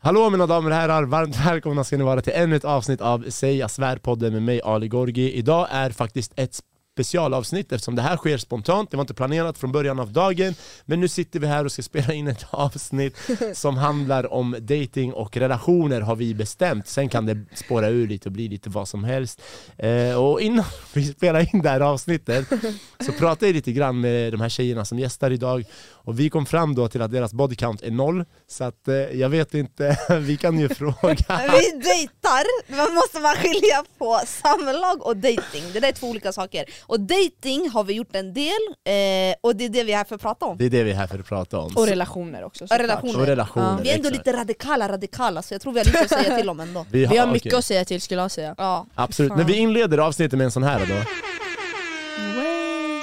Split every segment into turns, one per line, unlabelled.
Hallå mina damer och herrar, varmt välkomna ska ni vara till ännu ett avsnitt av Säg jag svär-podden med mig Ali Gorgi. Idag är faktiskt ett specialavsnitt eftersom det här sker spontant, det var inte planerat från början av dagen. Men nu sitter vi här och ska spela in ett avsnitt som handlar om dating och relationer har vi bestämt. Sen kan det spåra ur lite och bli lite vad som helst. Eh, och innan vi spelar in det här avsnittet så pratade jag lite grann med de här tjejerna som gästar idag och vi kom fram då till att deras body count är noll. Så att eh, jag vet inte, vi kan ju fråga.
Vi dejtar, man måste man skilja på samlag och dating. Det där är två olika saker. Och dating har vi gjort en del, eh, och det är det vi är här för att prata om.
Det är det vi är här för att prata om.
Och relationer också
Och
såklart.
Relationer.
Och relationer.
Vi är ändå
exakt.
lite radikala radikala, så jag tror vi har lite att säga till om ändå.
Vi
Vi har mycket
okej.
att säga till skulle jag säga.
Ja,
Absolut,
Fan.
men vi inleder avsnittet med en sån här då.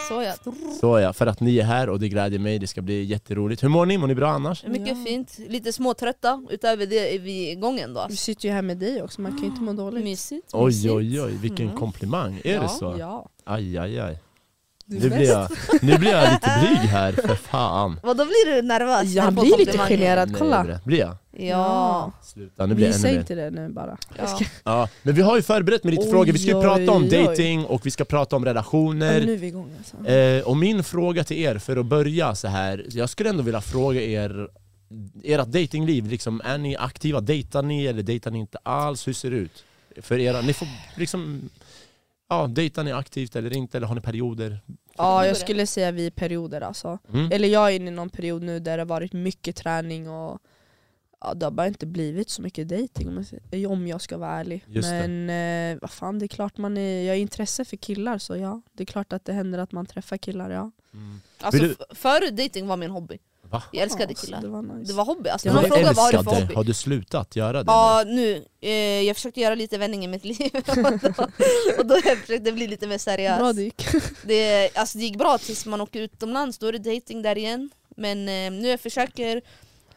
så ja.
Så ja, för att ni är här och det glädjer mig, det ska bli jätteroligt. Hur mår ni? Mår ni bra annars?
Mycket fint, lite småtrötta, utöver det är vi igång ändå.
Vi
alltså.
sitter ju här med dig också, man kan ju inte må dåligt.
Mysigt.
Oj
mysigt.
oj oj, vilken komplimang. Är
Mm. ja,
det så?
Ja.
Aj aj aj.
Du är
Nu blir,
bäst.
jag, nu blir jag lite blyg här, för fan.
Vad då blir du nervös?
Ja,
när
han
du får
blir lite
komplimanger?
generad,
Nej,
kolla.
det Blir jag?
Ja.
Sluta, nu blir jag ännu
Visa
mer.
inte det nu bara.
ja.
Ja, men vi har ju förberett med lite
Oj,
frågor, vi ska ju
oj,
prata om
oj.
dating och vi ska prata om relationer.
nu är vi igång alltså.
Eh, och min fråga till er, för att börja så här, jag skulle ändå vilja fråga er ert datingliv, liksom, är ni aktiva? Dejtar ni eller dejtar ni inte alls? Hur ser det ut? För era, ni får liksom, ja, dejtar ni aktivt eller inte? Eller har ni perioder?
Ja jag skulle säga vi är i perioder alltså.
Mm.
Eh,
Eller jag är inne i någon period nu där det har varit mycket träning och ja, det har bara inte blivit så mycket dating om jag säger- eh, om jag ska vara ärlig.
Just det.
Men eh, vad fan det är klart man är, jag är intresse för killar så ja, det är klart att det händer att man träffar killar ja.
Mm.
Alltså,
Vill
f- förr dating var min hobby.
Va?
Jag älskade
Ja, så
killar.
Det var nice.
Det var hobby, alltså
Ja,
när någon
men
frågar vad har du för
älskade.
hobby?
Har du slutat göra det?
Ja nu, eh, jag försökte göra lite vändning i mitt liv och då, och då jag försökte bli lite mer
Bra
seriös.
det gick.
Det, alltså, det gick bra tills man åker utomlands, då är det dating där igen. Men eh, nu jag försöker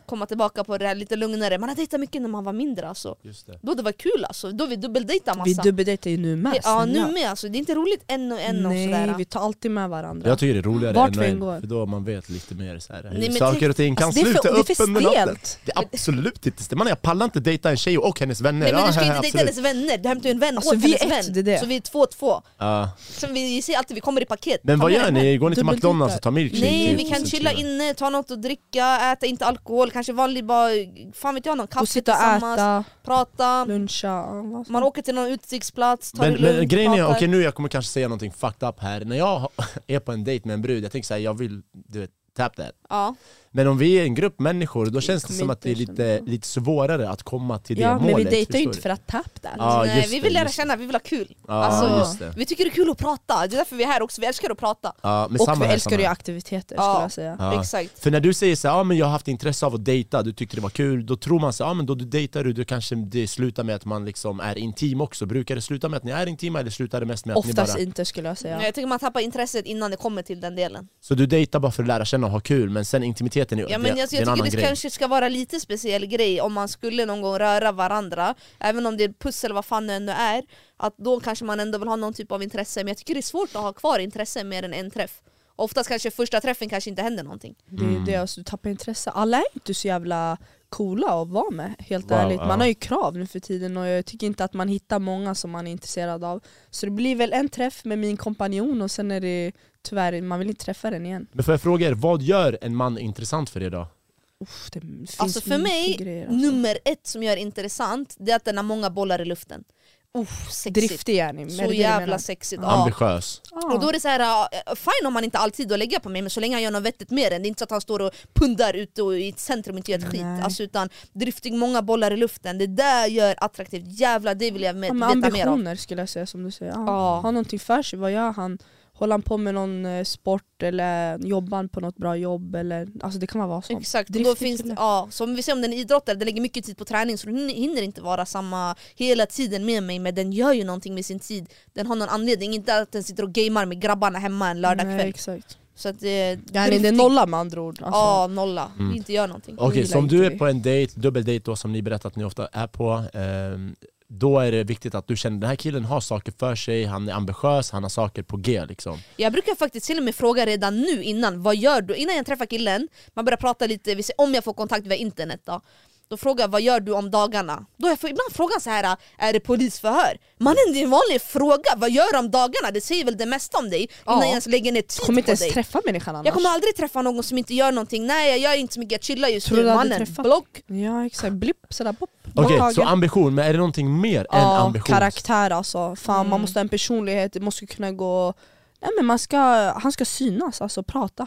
komma tillbaka på det här lite lugnare, man har dejtat mycket när man var mindre alltså.
Just det.
Då det var kul alltså, då vi dubbeldejtade
Vi
massa.
dubbeldejtar ju nu med
ja
snälla.
nu med alltså, det är inte roligt en och en och
Nej,
sådär.
vi tar alltid med varandra.
Jag tycker det är roligare
Vart
än
vi
en,
än går.
för då man vet lite mer så här, hur
men
saker
typ-
och ting kan
Alltså, det är för-
sluta
det är
upp
för
under natten.
stelt.
Det är absolut inte stelt. Man, jag pallar inte dejta en tjej och hennes vänner.
Nej men du ska
Ja,
inte dejta
absolut.
hennes vänner, du hämtar ju en vän
Alltså,
åt
vi är
hennes
ett,
vän.
det är det.
Så vi är två och två.
Ja.
Så vi ser alltid, vi kommer i paket.
Men
Ta
vad
med
gör
en
ni? Går ni till
Dubbeldejtar.
McDonalds och tar milkshake?
Nej
typ?
vi kan
Och så
chilla
chillar.
inne, ta något att dricka, äta inte alkohol, kanske vanlig bara, fan vet jag, någon kaffe
och sitta och
tillsammans,
äta,
prata,
luncha, ja, vad som-
man åker till någon utsiktsplats, tar det
Men, men
lugnt,
grejen är,
pratar.
okej nu jag kommer kanske säga någonting fucked up här. När jag har- är på en dejt med en brud, jag tänker såhär, jag vill, du vet, tap that.
ja.
Men om vi är en grupp människor, då känns det
kommer
som att det är
inte
lite, lite svårare att komma till det
Ja
målet.
men vi dejtar ju
förstår
inte
du?
för att tap that.
Ja,
Nej,
Ah, just
vi
det,
vill lära
just det.
känna, vi vill ha kul.
Ja,
Alltså,
just det.
Vi tycker det är kul att prata, det är därför vi är här också, vi älskar att prata.
Ja, men samma
och vi
här,
älskar
samma
ju
här.
aktiviteter
Ja.
skulle jag säga.
Ja.
Exakt.
För när du säger så här, ja men jag har haft intresse av att dejta, du tyckte det var kul, då tror man så här, ja men då du dejtar du, då kanske det slutar med att man liksom är intim också. Brukar det sluta med att ni är intima eller slutar det mest med att ni
Oftast
bara...
inte skulle jag
Nej,
säga.
Jag tycker man tappar intresset innan det kommer till den delen.
Så du dejtar bara för att lära känna och ha kul, men sen intimiteten är,
Ja, men
det,
jag,
det är en
jag
annan
tycker det
grej.
kanske ska vara lite speciell grej om man skulle någon gång röra varandra, även om det är pussel vad fan det ändå är, att då kanske man ändå vill ha någon typ av intresse, men jag tycker det är svårt att ha kvar intresse mer än en träff. Oftast kanske första träffen kanske inte händer någonting.
Det
Mm.
är ju det, alltså, du tappar intresse. Alla är inte så jävla coola att vara med helt
Wow,
ärligt. Man
ja.
har ju krav nu för tiden och jag tycker inte att man hittar många som man är intresserad av. Så det blir väl en träff med min kompanjon och sen är det tyvärr, man vill inte träffa den igen.
Men får jag fråga er, vad gör en man intressant för er då?
Uff, det finns
Alltså för
mycket
mig,
grejer,
nummer ett som gör det intressant, det är att den har många bollar i luften. Uff, sexigt.
Driftig är ni, men
typ Så
det är det du
jävla
menar.
sexigt.
Ja.
Ja.
Ambitiös.
Ja.
Och då är det så här, äh, fine om man inte har all tid att lägga på mig, men så länge han gör något vettigt med den. Det är inte så att han står och pundar ute och i ett centrum och inte gör ett skit.
Nej.
Alltså, utan driftig, många bollar i luften. Det där gör attraktivt. Jävlar, det vill jag med,
Ja, men
veta mer om.
ambitioner skulle jag säga som du säger. Ja.
Ja.
Ha någonting för sig, vad gör han? Håller han på med någon eh, sport eller jobbar han på något bra jobb? Eller, alltså det kan vara vad som.
Exakt, och då
Driftig
finns,
kille.
ja, som vi ser om den är idrottare, den lägger mycket tid på träning så den hinner inte vara samma hela tiden med mig men den gör ju någonting med sin tid. Den har någon anledning, inte att den sitter och gamear med grabbarna hemma en
Nej,
lördagkväll.
exakt.
Så att det,
Det här är det nolla med andra ord. Alltså.
Ja, nolla. Inte gör någonting.
Okej,
gillar
så om
inte
du är
det.
på en dejt, dubbeldejt då som ni berättat att ni ofta är på, ehm, då är det viktigt att du känner den här killen har saker för sig, han är ambitiös, han har saker på G liksom.
Jag brukar faktiskt till och med fråga redan nu innan, vad gör du? Innan jag träffar killen, man börjar prata lite, vi ser, om jag får kontakt via internet då. Då frågar jag vad gör du om dagarna? Då är för, ibland frågan så här är det polisförhör? Mannen det är en vanlig fråga, vad gör du om dagarna? Det säger väl det mesta om dig innan
Ja.
jag ens lägger ner tid
Kommer
på
inte ens
dig.
träffa människan annars.
Jag kommer aldrig träffa någon som inte gör någonting, nej jag gör inte så mycket, jag chillar just
Tror
nu
du hade
mannen.
träffat-
Block.
Ja exakt, blipp sådär pop.
Okej,
Tagen.
så ambition, men är det någonting mer än
Ja,
ambition?
karaktär alltså. Fan,
Mm.
Man måste ha en personlighet, det måste kunna gå... Nej, men man ska, han ska synas, alltså prata.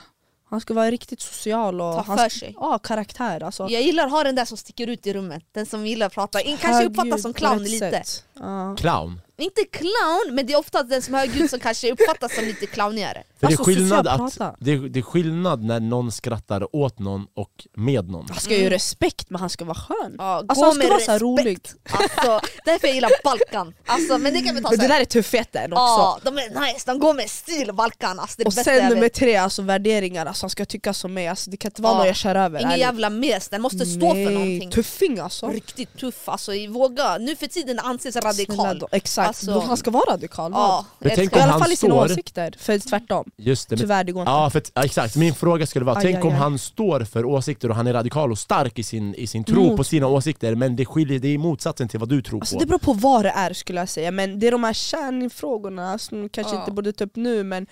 Han ska vara riktigt social och...
Ta
han
för
ska-
sig.
Ja, karaktär alltså.
Jag gillar att ha den där som sticker ut i rummet, den som gillar att prata. In- Kanske
Högljudd
uppfattas som
på
clown
rätt
lite.
sätt. Ja.
Clown.
Inte clown, men det är ofta den som är högljudd som kanske uppfattas som lite clownigare.
För
Alltså,
det, är skillnad
social
att,
prata.
det, är, det är skillnad när någon skrattar åt någon och med någon.
Han ska ju ha respekt men han ska vara skön.
Mm. Ja, gå
alltså han ska
med
vara så här
respekt.
rolig.
Alltså, därför jag gillar Balkan. Alltså, men det kan vi ta
Men det
sen.
där är tuffheten också.
Ja, de är nice, de går med stil Balkan. Alltså, det är
Och
det bästa jag
sen
vet.
nummer tre, alltså värderingar. Alltså han ska tycka som mig, alltså, det kan inte vara
Ja.
någon jag kör över.
Ingen
ärligt.
jävla mes, den måste stå för
Nej,
någonting.
Tuffing alltså.
Riktigt tuff, alltså i- våga. Nu för tiden anses
Snälla
radikal.
då, Exakt,
Alltså-
då han ska vara radikal.
Ja,
Men tänk
älskar.
I
om
alla
han
fall i sina
står-
åsikter, för tvärtom.
Just det, men-
Tyvärr det går inte.
Ja, för, att- ja, exakt. Min fråga skulle vara,
Aj,
tänk
aj,
om
aj.
han står för åsikter och han är radikal och stark i sin, i sin tro
Mot.
på sina åsikter, men det skiljer, det är motsatsen till vad du tror
Alltså
på.
det beror på vad det är skulle jag säga, men det är de här kärnfrågorna som kanske
Ja.
inte borde ta upp nu men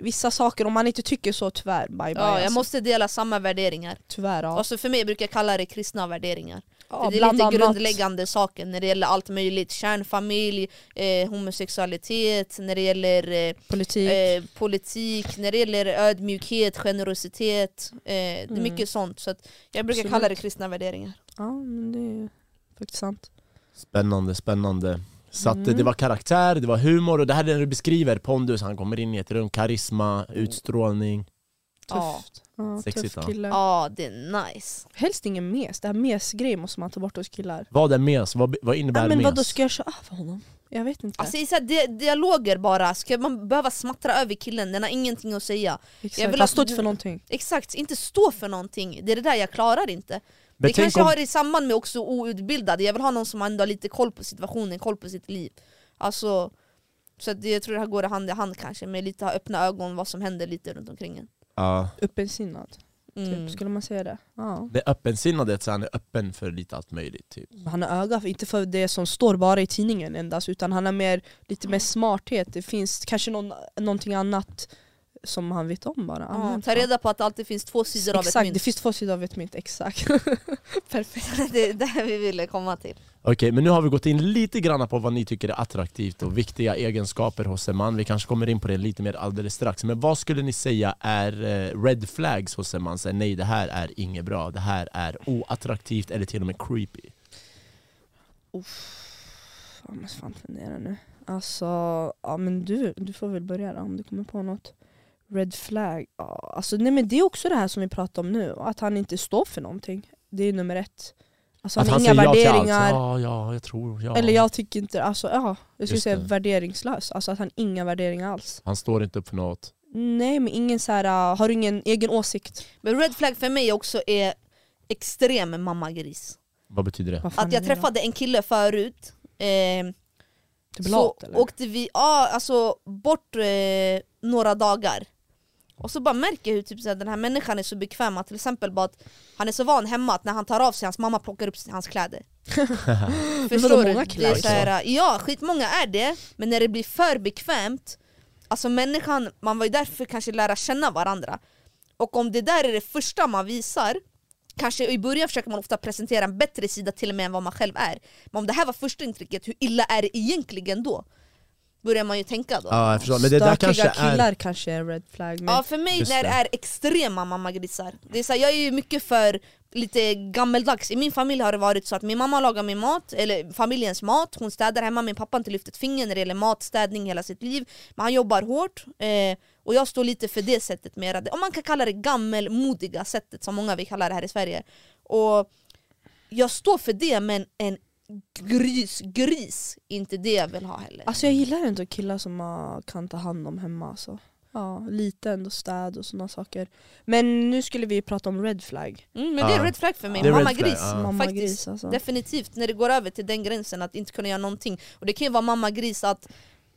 Vissa saker, om man inte tycker så, tyvärr, bye bye
Ja, jag
alltså.
måste dela samma värderingar.
Tyvärr ja.
Alltså för mig brukar jag kalla det kristna värderingar.
Ja,
För det är
bland
lite
annat.
grundläggande saker när det gäller allt möjligt. Kärnfamilj, eh, homosexualitet, när det gäller eh,
Politik.
eh, politik, när det gäller ödmjukhet, generositet. Eh, det
Mm.
är mycket sånt. Så att jag brukar
Absolut.
kalla det kristna värderingar.
Ja, men det är faktiskt sant.
Spännande, spännande. Så att, eh,
Mm.
det var karaktär, det var humor och det här är det du beskriver, pondus, han kommer in i ett rum, karisma, utstrålning.
Ja.
Tufft. Ja,
Sexigt, ja.
tuff kille.
Ja, det är nice.
Helst ingen mes, det här mesgrejen måste man ta bort hos killar.
Vad är mes? Vad, vad innebär
Nej, men
mes?
vadå, ska jag köra över honom? Jag vet inte.
Alltså, i så här di- dialoger bara, ska man behöva smattra över killen? Den har ingenting att säga.
Exakt.
jag vill
Han
att
står
du-
inte för någonting.
Exakt, inte stå för någonting. Det är det där jag klarar inte.
Men
det
tänk
kanske
om-
har i samband med också outbildade, jag vill ha någon som ändå har lite koll på situationen, koll på sitt liv. Alltså, så att det- jag tror det här går hand i hand kanske, med lite ha öppna ögon vad som händer lite runt omkring en.
Ja.
Öppensinnad, typ.
Mm.
skulle man säga det? Ja.
Det är öppensinnadet, så han är öppen för lite allt möjligt. Typ.
Han har öga, för- inte för det som står bara i tidningen endast, utan han har mer, lite mer smarthet. Det finns kanske någon, någonting annat som han vet om bara.
Ja,
allmänt,
ta
va?
reda på att det alltid finns två sidor av
Exakt,
ett
det
mynt.
finns två sidor av ett mynt, exakt. Perfekt.
det är det vi ville komma till.
Okej, men nu har vi gått in lite grann på vad ni tycker är attraktivt och viktiga egenskaper hos en man. Vi kanske kommer in på det lite mer alldeles strax. Men vad skulle ni säga är eh, red flags hos en man? Så här, nej, det här är inget bra. Det här är oattraktivt eller till och med creepy.
Uff, jag måste fan fundera nu. Alltså, ja men du, du får väl börja då, om du kommer på något. Red flag, ja, alltså nej men det är också det här som vi pratar om nu, att han inte står för någonting. Det är nummer ett. Alltså han
att han
har inga
säger ja till allt.
värderingar.
Ja, ja, jag tror, ja.
Eller jag tycker inte, alltså ja, jag skulle
Just
säga
det.
värderingslös. Alltså att han inga värderingar alls.
Han står inte upp för något.
Nej men ingen så här, uh, har ingen egen åsikt.
Men red flag för mig också är extrem mammagris.
Vad betyder det?
Vad fan
Att
är
jag
det
träffade en kille förut, eh,
då? Typ lat
så
eller?
åkte vi ja, alltså, bort eh, några dagar. Och så bara märker jag hur typ, så här, den här människan är så bekväm, att till exempel bara att han är så van hemma att när han tar av sig, hans mamma plockar upp hans kläder. Förstår
vadå,
du?
många
Det
killar
är
är
så här, ja, skitmånga är det, men när det blir för bekvämt, alltså människan, man var ju därför kanske lära känna varandra. Och om det där är det första man visar, kanske i början försöker man ofta presentera en bättre sida till och med än vad man själv är. Men om det här var första intrycket, hur illa är det egentligen då? Börjar man ju tänka då.
Ja, jag förstår. Men det där
Stökiga
kanske är...
killar kanske är en red flag. Men
Ja för mig
Just
när det
det.
är extrema mammagrisar, det är så här, jag är ju mycket för lite gammeldags. I min familj har det varit så att min mamma lagar min mat, eller familjens mat, hon städar hemma, min pappa har inte lyft ett finger när det gäller mat, städning hela sitt liv. Men han jobbar hårt, eh, och jag står lite för det sättet mera, om man kan kalla det gammelmodiga sättet som många vill kalla det här i Sverige. Och jag står för det men en gris, gris, är inte det jag vill ha heller.
Alltså jag gillar ändå killar som uh, kan ta hand om hemma alltså. Ja, lite ändå städ och sådana saker. Men nu skulle vi prata om red flag.
Mm, men det är
Ja.
red flag för mig,
Det är red
mamma
flag,
gris.
ja.
Mamma
Faktiskt.
gris alltså.
Definitivt, när det går över till den gränsen att inte kunna göra någonting. Och det kan ju vara mamma gris att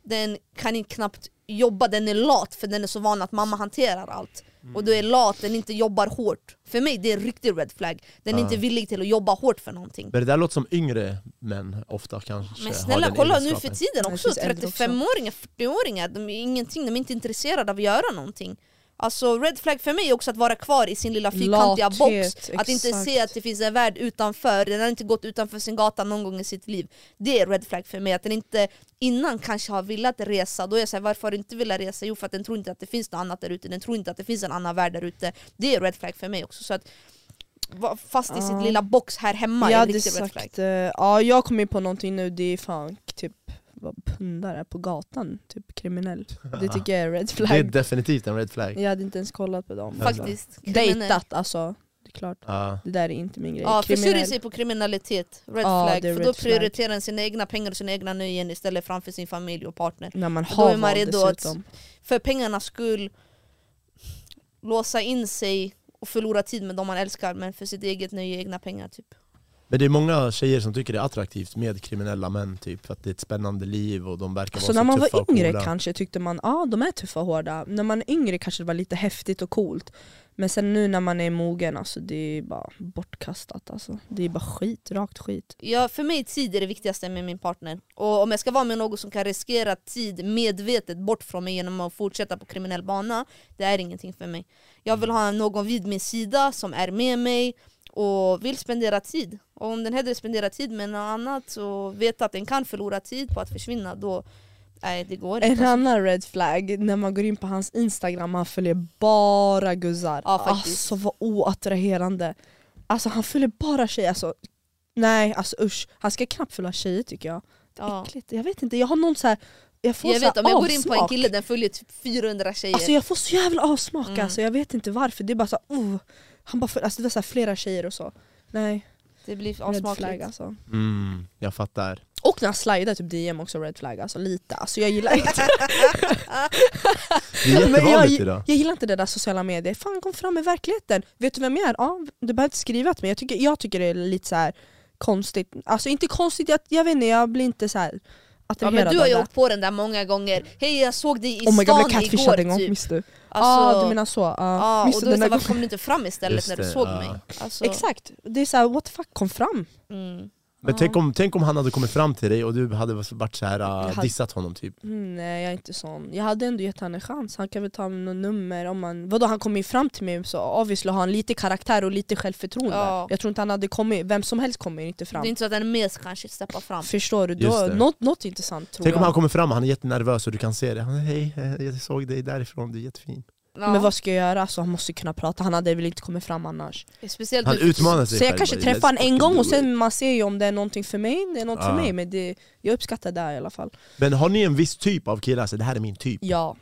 den kan inte knappt jobba, den är lat för den är så van att mamma hanterar allt. och du är lat, den inte jobbar hårt. För mig det är en riktig red flag. Den är
Ah.
inte villig till att jobba hårt för någonting.
Men det där låter som yngre män ofta kanske
Men
har
snälla
den
kolla nu
egenskapen.
för tiden
det
också,
finns äldre också.
35-åringar, 40-åringar, de är ingenting, de är inte intresserade av att göra någonting. Alltså red flag för mig är också att vara kvar i sin lilla fyrkantiga
Lathet,
box, att inte
exakt.
se att det finns en värld utanför, den har inte gått utanför sin gata någon gång i sitt liv. Det är red flag för mig, att den inte innan kanske har velat resa, då är jag såhär varför har du inte velat resa? Jo för att den tror inte att det finns något annat där ute, den tror inte att det finns en annan värld där ute. Det är red flag för mig också. Så att, vara fast i
Ah.
sitt lilla box här hemma
jag
är en
hade
riktig red flag.
sagt, eh, ja jag kom ju på någonting nu, det är fan typ vad pundare på gatan, typ kriminell. Det tycker jag är red
Det är
flag.
definitivt en red flag.
Jag hade inte ens kollat på dem.
Fakt-
Faktiskt. Kriminell.
Dejtat alltså, det är klart.
Ja.
Det där är inte min grej.
Ja, försörjer
Kriminell.
sig på kriminalitet, red
Ja,
flag.
det är
För
red
då
flag.
prioriterar den sina egna pengar och sina egna nöjen istället framför sin familj och partner.
När man
Då
har
är man
val
redo att-
dessutom.
För pengarnas skull låsa in sig och förlora tid med de man älskar men för sitt eget nöje, egna pengar typ.
Men det är många tjejer som tycker det är attraktivt med kriminella män typ, för att det är ett spännande liv och de verkar
Så
vara
Alltså, när
så
man
tuffa
var yngre
och coola.
kanske tyckte man ja ah, de är tuffa och hårda, när man är yngre kanske det var lite häftigt och coolt Men sen nu när man är mogen, alltså det är bara bortkastat alltså. Det är bara skit, rakt skit
Ja, för mig tid är det viktigaste med min partner. Och om jag ska vara med någon som kan riskera tid medvetet bort från mig genom att fortsätta på kriminell bana, det är ingenting för mig. Jag vill ha någon vid min sida som är med mig och vill spendera tid. Och om den hellre spenderar tid med något annat och vet att den kan förlora tid på att försvinna, då... Nej, det går
En
inte. alltså.
annan red flag, när man går in på hans instagram, han följer bara guzzar
Ja, faktiskt.
Alltså vad oattraherande Alltså han följer bara tjejer, alltså nej alltså usch Han ska knappt följa tjejer tycker jag
Ja.
Äckligt, jag vet inte, jag har någon så här jag får
Jag
så här
vet, om jag går in på en
avsmak.
kille, den följer typ 400 tjejer.
Alltså jag får så jävla avsmak
Mm.
alltså, jag vet inte varför. Det är bara så här, oh. Han bara för, alltså det var så här, flera tjejer och så. Nej,
det blir
red flag
avsmakligt.
alltså.
Mm, jag fattar.
Och när han slidar typ DM också red flag alltså lite. Alltså jag gillar inte,
Det är
Men jag-
jättevanligt idag.
jag gillar inte det där sociala medier. Fan kom fram i verkligheten. Vet du vem jag är? Ja, du behöver inte skriva till mig. Jag tycker, jag tycker det är lite så här konstigt. Alltså inte konstigt, jag, jag vet inte, jag blir inte så här
Ja,
attraherad
men du har
av
ju
det.
åkt på den där många gånger. Hej jag såg dig i
Oh my god,
stan
jag blev
igår
catfishad en gång,
typ.
minns du?
Alltså,
ah, du menar så? Ah,
ja,
minns
och
du
då är det
den
så här,
där
varför
gången?
kom du inte fram istället
Just
när du
det, ah.
såg
ja.
mig? Alltså,
Exakt, det är så här, what the fuck kom fram?
Mm.
Men tänk om, tänk om han hade kommit fram till dig och du hade varit så här, uh,
hade-
dissat honom typ.
Mm, Nej jag är inte sån. Jag hade ändå gett han en chans, han kan väl ta något nummer om han... Vadå han kom ju fram till mig så obviously har han lite karaktär och lite självförtroende.
Ja.
Jag tror inte han hade kommit, vem som helst kommer ju inte
Det
fram.
är inte så att en mes kanske steppar fram.
Förstår du? Då,
Just det.
något, något intressant tror
Tänk om
jag.
han kommer fram och han är jättenervös och du kan se det. Han hej, eh, jag såg dig därifrån, du är jättefin.
Ja.
Men vad ska jag göra? Alltså, han måste kunna prata, han hade väl inte kommit fram annars.
Speciellt
Han
nu för
utmanar sig
Så jag
själv
kanske
bara,
träffar
"Let's
honom en
fucking
gång
do
och
it."
sen man ser ju om det är någonting för mig, det är något
Ja.
för mig. Men det, jag uppskattar det här i alla fall.
Men har ni en viss typ av killar? Alltså, det här är min typ.
Ja.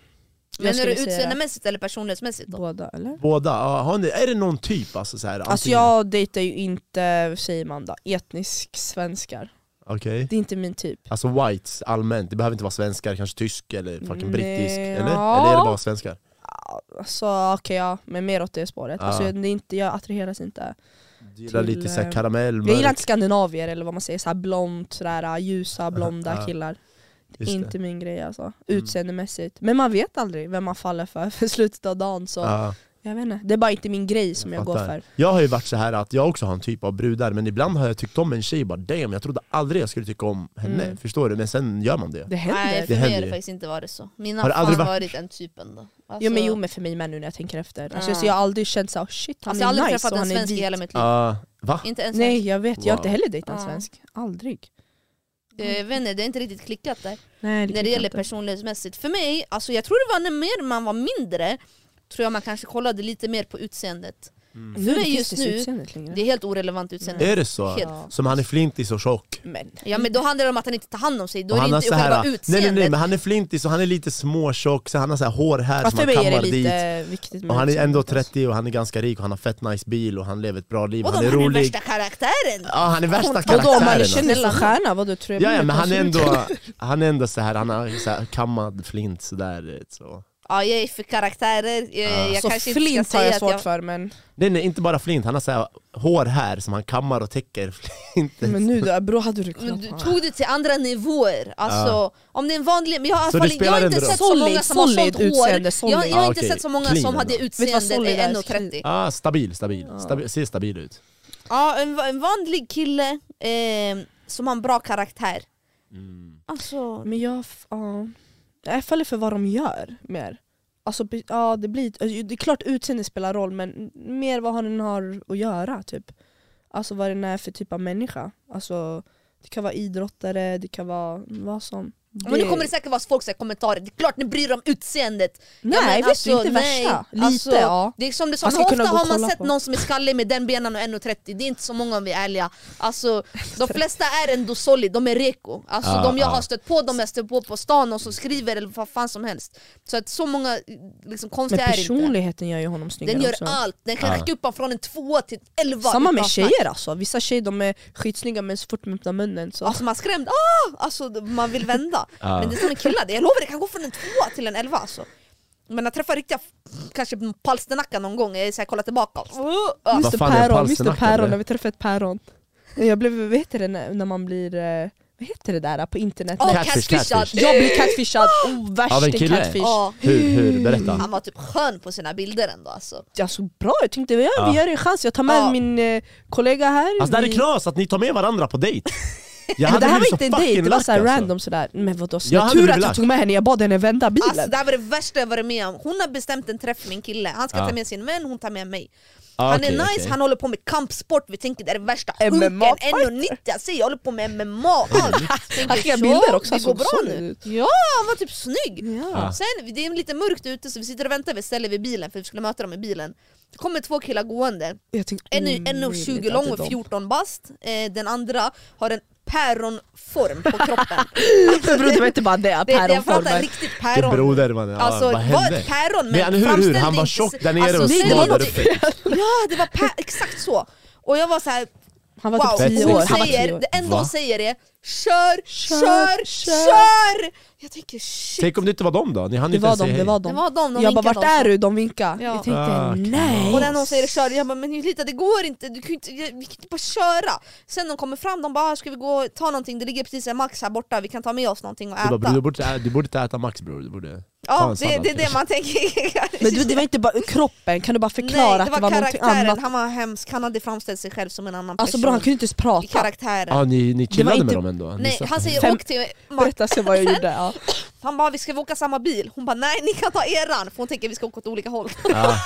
tiden. Men är
skulle
det
säga
utseendemässigt eller personlighetsmässigt då?
Båda eller?
Båda, ja, har ni, är det någon typ? Alltså, så här,
Alltså
antingen-
jag dejtar ju inte, säger man då, etnisk svenskar.
Okej.
Det är inte min typ.
Alltså whites allmänt, det behöver inte vara svenskar, kanske tysk eller fucking
Nej,
brittisk, eller?
ja.
Eller är det bara svenskar?
Alltså okej ja, men mer åt det spåret.
Ja.
Alltså, jag, det är inte, jag attraheras inte.
Du gillar
Till,
lite så här
eh,
karamell,
Jag gillar
mörk,
inte skandinavier eller vad man säger, så här blont, sådär, ljusa, blonda
ja.
killar.
just det. Mm.
Inte min grej alltså, utseendemässigt. Men man vet aldrig vem man faller för för slutet av dagen så
Ja.
jag vet inte. Det är bara inte min grej som jag,
Jag
går
fattar.
för.
Jag har ju varit så här att jag också har en typ av brudar, men ibland har jag tyckt om en tjej och bara damn, jag trodde aldrig jag skulle tycka om henne,
Mm.
förstår du? Men sen gör man det.
Det händer.
Nej
Det
för mig har
händer
det
ju.
faktiskt inte varit så. Mina
Har
har
det aldrig
fan
varit-
varit... en typ ändå. Alltså,
Jo men jo men för mig med nu när jag tänker efter. Alltså,
Ja.
jag har aldrig känt såhär oh, shit han
alltså, jag har
är
aldrig
nice
träffat
och
en
han är
svensk i
vit.
hela mitt liv.
Ah, va?
Inte en svensk.
Nej jag vet, jag har inte
Wow.
heller dejtat en
Ja.
svensk. Aldrig.
eh, Jag vet inte, det är inte riktigt klickat där.
Nej,
när det
kan jag
gäller
inte.
personlighetsmässigt. För mig, alltså jag tror det var när mer man var mindre, tror jag man kanske kollade lite mer på utseendet.
Mm.
Nu
mig
finns
just
det så
nu,
utseendet längre.
Det är helt orelevant utseende.
Är det så?
Helt.
Som han är flintis och tjock.
Men.
Ja men då handlar det om att han inte tar hand om sig, då
och
är
han
det
har
inte
så här,
själva
nej, nej
utseendet.
nej, men han är flintis och han är lite småtjock, så han har så här hår här
Fast
som
för
han
mig är
kammar
det
dit.
lite viktigt med
Och han är ändå
utseendet, alltså.
30 och han är ganska rik och han har fett nice bil och han lever ett bra liv,
Vadå,
han är
han är
rolig.
värsta karaktären!
Ja han är värsta
Vadå om han är
karaktären. alltså.
kändis och stjärna, vadå tror jag
Ja, ja
Alltså, blir
men han är
konstigt?
ändå, han är ändå så här, han har så här kammad flint sådär. Så.
ja, jag är för karaktärer, jag,
Ja.
jag
så
kanske inte
flint
ska
har
säga
jag
att
svårt
jag...
för men,
Nej nej, inte bara flint, han har så här hår här som han kammar och täcker flinten.
men nu då, bror hade du
Men
kunnat
du
ha.
tog det till andra nivåer, alltså om det är en vanlig... Men jag, har i alla
Så
fall-
det
jag
spelar
har inte
en roll?
sett så många
Solid,
som har
solid
sånt
utseende,
hår,
solid.
jag, jag har
Ah,
inte
okej.
sett så många
Clean
som hade
ändå.
du vad
utseendet
solid är?
1,30
Ah, stabil, stabil. stabil. Ser stabil ut.
Ja, en, va- en vanlig kille eh, som har en bra karaktär
Mm.
Alltså,
Men jag, f- ja. jag faller för vad de gör mer. Alltså, be- ja, det, blir, alltså, det är klart utseende spelar roll men mer vad han har att göra typ. Alltså vad den är för typ av människa. Alltså, det kan vara idrottare, det kan vara vad som.
men nu kommer det säkert vara folk som kommentarer, det är klart ni bryr er om utseendet!
Nej,
men alltså,
visst, inte värsta. Lite, ja.
Det är som du sa,
Man ska
hur ofta
kunna gå och
har man
kolla
sett
på.
någon som är skallig med den benen och 1,30? Det är inte så många om vi är ärliga. Alltså, de flesta är ändå solid, de är reko. Alltså,
Ah,
de jag
ah.
har stött på, de jag stött på på stan och som skriver eller vad fan som helst. Så att så många liksom,
Men
konstiga är inte.
personligheten gör ju honom snyggare
Den gör
också.
allt, den kan
Ah.
räcka upp honom från en tvåa till en elva.
Samma med
utan snack.
tjejer alltså, vissa tjejer de är skitsnygga men så fort de öppnar munnen så...
Alltså man är skrämd, ah! alltså, man vill vända.
Ja.
Men det är som en kille, jag lovar det kan gå från en tvåa till en elva alltså. Men att träffa riktiga kanske palsternacka någon gång, jag är så här, kollar tillbaka. Uh,
Vad
Mr
fan är
Päron, Mr
palsternackad, eller?
Päron, när vi träffade ett päron. Jag blev, vad heter det när, när man blir, eh, vad heter det där på internet?
oh,
Nej,
catfish,
catfishad.
catfish.
jag blir catfishad, oh,
Av en
värst
kille?
catfish.
Ja,
Hur, hur? Berätta.
han var typ skön på sina bilder ändå alltså.
Alltså bra, jag tänkte ja, vi
Ja.
gör en chans, jag tar med
Ja.
min eh, kollega här.
Alltså det här är
vi-
knas att ni tar med varandra på dejt. Jag
Men
hade
det här
blivit
var
så
inte en dejt,
fucking
det var
lack,
såhär
alltså.
random sådär. Men vadå,
Jag hade
tur
blivit
att
lack.
jag tog med henne, jag bad henne vända bilen.
Alltså det här var det värsta jag varit med om. Hon har bestämt en träff med en kille, han ska
Ja.
ta med sin vän, hon tar med mig.
Ah,
han är
okej,
nice,
okej.
han håller på med kampsport, vi tänker det är det värsta sjuken,
MMA fighter.
1,90 jag säger jag håller på med MMA allt. Tänker,
han skickade
så,
bilder också,
det
alltså, han
går
såg
bra
solid
nu.
ut.
Ja, han var typ snygg!
Ja.
Sen, det är lite mörkt ute så vi sitter och väntar vid stället vid bilen för vi skulle möta dem i bilen. Det kommer två killar gående,
Jag tänkte,
en är
omöjligt
en Mm, är
att
20
Mm, det är
lång och
de.
14 bast, eh, den andra har en päronform på kroppen.
Bror det var inte bara det,
Det, det, jag pratar
päronformen.
riktigt
Vilken
päron.
broder mannen, ja,
Alltså,
vad
var
hände?
ett päron men,
Men hur, hur? Han var
framställning- Alltså,
tjock där nere
Alltså,
och
nej, det
smal
var
där
något-
uppe.
Ja, det var pä- exakt så! Och jag var så här,
Han
wow,
var typ 10
Fett.
år.
hon
Han var
säger,
10 år.
det enda hon
Va?
säger är kör, kör,
Kör,
kör!
kör."
Jag tänker shit,
Tänk om det inte var dem då? Ni hann
Det
inte
var
ens
dem,
säga
det var
hej.
det
dem.
var dem, de
jag bara
vinkade
vart
åt
är
oss.
du? De vinkar.
Ja.
Jag tänkte
Ah, okej.
nej.
Och när någon säger kör, jag bara men Julita det går inte, du kan ju inte, jag- vi kan inte bara köra! Sen de kommer fram, de bara "Ah, ska vi gå och ta någonting, det ligger precis en Max här borta, vi kan ta med oss någonting och
Du, bara,
äta.
"Bror, du, borde, inte ä- du borde inte äta Max bror, du borde ta
ja,
en
det,
sallad
det är det
kanske."
man tänker.
Men du, det var inte bara kroppen, kan du bara förklara
Nej,
att det var någonting
karaktären,
annat?
han var hemsk, han hade framställt sig själv som en annan
Alltså
person.
bra, han kunde inte ens prata.
I karaktären.
ah, ni, ni chillade
inte-
med dem ändå? Ni
Nej,
satt-
han säger
Fem-
åk till Max.
Berätta sen vad jag gjorde. Ja.
Han bara vi ska åka samma bil, hon bara nej ni kan ta eran för hon tänker vi ska åka åt olika håll.
Ja.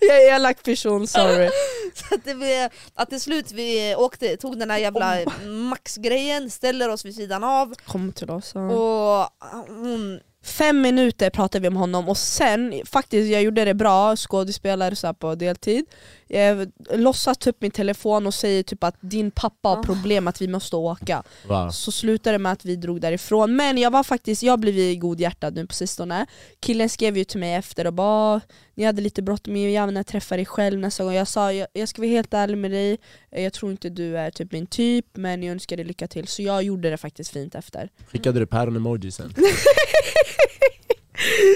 Jag är en elak person, sorry.
Så att, det, blev- att till slut vi åkte, tog den där jävla Max-grejen, ställer oss vid sidan av
Kom till oss. ja.
Mm.
och ah, hon...
Fem minuter pratade vi om honom och sen, faktiskt jag gjorde det bra, skådespelare så här på deltid. Jag låtsas ta upp min telefon och säger typ att din pappa
Ah.
har problem att vi måste åka.
Va?
Så slutade det med att vi drog därifrån, men jag var faktiskt, jag har blivit godhjärtad nu på sistone Killen skrev ju till mig efter och bara ni hade lite bråttom, men jag vill gärna träffa dig själv nästa gång Jag sa, jag, jag ska vara helt ärlig med dig, eh, jag tror inte du är typ min typ men jag önskar dig lycka till Så jag gjorde det faktiskt fint efter
Skickade du päron-emoji sen?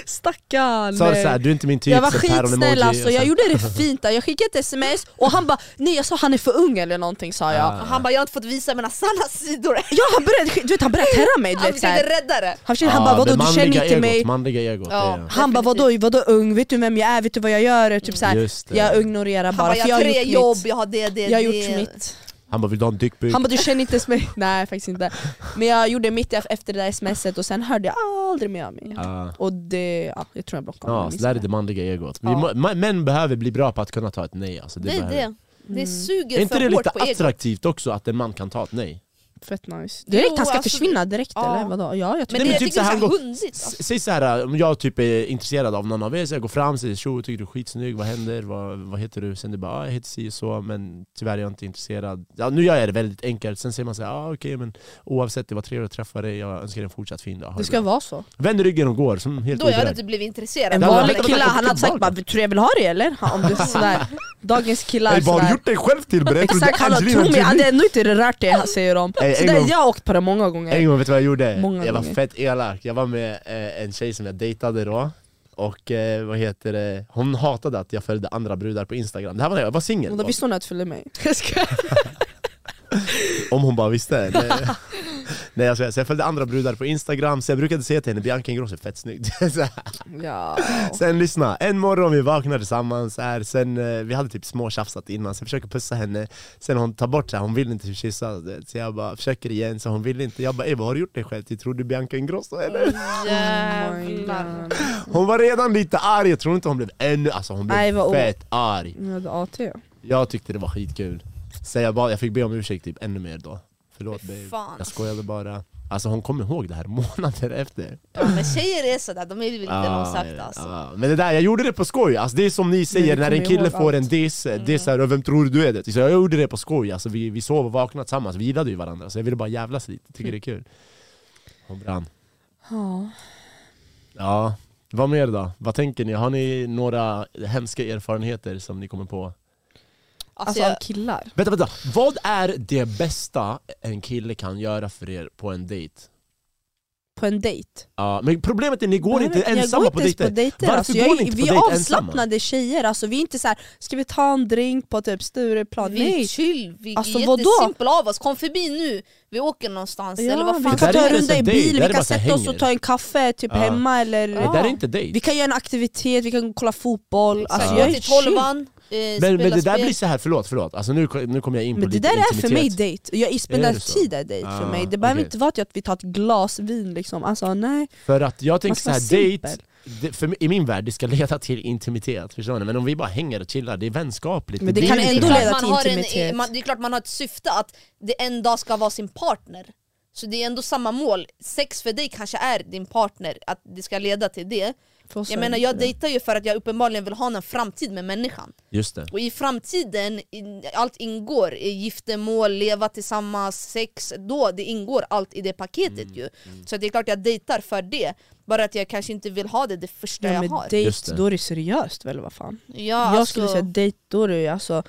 Stackarn!
Sa du såhär, du är inte min typ,
jag var
så päron-emoji
skitsnäll
och
alltså,
sen-
jag gjorde det fint där. jag skickade ett sms och han bara nej jag sa han är för ung eller någonting sa jag
Ah.
Han bara jag har inte fått visa mina sanna sidor än.
Ja han började, du vet han började terra mig du
Han
vet såhär
försökte rädda det.
Han, försökte- han
Ah,
bara
det
vadå du
manliga
känner inte
egot,
mig
Manliga egot,
Ja.
det,
Han bara vadå, vadå ung, vet du vem jag är, vet du vad jag gör? Typ så här,
Just det.
jag ignorerar
Han
bara
bara
för
jag har tre
gjort
jobb,
mitt.
jag har det, det,
Jag har
det.
gjort mitt.
Han bara, vill du ha en dickpic?
Han bara du känner inte ens mig. Nej faktiskt inte. Men jag gjorde mitt e- efter det där smset och sen hörde jag aldrig mer av mig.
Ah.
Och det, ja, jag tror jag blockade
Ja,
honom.
så där är det manliga egot. Vi,
Ja.
må- ma- män behöver bli bra på att kunna ta ett nej. Alltså, det
Det är
behöver-
det. Mm. Det suger
Är inte det
för hårt
lite
på egot.
attraktivt också att en man kan ta ett nej?
Fett nice. Direkt,
Jo,
han ska
alltså,
försvinna direkt
ja.
eller? Vadå? Ja, jag
Men
tycker
det,
men
jag
typ
tycker det
så
är
här
så alltså.
går-
hundigt.
S- Säg så här, om jag typ är intresserad av någon av er, så jag går fram och säger tjo, tycker du är skitsnygg, vad händer, vad, vad heter du? Sen det bara, ah, jag heter si och så, men tyvärr är jag inte intresserad. Ja, nu gör jag det väldigt enkelt, sen säger man så här, ah, okej men oavsett, det var trevligt att träffa dig, jag önskar dig en fortsatt fin dag. Ha
det
det
ska
bra."
vara så.
Vänd ryggen och går, som helt
Då jag hade
typ
oberörd.
inte blivit intresserad.
En
Det hade varit-
vanlig kille,
det hade
han hade sagt bara
tillbaka.
'tror jag vill ha dig eller?' Ja, Om du är sådär. Dagens killar
Ey, vad har du
sådär.
gjort dig själv till? Berättar
Exakt, hallå tro mig, jag hade ändå inte rört dig säger de.
Ey, en
Så där,
gång-
jag har åkt på det många gånger.
En gång, vet du vad jag gjorde?
Många
jag var
gånger.
fett elak, jag var med eh, en tjej som jag dejtade då Och eh, vad heter det? Hon hatade att jag följde andra brudar på Instagram. Det här var när jag var
Och då
singel.
visste hon att du följde mig.
Om hon bara visste. Det- Nej, alltså, så jag följde andra brudar på Instagram, så jag brukade säga till henne Bianca Ingrosso är fett snygg. Så här.
ja.
Äh,
sen lyssna, en morgon vi vaknade tillsammans, så här, sen, eh, vi hade typ småtjafsat innan, så jag försöker pussa henne, sen hon tar bort så här, hon vill inte kyssa, du vet. så jag bara försöker igen, så hon vill inte. Jag bara "Ey, vad har du gjort dig själv till? Tror du Bianca Ingrosso eller?
Oh my
Jävlar.
god.
Hon var redan lite arg, jag tror inte hon blev ännu, alltså hon blev
Nej, vad o-
fett arg.
Jag hade AT.
Jag tyckte det var skitkul. Så jag, bara, jag fick be om ursäkt typ ännu mer då. Förlåt babe,
Fan.
jag skojade bara. Alltså hon kom ihåg det här månader efter.
Ja, men tjejer är sådär, de är väl lite
Ah,
långsökta alltså.
ah. Men det där, jag gjorde det på skoj. Alltså, det är som ni säger,
Men du
när en
kommer
kille
ihåg
får en
allt.
diss, mm. diss här, "Och vem tror du är det? Så jag gjorde det på skoj. Alltså, vi, vi sov och vaknade tillsammans, vi gillade ju varandra. Så jag ville bara jävlas lite, tycker det är kul. Hon brann.
Alltså,
Ja.
Ja, vad mer då? Vad tänker ni? Har ni några hemska erfarenheter som ni kommer på?
Alltså,
Alltså
jag,
av killar.
Vänta, vänta. Vad är det bästa en kille kan göra för er på en dejt?
På en dejt.
Ja, men problemet är att ni går inte
jag
ensamma
går
på
inte ens
dejter.
på dejter.
Varför
alltså,
går
jag,
ni inte på
vi
dejt
är
ensamma?
avslappnade tjejer, alltså, vi är inte så här, ska vi ta en drink på typ Stureplan?
vi är
Nej!
chill, vi
Alltså,
är
vadå?
jättesimpla av oss, kom förbi nu, vi åker någonstans
Ja,
eller vad
vi
fan
Det där
kan
är
ta
inte ens
en runda i
en dejt,
bil,
det här är
vi kan
bara så här
sätta oss
hänger.
och ta en kaffe typ
Ja.
hemma eller...
Det där är inte dejt.
Vi kan göra en aktivitet, vi kan kolla fotboll, alltså,
Ja.
jag
gå
är
till
chill.
tolvan, eh,
Men, men
spela
det där
spel.
blir så här, förlåt, förlåt. Alltså nu, nu kommer jag in på
Men det
lite
där är
intimitet.
för mig dejt, jag
Är
spenderar
det så?
tid är dejt för
Ah,
mig. Det behöver
okej.
inte vara att vi tar ett glas vin liksom, alltså nej.
För att jag tänker
Man
så
ska
här,
vara
dejt,
simpel.
det, för, mig- i min värld, det ska leda till intimitet. Förstår ni? Men om vi bara hänger och chillar, det är vänskapligt.
Men det
blir
kan
inte
ändå
det.
klart
leda
man
till
har
intimitet.
En, man, det är klart man har ett syfte att det en dag ska vara sin partner. Så det är ändå samma mål. Sex för dig kanske är din partner, att det ska leda till det.
För oss är
Jag
det
menar
inte
jag
det.
dejtar ju för att jag uppenbarligen vill ha en framtid med människan.
Just det.
Och i framtiden, i- allt ingår. i Giftermål, leva tillsammans, sex, då det ingår allt i det paketet ju. Så det är klart jag dejtar för det. Bara att jag kanske inte vill ha det det första
Ja,
jag
men
har.
Just det.
dejt, då är det seriöst väl vad fan?
Ja,
jag skulle
alltså-
säga dejt, då är det ju alltså...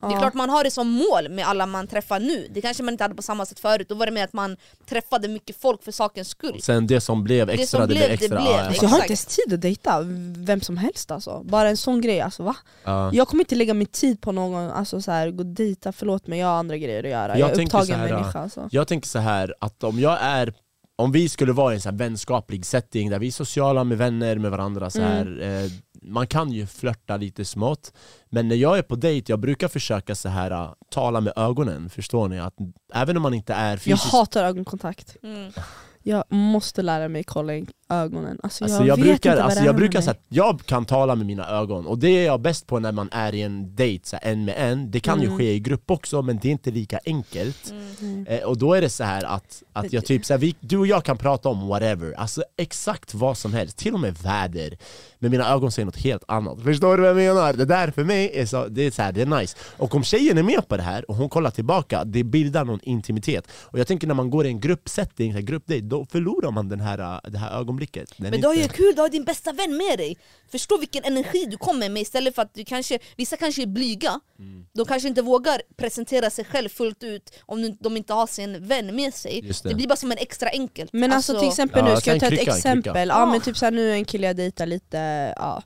Det är klart man har det som mål med alla man träffar nu, det kanske man inte hade på samma sätt förut, då var det mer att man träffade mycket folk för sakens skull.
Sen det som blev extra, det,
som
blev
blev, det
extra.
blev.
Ja,
Alltså, jag har
Exakt.
inte ens tid att dejta vem som helst alltså, bara en sån grej alltså va?
ja.
Jag kommer inte lägga min tid på någon, alltså så här, gå och dejta, förlåt mig jag har andra grejer att göra,
Jag
jag, är
tänker
upptagen
så här, äh,
människa alltså.
Jag tänker så här att om jag är om vi skulle vara i en så här vänskaplig setting där vi är sociala med vänner, med varandra så här, eh, Man kan ju flörta lite smått Men när jag är på dejt, jag brukar försöka så här eh, tala med ögonen Förstår ni? Att även om man inte är
Jag
fysiskt
hatar ögonkontakt,
Mm.
jag måste lära mig kolla i ögonen, alltså,
Alltså
jag,
jag,
vet
brukar,
inte vad
alltså
det
jag
är
brukar
med
så
mig.
här, jag kan tala med mina ögon och det är jag bäst på när man är i en dejt, så här, en med en. Det kan ju
Mm.
ske i grupp också men det är inte lika enkelt.
Mm.
Eh, och då är det så här att, att jag typ, så här, vi, du och jag kan prata om whatever, alltså exakt vad som helst, till och med väder. Men mina ögon säger något helt annat. Förstår du vad jag menar? Det där för mig är så, det är så här, det är nice. Och om tjejen är med på det här och hon kollar tillbaka, det bildar någon intimitet. Och jag tänker när man går i en gruppsetting, så här, gruppdejt, då förlorar man den här, eh, det här ögonblicket. Den är
Men du har
inte-
ju kul, du har din bästa vän med dig. Förstå vilken energi du kommer med istället för att du kanske, vissa kanske är blyga,
Mm.
de kanske inte vågar presentera sig själv fullt ut om nu- de inte har sin vän med sig.
Just det.
Det. blir bara som en extra enkelt.
Men alltså, till exempel
Ja,
nu, ska jag ta
sen
ett
krycka,
exempel?
krycka.
Ja
Ja.
men typ så här, nu är en kille jag dejtar lite, ja.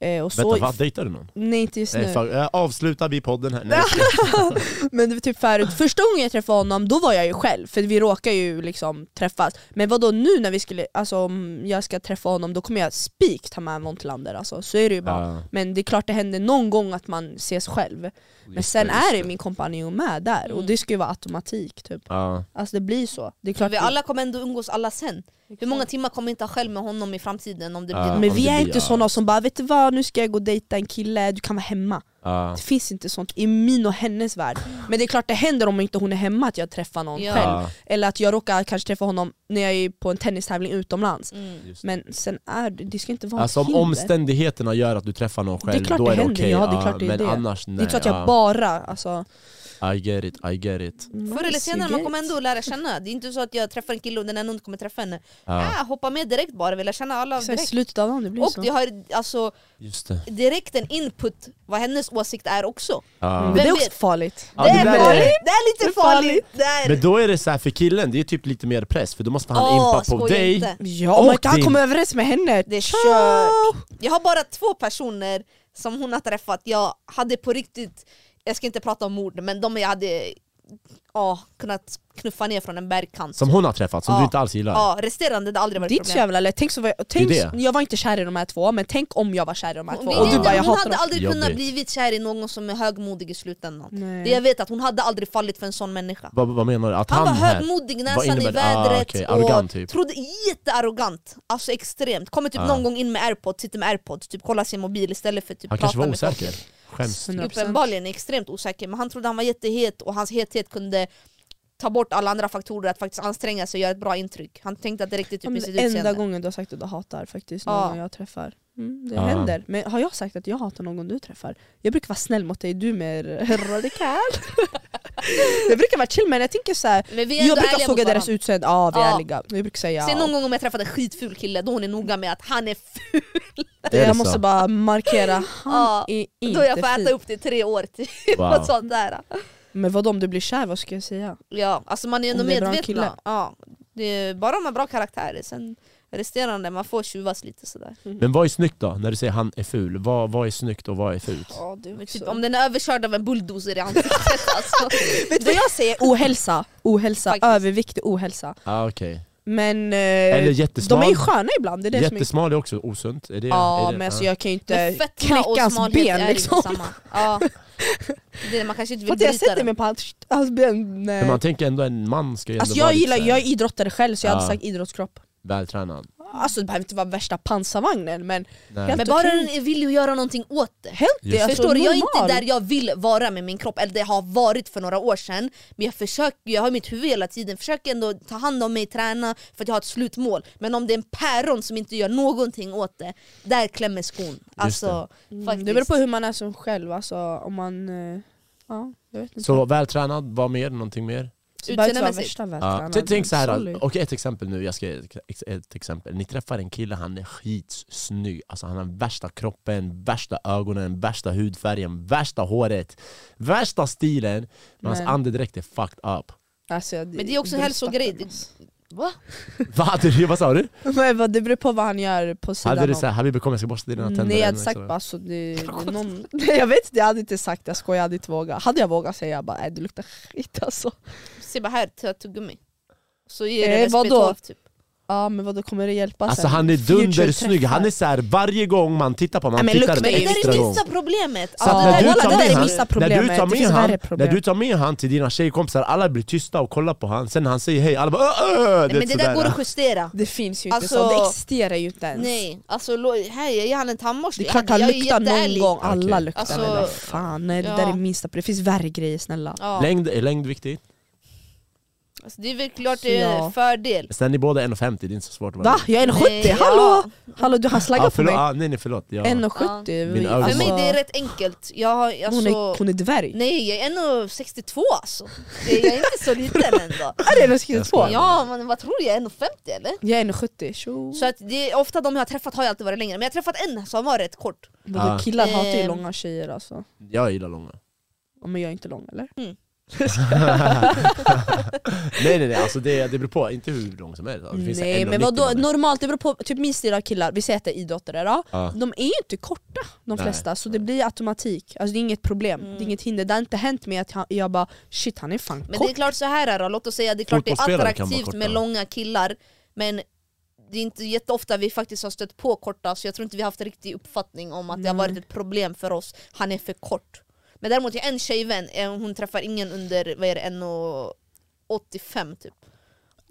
Eh, och så,
Vänta, vad? Dejtar du någon?
Nej inte just
Nej,
nu.
för, eh, avslutar vi podden här? Nej,
Men det var typ förut, första gången jag träffade honom då var jag ju själv, för vi råkar ju liksom träffas Men vadå nu när vi skulle, alltså om jag ska träffa honom då kommer jag spik ta med Vontlander alltså, så är det ju bara
Ja.
Men det är klart det händer någon gång att man ses själv Men
Just
sen
det, just
är det min kompanjon med där,
Mm.
och det ska ju vara automatik typ
Ja.
Alltså det blir så, det är klart
Vi alla kommer ändå umgås alla sen. Hur många timmar kommer inte ha själv med honom i framtiden om det
Ja.
blir
men vi
det
är
blir-
inte såna som bara vet du vad, nu ska jag gå och dejta en kille, du kan vara hemma
Ja.
Det finns inte sånt i min och hennes värld. Men det är klart det händer om inte hon är hemma att jag träffar någon
Ja.
själv. Eller att jag råkar kanske träffa honom när jag är på en tennistävling utomlands.
Mm.
Men sen är det, det ska inte vara
Alltså
ett
om
hinder.
omständigheterna gör att du träffar någon
är
själv,
klart
då
det
är det okej.
händer, ja, det är klart det är
men
det.
annars nej.
Det är klart jag
ja.
bara, alltså,
I get it, I get it.
Förr eller senare man kommer ändå lära känna, det är inte så att jag träffar en kille och den ändå inte kommer träffa henne.
Ja,
Ah, hoppa med direkt bara, vill lära känna alla
Så I
direkt.
slutet av dagen, det blir
Och
så.
jag har alltså
just det.
direkt en input vad hennes åsikt är också.
Ja.
Men det är
Vem
också
vet?
farligt.
Ja,
det,
det
är
där är-
farligt, det är lite
Det är farligt.
farligt! Det är...
Men då är det så här för killen, det är typ lite mer press för då måste han
Åh,
impa på
skoja
dig.
inte.
Ja, om
Och
inte han
din-
kommer överens med henne,
Det är
tja!
kört. Jag har bara två personer som hon har träffat, jag hade på riktigt, jag ska inte prata om mord, men de jag hade ja, kunnat knuffa ner från en bergkant.
Som hon har träffat, som
Ja.
du inte alls gillar.
Ja, resterande det har aldrig varit
Ditt
problem.
jävla lätt. Tänk så var jag, tänk,
Det är det.
jag var inte kär i de här två, men tänk om jag var kär i de här
Hon,
två.
vet
Och du
inte,
bara, jag
hon
hatar
hade
dem.
aldrig
Jag
kunnat
vet.
blivit kär i någon som är högmodig i slutändan.
Nej.
Det jag vet att hon hade aldrig fallit för en sån människa.
Vad, vad menar du? Att han,
Han, var
här...
högmodig,
Vad
näsan i
innebär- ah,
vädret
okej,
och
arrogant typ.
trodde jättearrogant, alltså extremt. Kommer typ
Ah.
någon gång in med airpods, sitter med airpods, typ kollar sin mobil istället för typ
Han
prata
kanske var
med folk.
osäker. Skäms.
100%.
Uppenbarligen är extremt osäker, men han trodde han var jättehet och hans hethet kunde ta bort alla andra faktorer att faktiskt anstränga sig och göra ett bra intryck. Han tänkte att det räckte
Ja,
typ
men
med
det
sitt
enda
utseende.
gången du har sagt att du hatar faktiskt
Ja.
någon jag träffar. Mm, det
Ja.
händer. Men har jag sagt att jag hatar någon du träffar? Jag brukar vara snäll mot dig, du är mer radikal. jag brukar vara chill men jag tänker så här.
Men vi är ändå
Jag brukar
ärliga mot
såga deras
varandra.
utseende, ja vi är
Ja.
ärliga. Jag brukar säga
Sen
ja.
någon gång om jag träffade en skitful kille, då hon är noga med att han är ful.
Är det
Jag
så?
måste bara markera,
Ja,
han är inte
Då jag får
fin.
äta upp det i tre år till.
Wow.
och
Alltså.
sånt där.
Men vadå om du blir kär, vad ska jag säga?
Ja, alltså man är ändå
Om det är bra kille.
medvetna. Ja, det är bara de har bra karaktärer, sen resterande, man får tjuvas lite sådär.
Men vad är snyggt då? När du säger han är ful, vad, vad är snyggt och vad är fult?
Ja, du
Men typ, om den är överkörd av en bulldozer i ansiktet alltså.
Vet du vad jag säger? Ohälsa, ohälsa,
Faktiskt.
övervikt är ohälsa.
Ah, okay.
Men eh,
Eller
de
jättesmal.
är ju sköna ibland, det är det som är
Jättesmal är också osunt. Är det,
Ja
är det,
men alltså
ja.
jag kan ju
Men
inte
fetma och
knäcka hans
smalhet
ben
är
liksom.
inte samma. Ja. Det är det, man kanske inte vill
Fattar jag
bryta
sätter
den.
mig på hans, hans ben.
Men
Nej.
man tänker ändå en man ska ju ändå
Alltså
vara
jag
lite
gillar,
så här
jag är idrottare själv så jag hade
Ja.
sagt idrottskropp.
vältränad.
Alltså det behöver inte vara värsta pansarvagnen men
Nej.
Jag-
Men bara
Okej.
den är villig att göra någonting åt det.
helt
Just
det. Alltså,
Förstår du, jag är inte
normal.
där jag vill vara med min kropp, eller det har varit för några år sedan. Men jag, försöker, jag har i mitt huvud hela tiden, försöker ändå ta hand om mig, träna för att jag har ett slutmål. Men om det är en päron som inte gör någonting åt det, där klämmer skon. Alltså,
Mm,
faktiskt.
Det beror på hur man är som själv, alltså om man... eh, Ja, jag vet inte.
Så vältränad, vad mer? Någonting mer?
Så det behöver inte vara
utseendemässigt.
värsta
Ja.
vältränad,
Tänk- Tänk så här,
sorry.
okej ett exempel nu, jag ska ge ett- ex- ett exempel. Ni träffar en kille, han är skitsnygg. Alltså han har värsta kroppen, värsta ögonen, värsta hudfärgen, värsta håret, värsta stilen. Men hans
Men-
andedräkt är fucked up.
Alltså,
Men det är också hälsogrej.
stackaren, alltså.
Va?
Vad hade du, vad sa du?
Men vad, det beror på vad han gör på sidan
Hade du
om.
såhär, Habibi kom jag ska borsta dina tänder?
Nej jag
eller
hade
så?
sagt bara alltså, det, det är någon... Nej, jag vet inte, jag hade inte sagt jag skojar, jag hade inte vågat. Hade jag vågat säga jag bara nej, du luktar skit alltså.
Se bara här, ta tuggummi. Så ger det
Eh, vadå?
SP12 typ.
Ja men vadå kommer det hjälpa
Alltså
sen?
han är
Future
dundersnygg,
träffar.
han är såhär varje gång man tittar på honom,
Nej,
man
men
tittar
luktar
en
Men det
ju
extra
där är
gång.
sista problemet!
Så att
Ja,
när, du
walla,
tar
Alltså, det där
med
är
han, när, du
vissa problemet.
tar
Det
med
finns
han,
värre
när
problem.
du tar med han till dina tjejkompisar, alla blir tysta och kollar på han, sen när han säger hej, alla bara öh, öh,
Nej, men det
typ
där går att
sådär.
justera.
Det finns ju inte
Alltså-
så, det existerar ju inte ens.
Nej, alltså lo- här, jag ger han en tandborste.
Det är klart han
Jag- jag är
luktar någon
jätteärlig.
gång, alla
Okej.
luktar
Alltså-
men vad fan, nej,
Ja.
det där är minsta problem. Det finns värre grejer snälla.
Ja.
Längd, är längd viktigt?
Alltså, det är väl klart det är
Ja.
en fördel.
Sen ni båda är 1,50, det är inte så svårt att vara
Va? Jag är 1,70,
Nej,
hallå!
ja.
Hallå du har slaggat
ah,
på
förlåt,
mig.
ah, nej nej förlåt, ja.
1,70.
Min
vi-
ögon.
För
Alltså-
mig det är rätt enkelt. Jag har, alltså,
hon, är, hon är dvärg.
Nej, jag är ändå 62 alltså. Jag jag är inte så liten ändå.
Är det
Jag
1,62?
skojar.
Ja, men vad tror du? Jag är 1,50 eller?
Jag är 1,70. Tjo.
Så att det är, ofta de jag har träffat har jag alltid varit längre, men jag har träffat en som var rätt kort.
Vadå,
Ah.
Killar hatar ju
Ehm.
långa tjejer alltså.
Jag gillar långa.
Ja, Men jag är inte lång eller?
Nej nej nej, alltså det, det beror på, inte hur lång som helst. Alltså, det finns
Nej
1,90
men vadå,
man är.
normalt, det beror på typ min stil av killar, vi säger att det är idrottare då.
Ja.
De är ju inte korta de
Nej.
flesta, så det blir automatik. Alltså det är inget problem, det är inget hinder. Det har inte hänt mig att han- jag bara shit han är fan
Men
kort.
det är klart så här då, låt oss säga det är klart det är
Fotbollsspelare kan vara
attraktivt
korta.
med långa killar, men det är inte jätteofta vi faktiskt har stött på korta, så jag tror inte vi har haft en riktig uppfattning om att det har varit ett problem för oss, han är för kort. Men däremot, jag har en tjejvän, eh, hon träffar ingen under vad är det, 1,85 typ.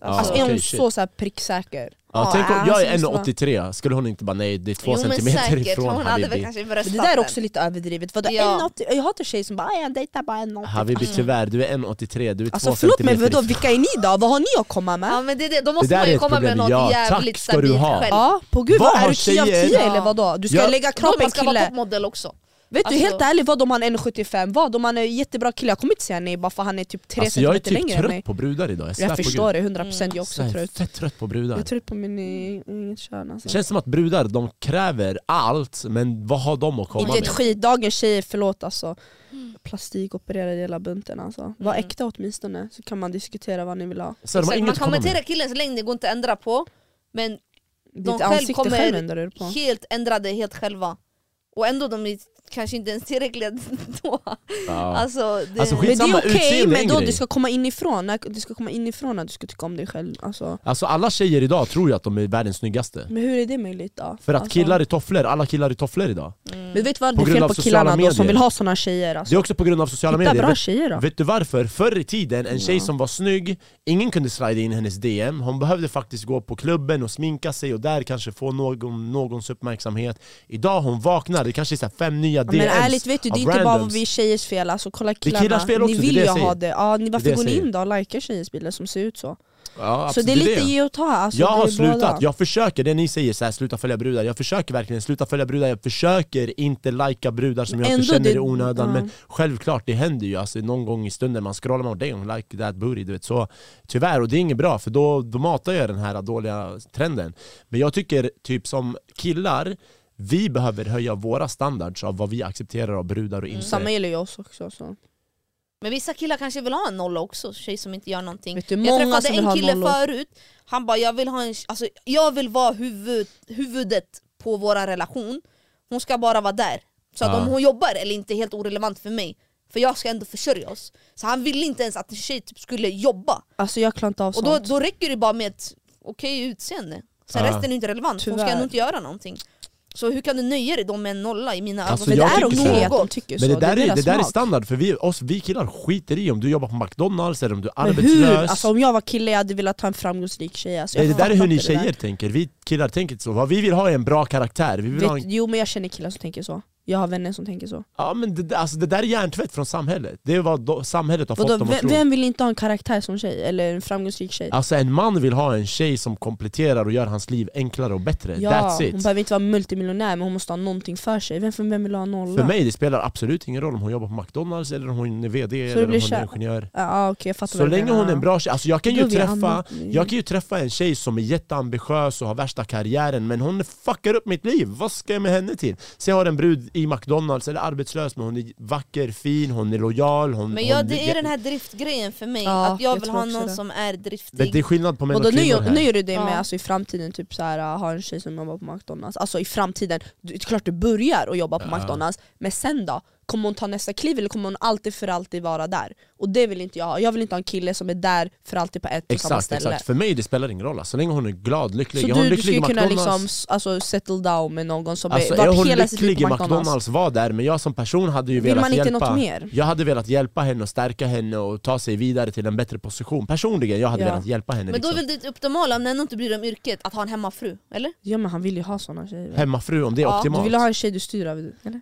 Alltså
Ja,
är hon
okej,
så, så här pricksäker?
Ja,
Ja,
tänk om,
han
jag
skulle
är
vara-
1,83, skulle hon inte bara nej det är två
jo men
centimeter
säkert,
ifrån
hon hade väl
Habibi?
kanske
Men
bröstat
det där är
den.
också lite överdrivet. Vadå,
Ja.
1,80 jag hatar tjejer som bara "Ah, jag dejtar bara 1,80
Habibi tyvärr, du är 1,83, du är
Alltså
två
förlåt men
centimeter
vadå,
ifrån.
vilka är ni då? Vad har ni att komma med?
Ja men det är det, då måste
där
man
är
ju
ett
komma med
problem.
något
Ja,
jävligt
tack ska du
stabilt
ha.
själv.
Ja, på gud
Vad
vad, är
har
du 10 av
tjejer-
10 eller vadå? Du ska
Ja.
lägga
Klart
krav på
man
en
ska vara
kille?
toppmodell också.
Vet du
Alltså-
helt ärligt, vad om han är 1,75? Vad om han är jättebra kille? Jag kommer inte säga nej bara för han är typ 3
Alltså jag är
centimeter
typ
längre än mig.
trött på brudar idag, jag, svär
Jag
på Gud.
förstår det, 100% jag är också
Jag är
trött.
fett trött på
Jag är
brudar.
trött på min i- inget kön alltså.
Det känns som att brudar, de kräver allt, men vad har de att Mm. komma
Inte
med?
ett skit, dagens tjejer, förlåt alltså. Plastikopererade hela bunten alltså. Var
Mm.
äkta åtminstone så kan man diskutera vad ni vill ha.
Så de har
Exakt,
inget
man
att komma med.
kommenterar killens längd, det går inte att ändra på. Men
Ditt
själv
ansikte
kommer-
själv ändrar du på.
helt ändrade helt själva. Och ändå de är kanske inte ens tillräckliga då.
Ja.
Alltså, det,
Alltså, skit-
Men det är
Skitsamma,
okej,
utseende är en
men då
grej.
det ska komma inifrån, när- det ska komma inifrån att du ska tycka om dig själv. Alltså.
Alltså alla tjejer idag tror ju att de är världens snyggaste.
Men hur är det möjligt då?
För att
alltså.
killar i tofflor, alla killar i tofflor idag.
Men vet du
På
vad det är
grund
fel
av
på
sociala
killarna då som
medier.
vill ha såna tjejer? Alltså.
Det är också på grund av sociala
Hitta
medier.
bra
Vet,
tjejer då.
vet du varför? Förr i tiden, en tjej som var snygg, ingen kunde slida in i hennes DM. Hon behövde faktiskt gå på klubben och sminka sig och där kanske få någon, någons uppmärksamhet. Idag hon vaknar, det kanske är så här fem nya
Ja,
DMs
Men ärligt vet du, det är
av
inte bara
randoms.
vi tjejers fel, alltså kolla
är
killarna.
killars fel också,
ni
det är
vill
det
ju
jag
ha
säger.
det. Ja, ni, varför
jag
går ni
säger.
in då och likar tjejers bilder som ser ut så?
Ja,
Så
absolut,
det är lite
det.
ge och ta. Alltså,
jag
det
har
är båda.
slutat, jag försöker, det ni säger så här, sluta följa brudar, jag försöker verkligen sluta följa brudar, jag försöker inte lajka brudar som jag
Ändå
inte känner
det-
i onödan
ja.
Men självklart, det händer ju alltså, någon gång i stunden, man scrollar man och damn like that booty, du vet så Tyvärr, och det är inget bra för då, då matar jag den här dåliga trenden Men jag tycker typ som killar, vi behöver höja våra standards av vad vi accepterar av brudar och inte
Mm, Samma gäller ju oss också. Så.
men vissa killar kanske vill ha en nolla också, tjej som inte gör någonting.
Vet du,
Jag
många
träffade
som vill ha
en kille
nollor.
förut, han bara jag vill ha en, alltså, jag vill vara huvud, huvudet på våran relation, hon ska bara vara där. Så att
Ja.
om hon jobbar eller inte är helt orelevant för mig, för jag ska ändå försörja oss. Så han ville inte ens att en tjej typ skulle jobba.
Alltså jag klarar inte av
Och
sånt.
då, då räcker det bara med ett okej utseende. Sen
Ja.
resten är inte relevant, hon ska
Tyvärr.
ändå inte göra någonting. Så hur kan du nöja dig då med en nolla i mina
Alltså,
För
ögon?
det
jag
är
tycker
okej
så.
att de tycker så,
Men det där, är,
deras
det där är
smak.
standard, för vi, oss, vi killar skiter i om du jobbar på McDonalds eller om du är
Men
arbetslös
hur? Alltså om jag var kille jag hade velat ha en framgångsrik tjej alltså, jag
Nej, det där är
fattar
hur ni
inte det där.
tjejer tänker, vi killar tänker inte så. Vad vi vill ha är en bra karaktär. Vi vill ha
Vet,
en...
jo men jag känner killar som tänker så, jag har vänner som tänker så.
ja, men det, alltså, det där är hjärntvätt från samhället. Det är vad då, samhället har
Vadå,
fått dem att
vem,
tro.
vem vill inte ha en karaktär som tjej? Eller en framgångsrik tjej?
Alltså en man vill ha en tjej som kompletterar och gör hans liv enklare och bättre.
Ja,
That's
hon
it.
behöver inte vara multimiljonär men hon måste ha någonting för sig. Vem, för vem vill ha nolla?
För mig det spelar absolut ingen roll om hon jobbar på McDonalds eller om hon är VD
Så
eller
det
om hon
blir
är
kär-
ingenjör.
Ja, ah, okej, jag fattar
Så
vad du
länge
menar.
hon är en bra tjej, alltså jag kan
Då
ju
är vi
träffa
annat.
jag kan ju träffa en tjej som är jätteambitiös och har värsta karriären men hon fuckar upp mitt liv, vad ska jag med henne till? Så jag har en brud i McDonalds eller arbetslös men hon är vacker, fin, hon är lojal, hon,
Men jag,
hon
det är den här driftgrejen för mig,
Ja,
att jag
jag
vill
tror
ha
också
någon
det.
som är
Men det
driftig.
är skillnad på män och
Vadå,
kvinnor
nu,
här.
nu gör du det med
Ja.
alltså, i framtiden, typ så här, ha en tjej som jobbar på McDonalds. Alltså i framtiden, du, det är klart du börjar och jobba på
Ja.
McDonalds, men sen då? Kommer hon ta nästa kliv eller kommer hon alltid för alltid vara där? Och det vill inte jag ha, jag vill inte ha en kille som är där för alltid på ett och samma
Exakt,
ställe.
exakt. För mig det spelar ingen roll, alltså, så länge hon är glad, lycklig.
Så
är hon
du, du
lycklig i
skulle kunna
McDonalds,
liksom, s- alltså, settle down med någon som
alltså,
är,
är
varit
hon
hela sitt liv
lycklig i
på McDonalds?
McDonalds, var där, men jag som person hade ju
Vill
velat
man inte
hjälpa
något mer?
Jag hade velat hjälpa henne och stärka henne och ta sig vidare till en bättre position. Personligen, jag hade
Ja.
velat hjälpa henne.
Men då är
liksom.
väl ditt optimala, om du ändå inte bryr dig om yrket, att ha en hemmafru? Eller?
Ja men han vill ju ha såna tjejer. väl?
Hemmafru, om det är
Ja, du
Du
optimalt.
vill ha en tjej du styr över, eller?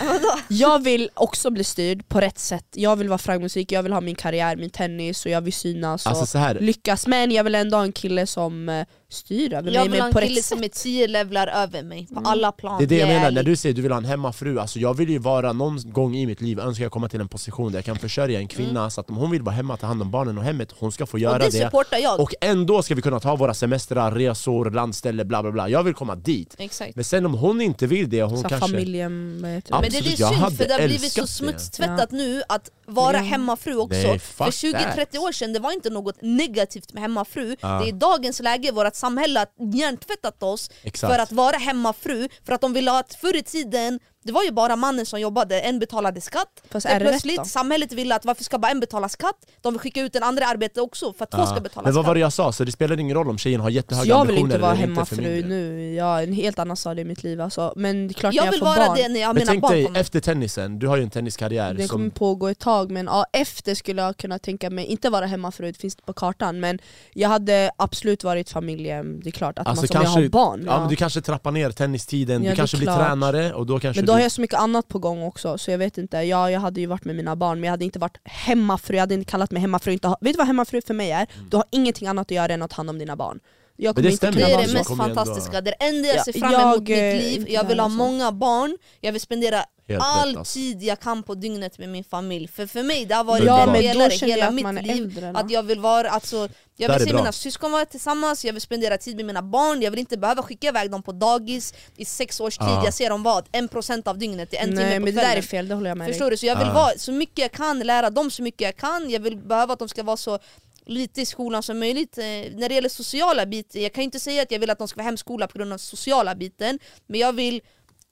Vadå?
Jag vill också bli styrd på rätt sätt, jag vill vara framgångsrik, jag vill ha min karriär, min tennis och jag vill synas och
Alltså så här,
lyckas men jag vill ändå ha en kille som eh, styr över
Jag
mig
vill ha
men
en
på rätt
kille
sätt. Mm.
som är tio levlar över mig, på alla plan.
det är det jag menar,
ärlig.
när du säger att du vill ha en hemmafru, alltså jag vill ju vara någon gång i mitt liv, önskar jag komma till en position där jag kan försörja en kvinna
Mm.
så att om hon vill vara hemma, ta hand om barnen och hemmet, hon ska få göra
Och det supportar jag.
Och ändå ska vi kunna ta våra semestrar, resor, landställe, bla bla bla. Jag vill komma dit.
Exakt.
Men sen om hon inte vill det, hon
Så här
kanske...
familjen, vad heter
Ja,
det?
Men det är det
Absolut,
synd
jag hade
för det har blivit så
älskat det.
smutstvättat nu att vara
Mm.
hemmafru också.
Nej,
för
fuck
20-30
that.
år sedan det var inte något negativt med hemmafru.
Ja.
Det är i dagens läge vårt samhälle har hjärntvättat oss
Exakt.
för att vara hemmafru, för att de ville ha att förr i tiden det var ju bara mannen som jobbade, en betalade skatt.
Fast
Sen
är det rätt
plötsligt
då?
samhället ville att varför ska bara en betala skatt? De vill skicka ut den andra i arbete också för att två
Ja.
ska betala
Men vad
skatt.
var det jag sa? Så det spelar ingen roll om tjejen har
Så
jättehöga
jag vill
ambitioner
inte vara
eller inte för min
hemmafru
del.
nu, jag är en helt annan stadie i mitt liv alltså. Men det är klart
jag
när
vill
jag får
vara
barn,
det när jag har
Men
mina
tänk
barn
dig,
kommer.
efter tennisen, du har ju en tenniskarriär
den kommer
som...
pågå ett tag men ja, efter skulle jag kunna tänka mig, inte vara hemmafru, det finns inte på kartan men jag hade absolut varit familjehem, det är klart att
Alltså
man som jag
kanske-
har barn.
Ja, men du kanske trappar ner tennistiden,
Ja,
du
det är
kanske blir
klart.
tränare och då kanske
Men då har
Alltså, du...
jag så mycket annat på gång också, så jag vet inte. Ja, jag hade ju varit med mina barn, men jag hade inte varit hemmafru, jag hade inte kallat mig hemmafru. Inte ha, vet du vad hemmafru för mig är? Du har ingenting annat att göra än att ta hand om dina barn. Jag
Mm. Men
kommer
det
inte
stämmer. Men man
Det är
kunna
det
så
mest
kommer ju ändå-
fantastiska, det är det enda jag
Ja,
ser fram
jag,
emot
eh,
mitt liv,
inte
jag vill ha
där alltså.
många barn, jag vill spendera
Helt
all
rätt alltså.
tid jag kan på dygnet med min familj. För för mig det har varit
Underbart.
Ja
en
men då
pelare
känner
hela
jag att man
mitt
är
liv.
äldre.
Att jag vill vara, alltså, jag
Där är
vill se
bra.
mina syskon vara tillsammans, jag vill spendera tid med mina barn, jag vill inte behöva skicka iväg dem på dagis i sex års tid,
Ja.
jag ser dem vad? En procent av dygnet, det är en
Nej
timme på
men det där är
kvällen.
fel, det håller jag med dig.
Förstår du? Så jag vill
Ja.
vara så mycket jag kan, lära dem så mycket jag kan, jag vill behöva att de ska vara så lite i skolan som möjligt. Eh, när det gäller sociala biten, jag kan ju inte säga att jag vill att de ska vara hemskola på grund av sociala biten, men jag vill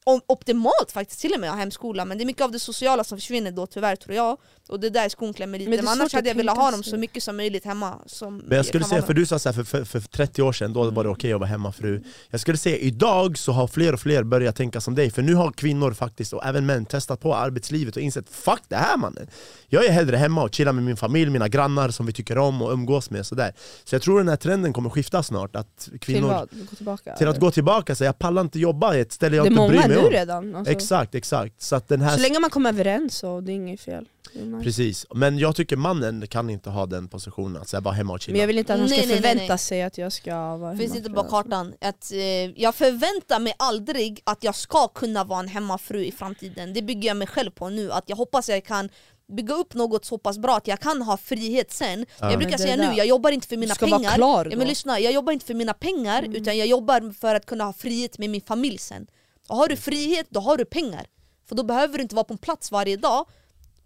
om, optimalt faktiskt till och med ha hemskola, men det är mycket av det sociala som försvinner då tyvärr tror jag. Och det är där skon klämmer lite,
Men det är
men
svårt
annars hade
att
jag velat
tänka
ha dem
sig.
så mycket som möjligt hemma. Som
Men jag
det
skulle
kan
säga,
vara.
för du sa så här, för, för, för 30 år sedan då var det okej att vara hemmafru Jag skulle säga idag så har fler och fler börjat tänka som dig För nu har kvinnor faktiskt, och även män, testat på arbetslivet och insett Fuck det här mannen! Jag är hellre hemma och chillar med min familj, mina grannar som vi tycker om och umgås med sådär Så jag tror den här trenden kommer skifta snart, att
Till
kvinnor
vad? Gå tillbaka?
till att gå tillbaka säga jag pallar inte jobba i ett ställe jag
det är
inte
många
bryr mig
nu
om
redan. Alltså.
Exakt, exakt. Så att den
Så
här
länge man kommer överens så det är inget fel. Det är nice.
Precis, men jag tycker mannen kan inte ha den positionen att säga bara hemma och chilla.
Men jag vill inte att han ska
Nej, nej, nej,
förvänta
nej.
sig att jag ska vara
Finns
hemma
inte
för
på
den.
kartan. Att, eh, jag förväntar mig aldrig att jag ska kunna vara en hemmafru i framtiden. Det bygger jag mig själv på nu. Att jag hoppas jag kan bygga upp något så pass bra att jag kan ha frihet sen. Jag brukar
Men det
säga
där-
nu, jag jobbar inte för
Du
mina
ska vara
pengar.
klar
Ja,
då. Mm.
men lyssna, jag jobbar inte för mina pengar utan jag jobbar för att kunna ha frihet med min familj sen. Och har du frihet, då har du pengar. För då behöver du inte vara på en plats varje dag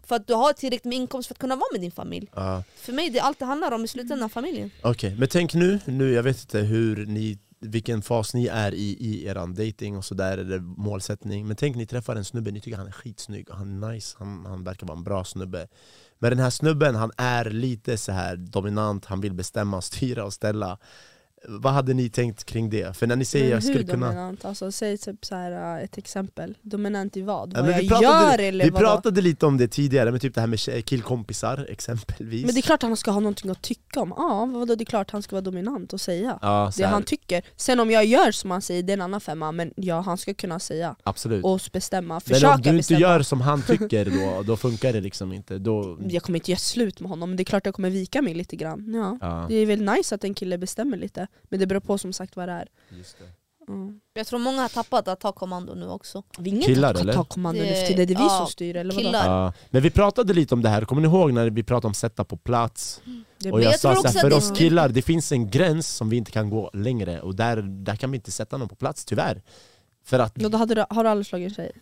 för att du har tillräckligt med inkomst för att kunna vara med din familj.
Ja.
För mig det är allt det handlar om i
Mm.
slutändan, familjen.
Okej, men tänk nu, nu, jag vet inte hur ni, vilken fas ni är i, i eran dating och sådär, eller målsättning. Men tänk ni träffar en snubbe, ni tycker han är skitsnygg, och han är nice, han, han verkar vara en bra snubbe. Men den här snubben, han är lite så här dominant, han vill bestämma, och styra och ställa. Vad hade ni tänkt kring det? För när ni säger
Men
jag
hur
skulle kunna...
dominant? Alltså, säg typ så här, äh, ett exempel. Dominant i vad?
Ja,
vad
men
jag
vi pratade,
gör eller
vi
vadå?
pratade lite om det tidigare, men typ det här med tjej- killkompisar exempelvis.
Men det är klart han ska ha någonting att tycka om. Ja, vadå, det är klart han ska vara dominant och säga
ja, så
det
här,
han typ- tycker. Sen om jag gör som han säger, det är en annan femma. Men ja, han ska kunna säga
Absolut.
och bestämma.
Men
Försöka
om du inte
bestämma.
gör som han tycker då, då funkar det liksom inte. Då,
Jag kommer inte göra slut med honom, men det är klart jag kommer vika mig lite grann. Ja.
ja,
Det är väl nice att en kille bestämmer lite, men det beror på som sagt vad det är.
just det.
Ja.
Jag tror många har tappat att ta kommando nu också.
Vi är ingen
Killar,
som kan
eller?
ta kommando nu
Det-
för tiden, det är vi
ja,
som styr eller vadå?
killar.
Ja. Men vi pratade lite om det här, kommer ni ihåg när vi pratade om sätta på plats?
Det
Och
blir-
jag,
jag
sa
tror
så
också
här,
att
för
det-
oss killar, det finns en gräns som vi inte kan gå längre och där, där kan vi inte sätta någon på plats tyvärr. För att
Ja, Då hade du, har du aldrig slagit en tjej?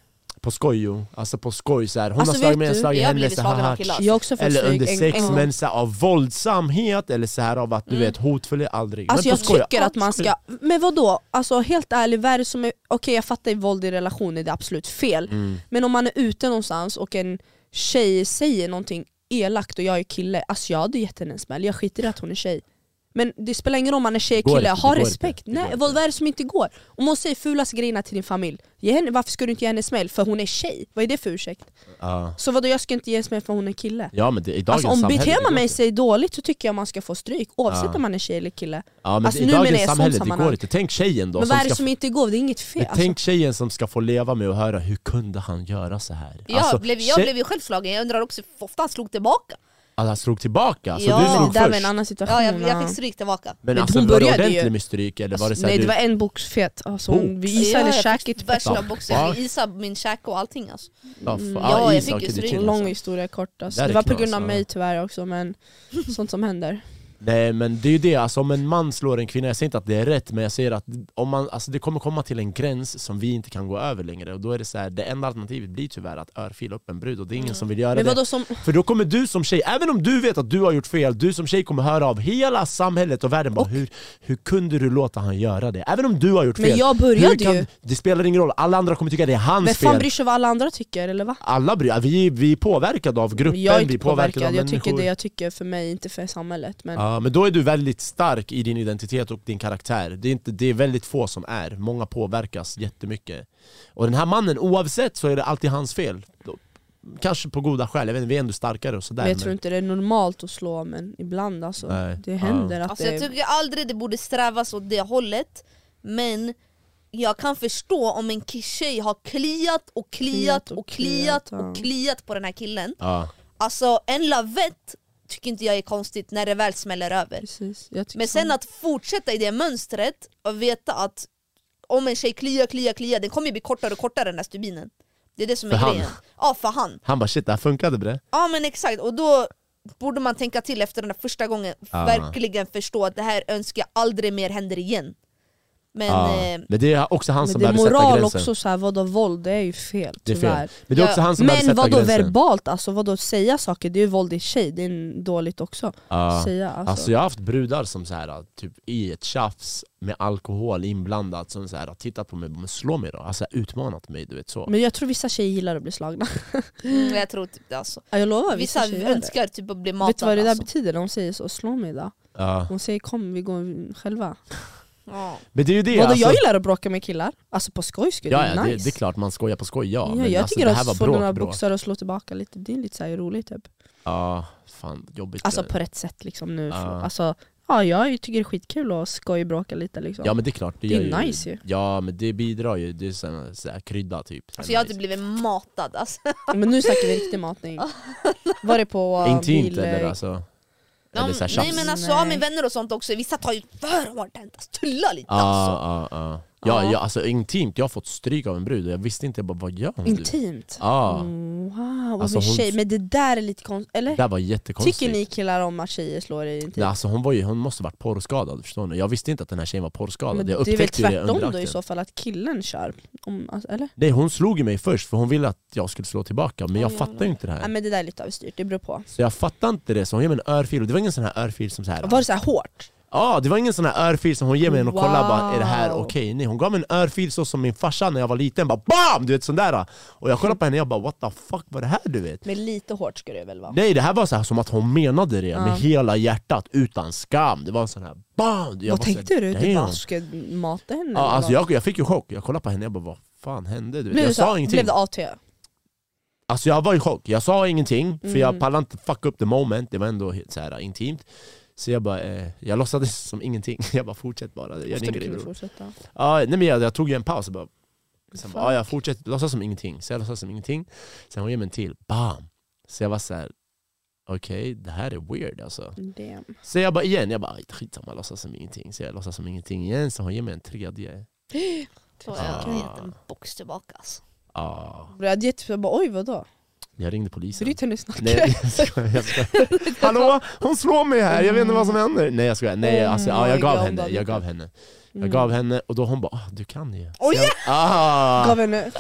på skoj ju, alltså på skoj så här. hon
Alltså,
har slagit
vet
mig, jag har
du,
slagit
jag har
henne
blivit
så
slagen av
här.
killar.
Jag har också fått
Eller
slagit
under
en-
sex,
en-
men så här, av våldsamhet eller så här av att du vet hotfull är aldrig.
Alltså
men
jag
på skoj,
tycker att
ja,
man
skoj.
ska, men vadå? Alltså helt ärligt, vad är det som är, okej jag fattar ju våld i relationer, det är absolut fel.
Mm.
Men om man är ute någonstans och en tjej säger någonting elakt och jag är kille, alltså jag hade gett henne en smäll, jag skiter i att hon är tjej. Men det spelar ingen roll om man är
Det
tjej
går
eller kille,
inte, det
ha
går
respekt.
inte, det
Nej,
går
vad vad är det som inte går? Om hon säger fulaste grejerna till din familj, ge henne, varför ska du inte ge henne en smäll? För hon är tjej, vad är det för ursäkt?
Ja.
Så vadå jag ska inte ge en smäll för hon är kille?
Ja men det, i dagens
Alltså om
samhälle det
beter
går
man mig
inte.
sig dåligt så tycker jag man ska få stryk oavsett
Ja.
om man är tjej eller kille.
Ja men
Alltså,
i
nu menar jag
dagens
i sånt
samhälle det
sammanhang.
går inte. Tänk tjejen då
Men
som
vad är det
ska
som inte går? Det är alltså- inget fel.
Men tänk tjejen som ska få leva med och höra hur kunde han göra så här? Alltså,
Jag, blev, jag
tjej-
blev ju själv slagen, jag undrar också hur ofta han slog tillbaka.
Alltså, han slog tillbaka, så
Ja.
du
alltså.
slog
Det där var
först.
en annan situation.
Ja, jag, jag
ja.
fick stryk tillbaka.
Men,
Men
alltså,
hon
var det
började ju-
ordentlig med stryk eller var det
Alltså,
såhär
nej
du...
det var en boxfett, alltså,
Box?
vi isade
Ja, jag
käket
fick
fett.
värsta
Ja.
boxen, jag isade min käke och allting alltså.
Ja, fa-
Mm.
ah,
Ja, jag
Isak,
fick ju
det
stryk.
är chill,
Lång
alltså.
historia kort alltså.
Där
Det,
är
var på
knas,
grund av
ja.
mig tyvärr också men sånt som händer.
Nej men det är ju det, alltså, om en man slår en kvinna, jag säger inte att det är rätt men jag säger att om man, alltså, det kommer komma till en gräns som vi inte kan gå över längre och då är det så här, det enda alternativet blir tyvärr att örfila upp en brud och det är ingen som vill göra
Mm. Men
det.
vadå som,
För då kommer du som tjej, även om du vet att du har gjort fel, du som tjej kommer höra av hela samhället och världen bara, hur, hur kunde du låta han göra det? Även om du har gjort fel,
men jag
hur
började
kan,
ju.
det spelar ingen roll, alla andra kommer tycka det är hans
Men
fel.
fan bryr sig vad alla andra tycker eller va?
alla bryr, vi, vi är påverkade av gruppen,
jag är
vi
inte
är påverkade
påverkad,
av
jag tycker
människor.
det jag tycker för mig, inte för samhället. Men
Ja, men då är du väldigt stark i din identitet och din karaktär. Det är, inte, det är väldigt få som är, många påverkas jättemycket. Och den här mannen, oavsett så är det alltid hans fel. Då- Kanske på goda skäl, jag vet inte, vi är ändå starkare och sådär.
men jag tror inte det är normalt att slå men ibland alltså.
Nej.
Det händer att
Alltså
det
jag tycker aldrig det borde strävas åt det hållet, men jag kan förstå om en ki- tjej har kliat och kliat och kliat och kliat,
ja.
och kliat på den här killen.
ja.
Alltså en lavett tycker inte jag är konstigt när det väl smäller över.
Precis. Jag tycker
Men
Liksom.
sen
samma.
att fortsätta i det mönstret och veta att om en tjej kliar, kliar, kliar, den kommer ju bli kortare och kortare den här stubinen. Det är det som är
För han.
grejen. Ja, för han.
Han bara shit det här funkade bre.
Ja men exakt, och då borde man tänka till efter den där första gången,
Ja.
verkligen förstå att det här önskar jag aldrig mer händer igen. Men
Ja.
eh,
Men det är också han
Men
som
det är
behöver sätta
moral
gränsen.
också, så här, vadå våld, det är ju fel
Det är
tyvärr.
fel. Men det är
Ja.
också han som behöver
Men
sätta
vadå
gränsen.
verbalt, alltså vadå säga saker, det är ju våld i sig, det är dåligt också.
Ja.
Säga alltså.
Alltså jag har haft brudar som så här, typ i ett tjafs med alkohol inblandat som så här, har tittat på mig och bara, "Men slå mig då, alltså utmanat mig du vet så.
Men jag tror vissa tjejer gillar att bli slagna.
mm, jag tror typ det alltså.
Ja, jag lovar, vissa,
Vissa
tjejer gör det.
önskar typ att bli matade
Vet du vad det där
alltså.
betyder när de säger så? Slå mig då.
Ja.
De säger kom vi går själva.
ja.
Men det är ju det.
Vadå
alltså,
jag gillar att bråka med killar, alltså på skoj skulle
ja,
det
ja,
är
det,
nice.
det är klart man skojar på skoj ja.
Ja,
men
jag
alltså,
tycker
det här
att få några
var bråk bråk.
boxar och slå tillbaka lite, det är lite så här roligt typ.
Ja, fan jobbigt. eh.
Alltså på rätt sätt liksom nu.
Ja.
Alltså, ja, jag tycker det är skitkul att skojbråka lite liksom.
ja men det är klart. Det,
det är
gör
nice ju.
Ja men det bidrar ju, det är så här, så här krydda typ. Så här
Alltså jag hade
nice.
blivit matad alltså.
Men nu snackar vi riktig matning. Var det på uh,
Intimt
bil...
eller alltså. Eller så här
nej
tjafs.
men alltså,
Nej.
ja, med vänner och sånt också, vissa tar ju för hårt alltså, tulla lite
Ja,
alltså.
ja, ja. Ja,
Ja.
ja, alltså intimt, jag har fått stryk av en brud och jag visste inte, jag bara vad gör hon?
Intimt? Mm.
Ja, Alltså,
Wow, alltså,
hon-
tjej. Men det där är lite konstigt, eller?
det där var jättekonstigt.
Tycker ni typ? killar om att tjejer slår er intimt?
Nej, alltså hon, var ju, hon måste varit porrskadad, förstår ni? Jag visste inte att den här tjejen var porrskadad,
men det
jag
är väl
upptäckte ju det
tvärtom
under
då i
akten.
så fall, att killen kör? Om, alltså, eller?
Nej hon slog ju mig först för hon ville att jag skulle slå tillbaka, men jag
Oj,
fattade ju inte det
Nej
här.
men det där är lite avstyrt, det beror på.
Så jag fattade inte det, så hon ger mig en örfil, och det var ingen sån här örfil som så här.
Var det så här hårt?
Ja, det var ingen sån här örfil som hon ger mig en och kollar bara är det här
Wow.
okej? Nej, hon gav mig en örfil så som min farsa när jag var liten, bara BAM! Du vet sån där. Och jag kollade på henne och jag bara what the fuck var det här du vet?
Men lite hårt skulle det väl vara?
Nej det här var så här som att hon menade det med
Ja.
hela hjärtat utan skam. Det var en sån här BAM! Jag
Vad
bara så här,
tänkte du? Typ Du
damn.
bara, ska jag mata henne?
Ja,
eller
alltså
vad?
jag, jag fick ju chock, jag kollade på henne och bara vad fan hände? Du vet?
Blev det
Jag
så här-
sa ingenting.
Blev det AT?
Alltså jag var i chock, jag sa ingenting för jag
Mm.
pallade inte fuck up the moment, det var ändå helt så här intimt Så jag bara, eh, jag låtsades som ingenting, jag bara fortsätt bara, gör
Ofta
din
du
grej
kunde
bror
fortsätta.
ja, nej, men jag, jag tog ju en paus och bara, sen bara
Fuck.
ja, jag fortsätter, låtsas som ingenting, så jag låtsas som ingenting Sen hon ger mig en till, bam! Så jag var så här. okej det här är weird alltså
Damn.
Så jag bara igen, jag bara skitsamma, jag låtsas som ingenting Så jag låtsas som ingenting igen, så hon ger mig en tredje
Tror
Ja.
jag hade gett en box tillbaka alltså.
ah,
Jag hade gett, jag bara oj vadå?
Jag ringde polisen
Bryt hennes nacke.
Nej jag skojar, jag skojar. Hallå, hon slår mig här, jag vet inte vad som händer. Nej jag skojar, nej
Oh
alltså, ja, jag
my
gav
God,
henne, jag
David.
gav henne.
Mm.
Jag gav henne och då hon bara ah, du kan ju. Så
Oj!
jag, ah,
Gav henne,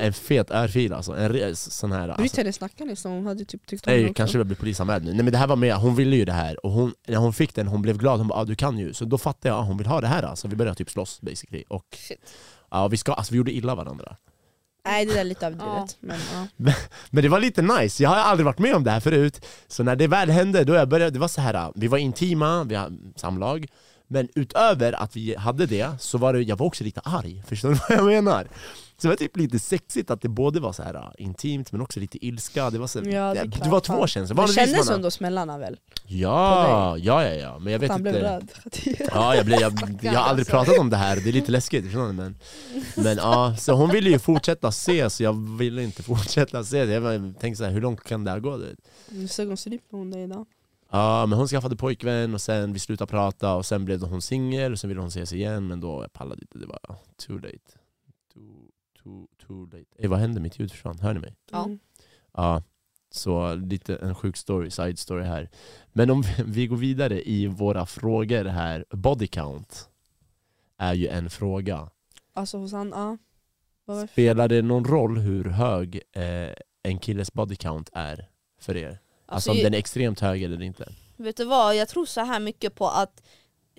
en fet örfil alltså, en re- sån här.
bryt
Alltså.
hennes nacke nästan, hon hade typ tyckt om
Nej,
också.
kanske jag blir polisanmäld nu. Nej men det här var mer, hon ville ju det här och hon, när hon fick den, hon blev glad, hon bara ah, du kan ju. Så då fattade jag, ah, hon vill ha det här alltså. Vi började typ slåss basically. Och
Shit.
ja, vi, ska, alltså, vi gjorde illa varandra.
Nej det där är lite överdrivet. Men, ja.
Men det var lite nice, jag har aldrig varit med om det här förut Så när det väl hände, då jag började, det var så här, äh, vi var intima, vi hade samlag Men utöver att vi hade det, så var det, jag var också lite arg, förstår du vad jag menar? Så det var typ lite sexigt att det både var så här äh, intimt men också lite ilska, det var så,
Ja, det är
typ. det,
klart,
var
fan.
två känslor
Men
Vanligtvis
kändes
man-
hon då smällarna väl?
Ja, ja, ja, ja, men jag vet
Att han blev
inte
röd.
Ja, jag, blev, jag, jag har aldrig pratat om det här, det är lite läskigt, förstår ni? Men, men ja, så hon ville ju fortsätta ses, så jag ville inte fortsätta ses Jag bara tänkte så här, hur långt kan det här gå? Du vet?
Nu såg hon stryper hon dig idag.
Ja men hon skaffade pojkvän och sen vi slutade prata och sen blev hon singel och sen ville hon ses igen men då jag pallade inte, det var too late. Too, too, too late. Ey, vad hände? Mitt ljud försvann, hör ni mig?
Ja.
Mm.
Ja, så lite en sjuk story, side story här. Men om vi- vi går vidare i våra frågor här, body count är ju en fråga.
Alltså hos han, ja. Vad var det?
Spelar det någon roll hur hög eh, en killes body count är för er? Alltså, om
ju-
den är extremt hög eller inte?
Vet du vad, jag tror så här mycket på att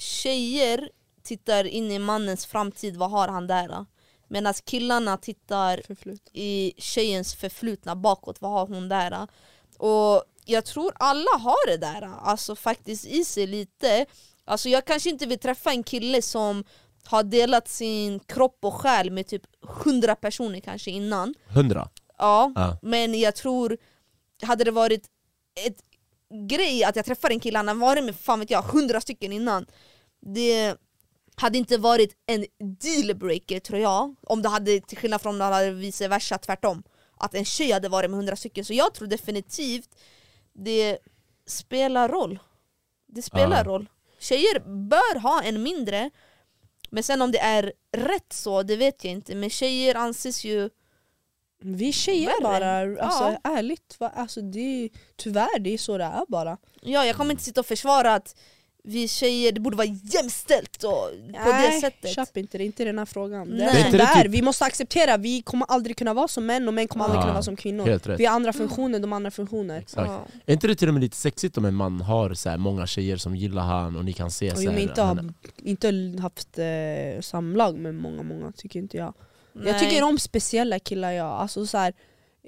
tjejer tittar in i mannens framtid, vad har han där? Medan killarna tittar
Förflutet.
i tjejens förflutna bakåt, vad har hon där? Och jag tror alla har det där, alltså faktiskt i sig lite. Alltså jag kanske inte vill träffa en kille som har delat sin kropp och själ med typ 100 personer kanske innan.
Hundra?
Ja,
Ja.
men jag tror, hade det varit ett grej att jag träffar en kille, han har varit med fan vet jag, hundra stycken innan Det hade inte varit en dealbreaker tror jag, om det hade, till skillnad från om det hade vice versa, tvärtom Att en tjej hade varit med hundra stycken, så jag tror definitivt det spelar roll. Det spelar
Ja.
roll. Tjejer bör ha en mindre, men sen om det är rätt så, det vet jag inte. Men tjejer anses ju...
Vi tjejer
Värre.
bara, alltså
Ja.
ärligt, va? Alltså, det är, tyvärr det är så det är bara.
Ja, jag kommer inte sitta och försvara att vi tjejer, det borde vara jämställt och, på det sättet.
köp inte det, inte i den här frågan. Det
Nej. Det
är
är
inte
inte
det
där.
typ-
Vi måste acceptera, vi kommer aldrig kunna vara som män och män kommer aldrig
Ja.
kunna vara som kvinnor.
Helt rätt.
Vi har andra funktioner, de har andra funktioner.
Exakt.
Ja.
Är inte det till och med lite sexigt om en man har så här många tjejer som gillar han och ni kan se
Och
så
vi har
här,
inte,
men-
har, inte haft eh, samlag med många, många tycker inte jag.
Nej.
Jag tycker om speciella killar jag, alltså så här,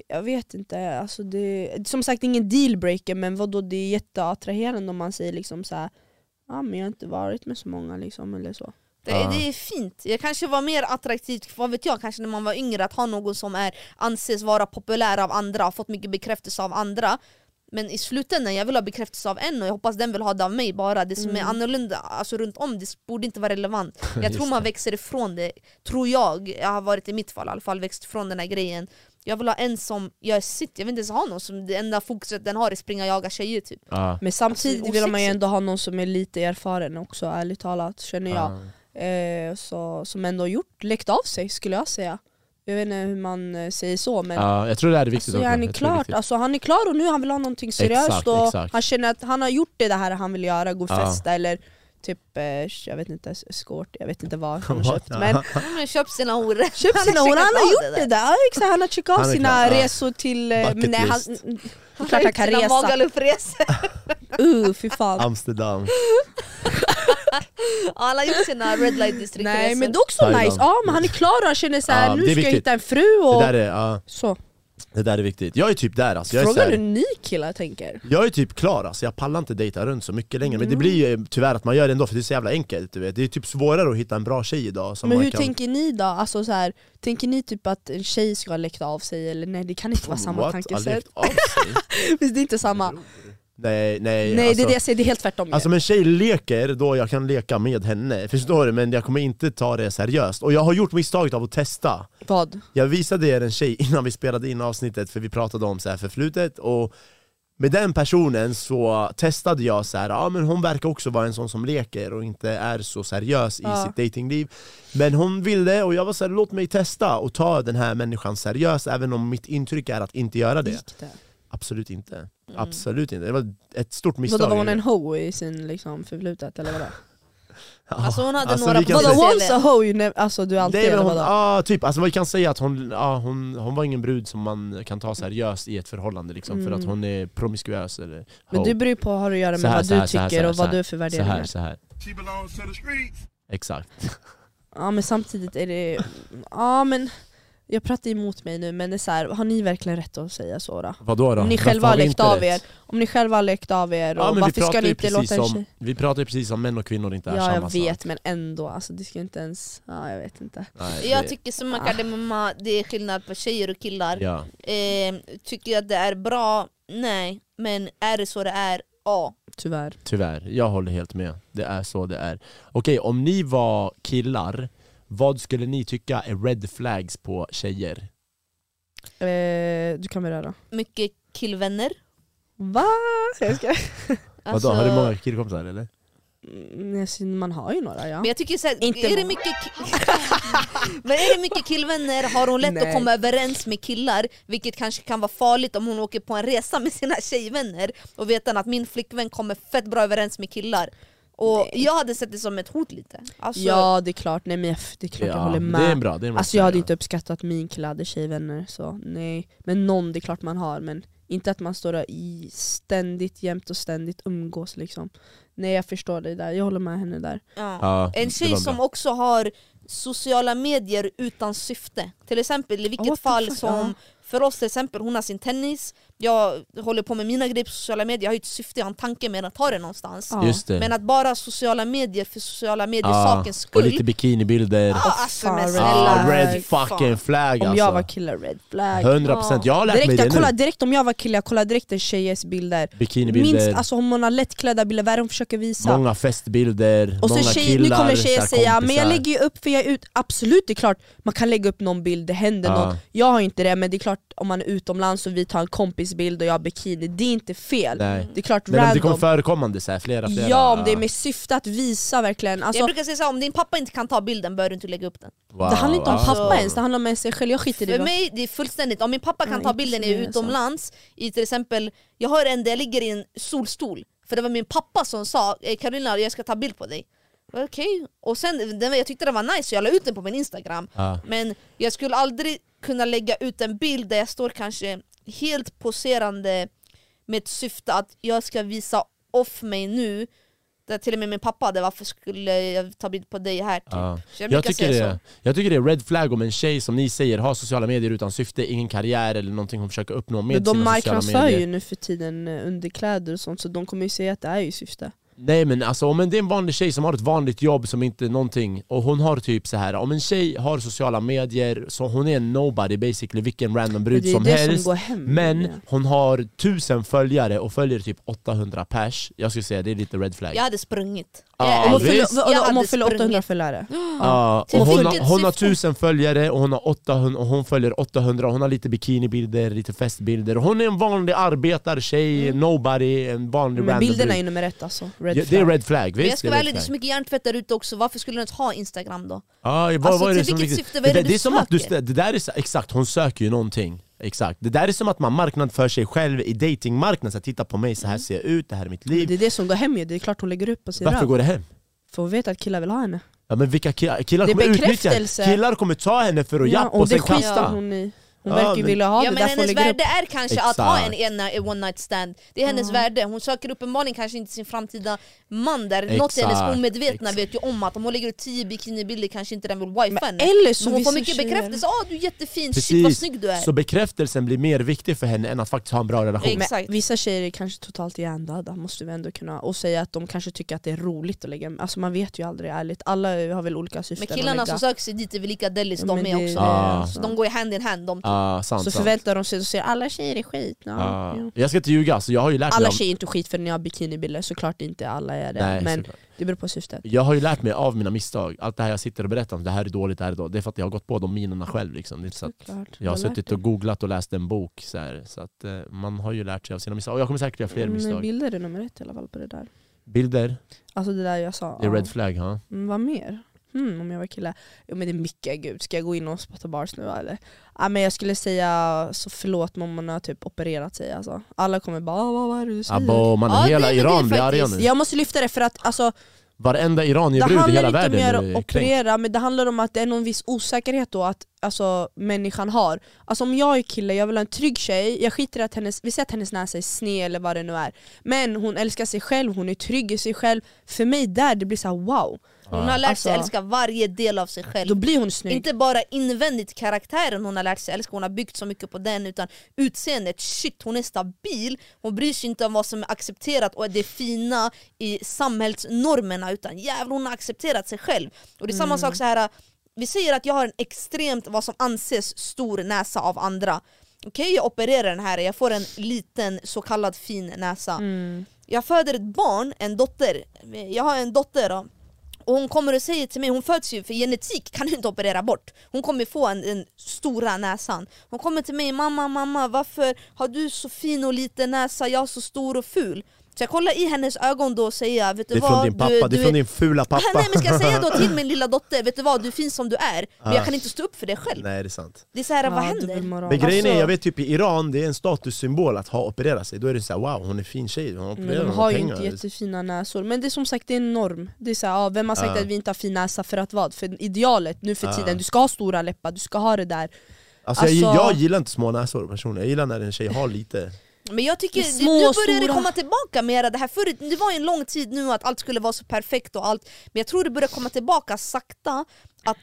jag vet inte, alltså det, som sagt ingen dealbreaker men vadå det är jätteattraherande om man säger liksom så här, ja men jag har inte varit med så många liksom eller så.
Det,
Ja.
det är fint. Jag kanske var mer attraktivt, vad vet jag, kanske när man var yngre att ha någon som är, anses vara populär av andra, har fått mycket bekräftelse av andra. Men i slutändan, jag vill ha bekräftelse av en och jag hoppas den vill ha det av mig bara. Det som
Mm.
är annorlunda, alltså runt om, det borde inte vara relevant. Jag
Just
tror man växer ifrån det, tror jag. Jag har varit i mitt fall i alla fall, växt ifrån den här grejen. Jag vill ha en som gör sitt, jag vill inte ens ha någon som det enda fokuset den har är springa och jaga tjejer typ.
Ja.
Men samtidigt
Alltså, det är
vill man ju
osexigt.
ändå ha någon som är lite erfaren också ärligt talat känner jag. Eh, så, som ändå gjort, läckt av sig skulle jag säga. Jag vet inte hur man eh, säger så men
Ja, jag tror det här är viktigt
Alltså,
också.
han, är
Jag tror det
klart, alltså, han är klar och nu han vill ha någonting seriöst
Exakt,
och
exakt.
han känner att han har gjort det där han vill göra, gå och
Ja.
festa eller typ, eh, jag vet inte, skårt, jag vet inte vad han
Vad?
har köpt
Ja.
men
Men köp sina horor.
köpt sina hår, han har gjort det där, Ja, exakt, han har checkat av
Han är
sina
klar, ja.
resor till... eh,
Bucket
men nej, han,
list.
det är klart han kan resa,
Magaluf-resor.
uh fy fan.
Amsterdam.
Alla har gjort sina red light district
Nej men det är också
Thailand.
nice, ja men han är klar och han känner såhär,
Ja,
nu
det är
ska jag
viktigt.
hitta en fru
Det
och...
där är, ja,
Så.
det där är viktigt. Jag är typ där alltså. Jag är, så
Frågar du
här,
ny killar tänker?
jag är typ klar alltså. jag pallar inte dejta runt så mycket längre.
Mm.
Men det blir ju tyvärr att man gör det ändå för det är så jävla enkelt. Du vet. Det är typ svårare att hitta en bra tjej idag. Som
Men
man
hur
kan...
tänker ni då? Alltså så här, tänker ni typ att en tjej ska ha läckt av sig eller nej det kan inte vara samma
What? Alltså,
tankesätt?
Aldrig- av sig?
Visst det är inte samma?
Nej, nej.
Nej
alltså,
det är det jag säger, det är helt tvärtom ju.
Alltså om en tjej leker, då jag kan leka med henne, förstår du? Men jag kommer inte ta det seriöst. Och jag har gjort misstaget av att testa.
Vad?
Jag visade er en tjej innan vi spelade in avsnittet, för vi pratade om så här förflutet, och med den personen så testade jag så här, ja men hon verkar också vara en sån som leker och inte är så seriös i
Ja.
sitt datingliv Men hon ville, och jag var så här, låt mig testa och ta den här människan seriös, även om mitt intryck är att inte göra det.
Gick det?
Absolut inte.
Mm.
Absolut inte. Det var ett stort misstag.
Vadå var hon en ho i sin liksom förflutet eller vadå?
Ja.
Alltså hon hade
Alltså,
några
vi kan
Vadå,
säga-
Vadå
säga-
once a ho, you never, alltså du är alltid
Nej, men
eller
hon,
vadå?
ah, typ, alltså man kan säga att hon, ah, hon, hon var ingen brud som man kan ta seriöst i ett förhållande liksom, för
Mm.
att hon är promiskuös eller
Men
ho.
du bryr på vad har att göra med
Så här,
vad
så
du
här, så
tycker
här, så här,
och
så
vad
här.
du har för
så
värderingar.
här, så här.
She belongs to the streets.
Exakt.
Ja men samtidigt är det, ja men jag pratar emot mig nu men det är så här, har ni verkligen rätt att säga så då?
Vadå då?
Om ni
Varför
själva har
vi
läckt
inte
av
rätt?
er, om ni själva har läckt av er,
Ja, men
och
vi
varför ska
pratar
ni
ju
inte låta
precis
en
om,
tjej?
Vi pratar ju precis om män och kvinnor inte är
Ja
samma
jag vet
sak.
men ändå, alltså det ska inte ens, ja jag vet inte.
Nej,
Jag
det-
tycker som Makademumma, det är skillnad på tjejer och killar.
Ja.
Eh, tycker jag att det är bra? Nej. Men är det så det är? Ja.
Tyvärr.
Tyvärr, jag håller helt med. Det är så det är. Okej, om ni var killar, vad skulle ni tycka är red flags på tjejer?
Eh, du kan beröra.
Mycket killvänner.
Va? Jag ska...
Alltså,
Vadå, har du många killkompisar eller?
Mm, alltså, man har ju några ja.
Men jag tycker såhär,
Inte
är det
många.
mycket ki- Men är det mycket killvänner har hon lätt att
Nej.
komma överens med killar Vilket kanske kan vara farligt om hon åker på en resa med sina tjejvänner och vet att min flickvän kommer fett bra överens med killar och jag hade sett det som ett hot lite. Alltså,
Ja det är klart, nej men jag, det är klart jag håller
Det är en
med.
bra, det är en bra
Alltså jag hade
fråga.
inte uppskattat att min kille hade tjejvänner så nej. Men någon det är klart man har men inte att man står där i ständigt jämt och ständigt umgås liksom. Nej jag förstår dig där, jag håller med henne där.
ja.
Ja,
En
det
tjej
var bra.
som också har sociala medier utan syfte. Till exempel i
Oh, what
vilket
the
fall
fuck,
som
ja.
för oss till exempel, hon har sin tennis, jag håller på med mina grejer på sociala medier, jag har ju ett syfte, jag har en tanke med att ta det någonstans.
Ja.
Just det.
Men att bara sociala medier för sociala medier
Ja,
sakens
Ah, Och
skull.
lite bikinibilder.
Ja, alltså, men
Fan,
snälla.
Ah,
Ah, Fy
red
fan.
fucking flag
Om
alltså.
jag var kille, red flag.
100% jag har lärt mig
Direkt,
det
jag kollar,
nu.
direkt om jag var kille, jag kollar direkt en tjejers bilder.
Bikinibilder,
Minst, alltså om hon har lättklädda bilder, vad är det hon försöker visa?
många festbilder,
Och så
många
tjej, nu
killar,
kommer tjejer
så här
säga men jag
kompisar."
lägger ju upp för jag är ut Absolut det är klart man kan lägga upp någon bild, det händer
Ja.
något Jag har ju inte det men det är klart klart om man är utomlands och vi tar en kompisbild och jag har bikini, det är inte fel.
Nej.
Det är klart
Men om det kommer
random.
förekommande så här, flera, flera.
Ja, om det är med syfte att visa verkligen. Alltså,
jag brukar säga såhär, om din pappa inte kan ta bilden bör du inte lägga upp den.
Wow, Ah.
det handlar inte om
wow.
pappa ens, det handlar om en sig själv. Jag skiter i
För
vad
mig det är fullständigt, om min pappa kan
Nej,
ta
inte
bilden
för
i
mig, alltså.
utomlands, i till exempel, jag har en där jag ligger i en solstol, för det var min pappa som sa "Eh, Carolina jag ska ta bild på dig. Jag bara, Okej, och sen den, jag tyckte den var nice så jag la ut den på min instagram.
Ja.
Men jag skulle aldrig kunna lägga ut en bild där jag står kanske helt poserande med ett syfte att jag ska visa off mig nu. Där till och med min pappa hade varför skulle jag ta bild på dig här? Typ.
Ja.
Så
Jag,
brukar
tycker
säga
det, jag tycker det är red flag om en tjej som ni säger har sociala medier utan syfte, ingen karriär eller någonting hon försöker uppnå med
Men de
sina sociala
marknadsför
medier.
ju nu för tiden eh, underkläder och sånt så de kommer ju säga att det är ju syfte.
Nej men alltså om en- det är en vanlig tjej som har ett vanligt jobb som inte någonting och hon har typ så här om en tjej har sociala medier så hon är en nobody basically, vilken random
Och
brud
det är ju
som
det
helst.
som går hem.
men
Ja.
hon har tusen följare och följer typ 800 pers. Jag skulle säga det är lite red flag.
Jag hade sprungit.
Ja,
Jag
om
Om
hade
hon
hon
visst.
fyller-
sprungit. Jag
vadå, om hon
hade
fyller
sprungit.
800 följare?
Ja,
Till
och hon, har,
vilket
hon har
syfte?
tusen följare och hon har 800 och hon följer 800 och hon har lite bikinibilder, lite festbilder. Och Hon är en vanlig arbetartjej, nobody, en vanlig
Men
random
bilderna är
brud.
ju nummer ett alltså. Red
Ja, Det är
flag.
red flag,
Men jag
visst?
ska
är
vara
red
ärlig, det är
flag.
så mycket hjärntvätt där ute också, varför skulle du inte ha instagram då?
Ja, vad,
Alltså,
vad är
till
det som
vilket
riktigt-
syfte? Vad är det
där-
du
är som att du,
söker?
det där är, så- Exakt, hon söker ju någonting. Exakt. Det där är som att man marknadsför sig själv i datingmarknaden. Så här, titta på mig, så här ser jag ut, det här är mitt liv.
Det är det som går hem ju, det är klart hon lägger upp på sin
Varför
röv.
går det hem?
För hon vet att killar vill ha henne.
Ja, men vilka killar, killar
Det är
kommer utnyttja henne?
bekräftelse.
Killar kommer ta henne för att japp och,
och det
sen
skiter
kasta.
hon i. Hon
Ja,
verkar ju
men-
vilja ha
Ja,
det,
men
därför hon
hennes
lägger upp.
värde är kanske att ha en
Exakt.
ena en one night stand, det är hennes värde, hon söker upp en Malin kanske inte sin framtida man där, något i hennes
Exakt,
omedvetna
exakt.
vet ju om att om hon lägger ut 10 bikinibilder kanske inte den vill wifa henne.
Eller så
Men hon får
vissa
mycket
tjejer-
bekräftelse, ah du är jättefin, shit vad
Precis.
snygg du är.
Så bekräftelsen blir mer viktig för henne än att faktiskt ha en bra relation.
Exakt.
Men vissa tjejer är kanske totalt hjärndöda, måste vi ändå kunna och säga att de kanske tycker att det är roligt att lägga Alltså man vet ju aldrig ärligt, alla har väl olika syften
Men killarna
att
som
lägga.
söker sig dit är väl lika dellis
Ja,
de
men
med
det-
också.
Ja.
Så de går ju hand in hand de två.
Ah, sant,
Så
sant.
förväntar de sig och säger alla tjejer är skit. Ja,
Ah.
ja.
Jag ska inte ljuga, så jag har ju lärt mig
Alla
av-
tjejer är inte skit för ni har bikinibilder, såklart inte alla är det.
Nej,
men
såklart.
det beror på syftet.
Jag har ju lärt mig av mina misstag, allt det här jag sitter och berättar om, det här är dåligt, det här är dåligt, det är för att jag har gått på de minerna själv liksom. Det är inte så att
Såklart.
jag har
har lärt
suttit och googlat och läst en bok så, här, så att eh, man har ju lärt sig av sina misstag, och jag kommer säkert göra fler
Mm,
misstag
Bilder är nummer ett i alla fall på det där.
Bilder,
Alltså det där jag sa.
det är
ja.
red flag ha?
Mm, vad mer? Hmm, om jag var kille? Jo men det är mycket, gud ska jag gå in och spotta bars nu eller? Ja, men jag skulle säga, så förlåt men man har typ opererat sig alltså. Alla kommer bara "Ah, vad, vad är det du säger?
Abo, man,
Ja, det-
hela
men det är
Iran blir arga
faktiskt-
nu
jag måste lyfta det för att alltså,
Varenda
det
iranierbrud i
handlar
hela
inte om
världen
att
blir kränkt
operera men det handlar om att det är någon viss osäkerhet då att alltså, människan har. Alltså om jag är kille, jag vill ha en trygg tjej, jag skiter i att hennes, vi säger att hennes näsa är sned eller vad det nu är. Men hon älskar sig själv, hon är trygg i sig själv. För mig där, det blir så här wow.
Hon har lärt sig
Alltså-
älska varje del av sig själv.
Då blir hon snygg.
Inte bara invändigt karaktären hon har lärt sig älska, hon har byggt så mycket på den utan utseendet, shit hon är stabil, hon bryr sig inte om vad som är accepterat och det fina i samhällsnormerna utan jävlar hon har accepterat sig själv. Och det är samma sak så här. vi säger att jag har en extremt, vad som anses stor näsa av andra. Okej jag opererar den här, jag får en liten så kallad fin näsa. Jag föder ett barn, en dotter, jag har en dotter då. Och hon kommer och säger till mig, hon föds ju för genetik kan du inte operera bort. Hon kommer få en, den stora näsan. Hon kommer till mig, mamma, mamma varför har du så fin och liten näsa, jag är så stor och ful. Så jag kollar i hennes ögon då och säger, vet du
Det är
vad?
från din pappa, det är från din fula pappa
Nej men ska jag säga då till min lilla dotter, vet du vad du är fin som du är, men jag kan
Ah.
inte stå upp för det själv.
Nej det är sant
Det är så här, vad
Ja,
händer?
dubbelmoral.
Men grejen är,
Alltså,
jag vet typ i Iran, det är en statussymbol att ha opererat sig. Då är det så här, wow hon är fin tjej, hon
men
opererar,
Alltså, de
hon
har ju
pengar.
inte jättefina näsor, men det är som sagt det är en norm. Det är så här, ja, vem har sagt
Ja.
att vi inte har fin näsa för att vad? För idealet nu för
Ja.
tiden, du ska ha stora läppar, du ska ha det där.
Alltså, jag,
Alltså-
jag gillar inte små näsor personligen, jag gillar när en tjej har lite
Men jag tycker
Det är
det-
små
nu
och
börjar det
stora.
komma tillbaka mera det här förut, det var ju en lång tid nu att allt skulle vara så perfekt och allt Men jag tror det börjar komma tillbaka sakta att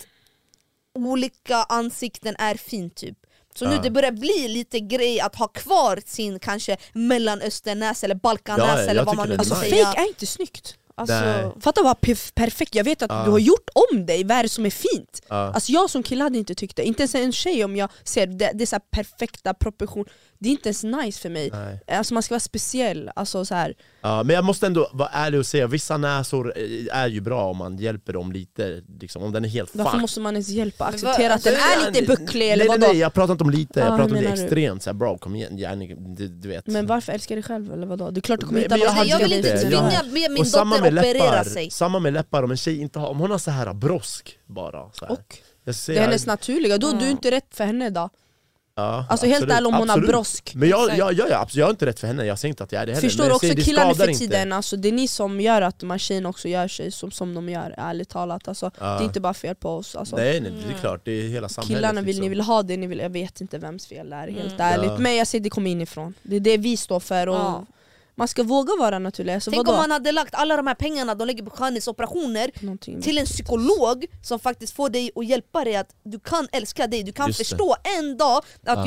olika ansikten är fin typ så nu
Ja.
det börjar bli lite grej att ha kvar sin kanske mellanösternäsa eller balkannäsa
Ja, jag
eller vad
tycker
man nu
det är
vill
Alltså
nice.
säga
fake är inte snyggt.
alltså,
Nej.
Fatta vad perf- perfekt, jag vet att
Ja.
du har gjort om dig, vad är det som är fint?
Ja.
Alltså jag som kille hade inte tyckt det, inte ens en tjej om jag ser det, det är så här perfekta proportion Det är inte ens nice för mig,
Nej.
alltså man ska vara speciell, alltså så här.
Ja, men jag måste ändå vara ärlig och säga, vissa näsor eh, är ju bra om man hjälper dem lite, liksom, om den är helt
varför
fucked.
måste man ens hjälpa?
Men vad-
Acceptera att den är lite bucklig eller
nej,
vadå?
nej, nej, jag pratar inte om lite,
Ja,
jag
hur
pratar om det
menar du?
extremt, såhär bro kom igen, yani, du, du vet
Men varför älskar dig själv eller vadå? Det är klart du kommer
Men-
hitta
men jag
någon som
hade
jag vill
ju
älskar
inte
det.
dig.
Jag-
tvinga min dotter att operera sig.
samma med läppar, om en tjej inte har, om hon har så här brosk bara så här.
Och?
jag
Det
säger,
är hennes naturliga, då du är inte rätt för henne då
ja,
Alltså helt
absolut,
ärligt om hon har
absolut.
brosk
Men jag,
Exakt.
jag, jag, jag, absolut, jag är inte rätt för henne, jag säger inte att jag är det heller
Förstår
men
du
jag
också
säger, det
killar nu
skadar
för
inte.
tiden, alltså, det är ni som gör att de här tjejerna också gör sig som, som de gör, ärligt talat alltså,
Ja.
Det är inte bara fel på oss alltså.
Nej nej, det är klart, det är hela samhället
Killarna vill,
liksom.
ni vill ha det ni vill, jag vet inte vems fel det är helt
Ja.
ärligt Men jag säger det kommer inifrån, det är det vi står för och
Ja.
Man ska våga vara naturlig, alltså,
Tänk
vadå?
om man hade lagt alla de här pengarna de lägger på skönhetsoperationer
Någonting.
till en psykolog som faktiskt får dig att hjälpa dig att du kan älska dig, du kan
Just det.
förstå en dag att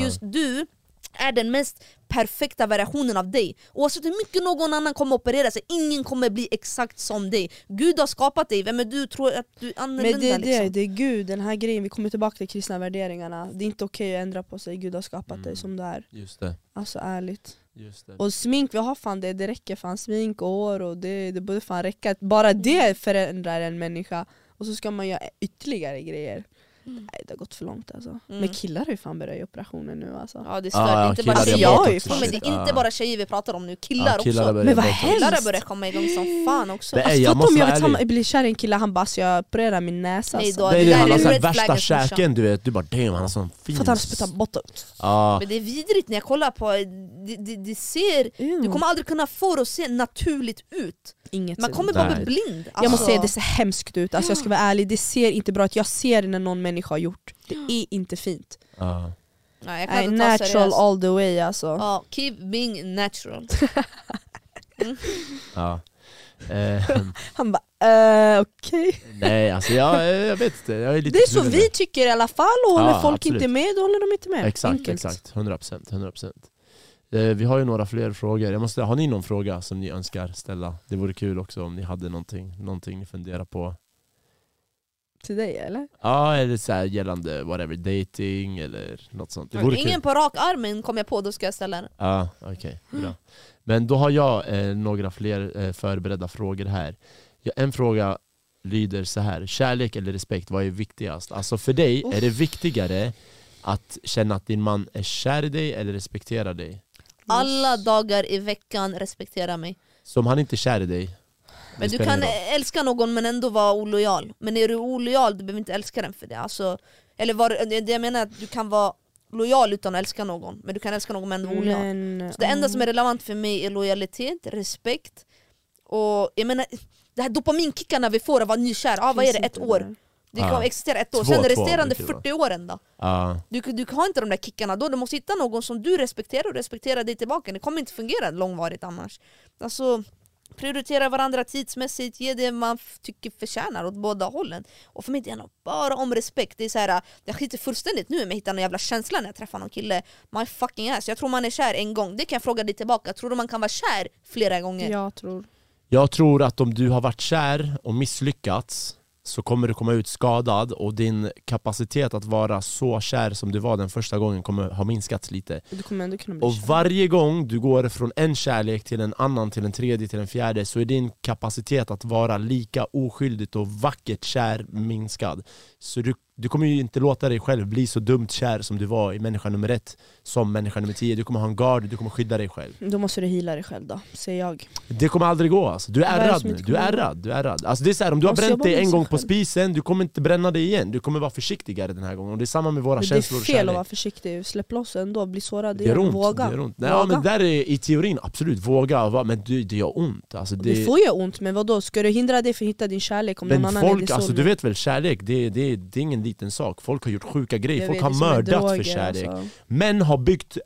Ja.
just du är den mest perfekta variationen av dig. Oavsett hur mycket någon annan kommer operera sig, ingen kommer bli exakt som dig. Gud har skapat dig, vem är du tror att du är annorlunda
Men det är det,
liksom?
det är gud, den här grejen, vi kommer tillbaka till kristna värderingarna Det är inte okej att ändra på sig, gud har skapat
Mm.
dig som du är
Just det,
Alltså ärligt
just det.
Och smink, vi har fan det, det räcker fan smink och hår och det, det borde fan räcka Bara
Mm.
det förändrar en människa Och så ska man göra ytterligare grejer
Mm.
Nej det har gått för långt alltså Men killar har ju fan börjat göra operationer nu alltså
Ja det är
Ah,
stört,
ja,
inte
killar Ah.
bara
är
tjejer.
bort
Jag
också.
men det är inte
Ja.
bara tjejer vi pratar om nu, killar, också.
Men vad
Killar har
hemskt!
börjat komma igång som fan också.
Det är-
Alltså,
Nej, jag
jag
måste
om jag
vara
vet, han,
ärlig.
blir kär i en kille, han bara alltså, jag opererar min näsa
Nej,
alltså.
då-
Nej, det,
där
han
är
har så här
red
värsta
flaggens morsa.
käken du vet, du bara damn han har sån fin...
För att han spottar botten
Ja,
Men det är vidrigt när jag kollar på det, det, det ser
Mm.
Du kommer aldrig kunna få det att se naturligt ut.
Inget
Man kommer
Nej.
bara bli blind. Alltså,
Jag måste säga det ser hemskt ut, alltså, jag ska vara ärlig, det ser inte bra ut, jag ser när någon människa har gjort det, är inte fint
ja.
Nej, jag kan
Nej,
inte ta
Natural
seriöst.
all the way alltså
Ja, keep being natural.
ja. Eh,
Han bara eh, okej
nej alltså jag, jag vet inte, jag är lite
Det är så
kluven där.
vi tycker i alla fall, och håller
Ja,
folk
absolut.
inte med då håller de inte med
Exakt,
Enkelt.
exakt. 100 procent. 100 Eh, vi har ju några fler frågor. Jag måste, har ni någon fråga som ni önskar ställa? Det vore kul också om ni hade någonting, någonting ni funderar på.
Till dig eller?
Ja, eller så här gällande whatever, dating eller något sånt. Det vore
Ingen
kul.
på rak armen kom jag på, då ska jag ställa den.
Ja, okej. bra. Men då har jag eh, några fler eh, förberedda frågor här. Ja, en fråga lyder så här. Kärlek eller respekt, vad är viktigast? Alltså för dig, är det viktigare att känna att din man är kär i dig eller respekterar dig?
Alla dagar i veckan, respektera mig.
Så om han inte är kär i dig
Men du
spelar
kan
ingen
älska någon men ändå vara olojal. Men är du olojal, du behöver inte älska den för det. Alltså, eller var, det jag menar är att du kan vara lojal utan att älska någon, men du kan älska någon men ändå vara olojal.
Men,
Mm, Så det enda som är relevant för mig är lojalitet, respekt och jag menar det här dopaminkickarna vi får av att vara nykär, ah, vad är det? Ett år? Det
Ja.
kommer existera ett år,
Två,
sen
två
resterande
brukar det vara.
40 åren då?
Ja,
Du, du har inte de där kickarna då, du måste hitta någon som du respekterar och respekterar dig tillbaka, det kommer inte fungera långvarigt annars. Alltså, prioritera varandra tidsmässigt, ge det man f- tycker förtjänar åt båda hållen. Och för mig det handlar bara om respekt, det är så här, jag skiter fullständigt nu om jag hittar någon jävla känsla när jag träffar någon kille. My fucking ass, jag tror man är kär en gång, det kan jag fråga dig tillbaka, tror du man kan vara kär flera gånger?
Jag tror
Jag tror att om du har varit kär och misslyckats så kommer du komma ut skadad och din kapacitet att vara så kär som du var den första gången kommer ha minskats lite.
Du kommer ändå kunna bli
Och
kär.
varje gång du går från en kärlek till en annan, till en tredje, till en fjärde så är din kapacitet att vara lika oskyldigt och vackert kär minskad. Så du, du kommer ju inte låta dig själv bli så dumt kär som du var i människa nummer ett som människa nummer tio. Du kommer ha en gard, du kommer skydda dig själv.
Då måste du hila dig själv då, säger jag.
Det kommer aldrig gå alltså. Du är
Vad är det
ärrad
som
nu,
inte
du är
kommer gå?
ärrad, du är ärrad. Alltså det är så här, om du har
Måste
bränt
jobba
dig
med
en
sig
gång på
själv.
spisen, du kommer inte bränna dig igen. Du kommer vara försiktigare den här gången. Och det är samma med våra
Men det
känslor
är
och
fel
kärlek.
att vara försiktig, släpp loss ändå, bli sårad
det gör
igen,
ont.
våga.
Det gör ont. Nej,
våga.
ja, men där är, i teorin, absolut, våga. och vara- Men det, det gör ont. Alltså
det...
det,
får ju ont, men vadå? Ska du hindra dig från att hitta din kärlek om någon
men
annan är
folk,
din
alltså,
son?
du vet väl, kärlek det, det, det är ingen liten sak. Folk har gjort sjuka grejer,
Jag
folk
vet,
har
det är som med
mördat
droger,
för kärlek.
alltså.
Män har byggt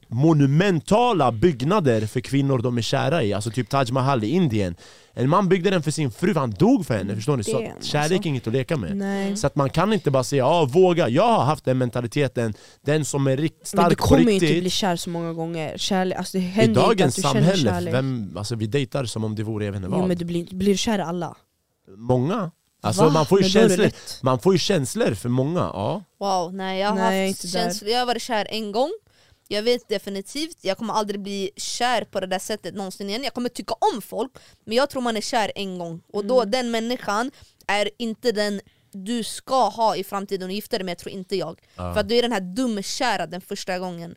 monumentala byggnader för kvinnor de är kära i, alltså typ Taj Mahal i Indien. En man byggde den för sin fru, han dog för henne, förstår ni? Så
Damn,
att kärlek
alltså.
är inget att leka med.
Nej.
Så att man kan inte bara säga ah, våga, jag har haft den mentaliteten, den som är rikt, stark
Men du kommer
på
ju
riktigt.
inte bli kär så många gånger, kärlek, alltså det
I
händer ju inte att
dagens
du känner
samhälle,
kärlek.
vem, alltså, vi dejtar som om det vore jag vet inte
Jo
vad.
men du blir, blir du kär i alla.
Många Alltså
Va?
man får, ju
Men då är det
känslor,
lätt.
man får ju känslor för många, ja.
Wow, nej jag har
Nej, jag är
haft
inte där.
känslor. Jag har varit kär en gång. Jag vet definitivt, jag kommer aldrig bli kär på det där sättet någonsin igen. Jag kommer tycka om folk, men jag tror man är kär en gång. Och då
Mm.
den människan är inte den du ska ha i framtiden och gifta dig med, tror inte jag. För att du är den här dumkära den första gången.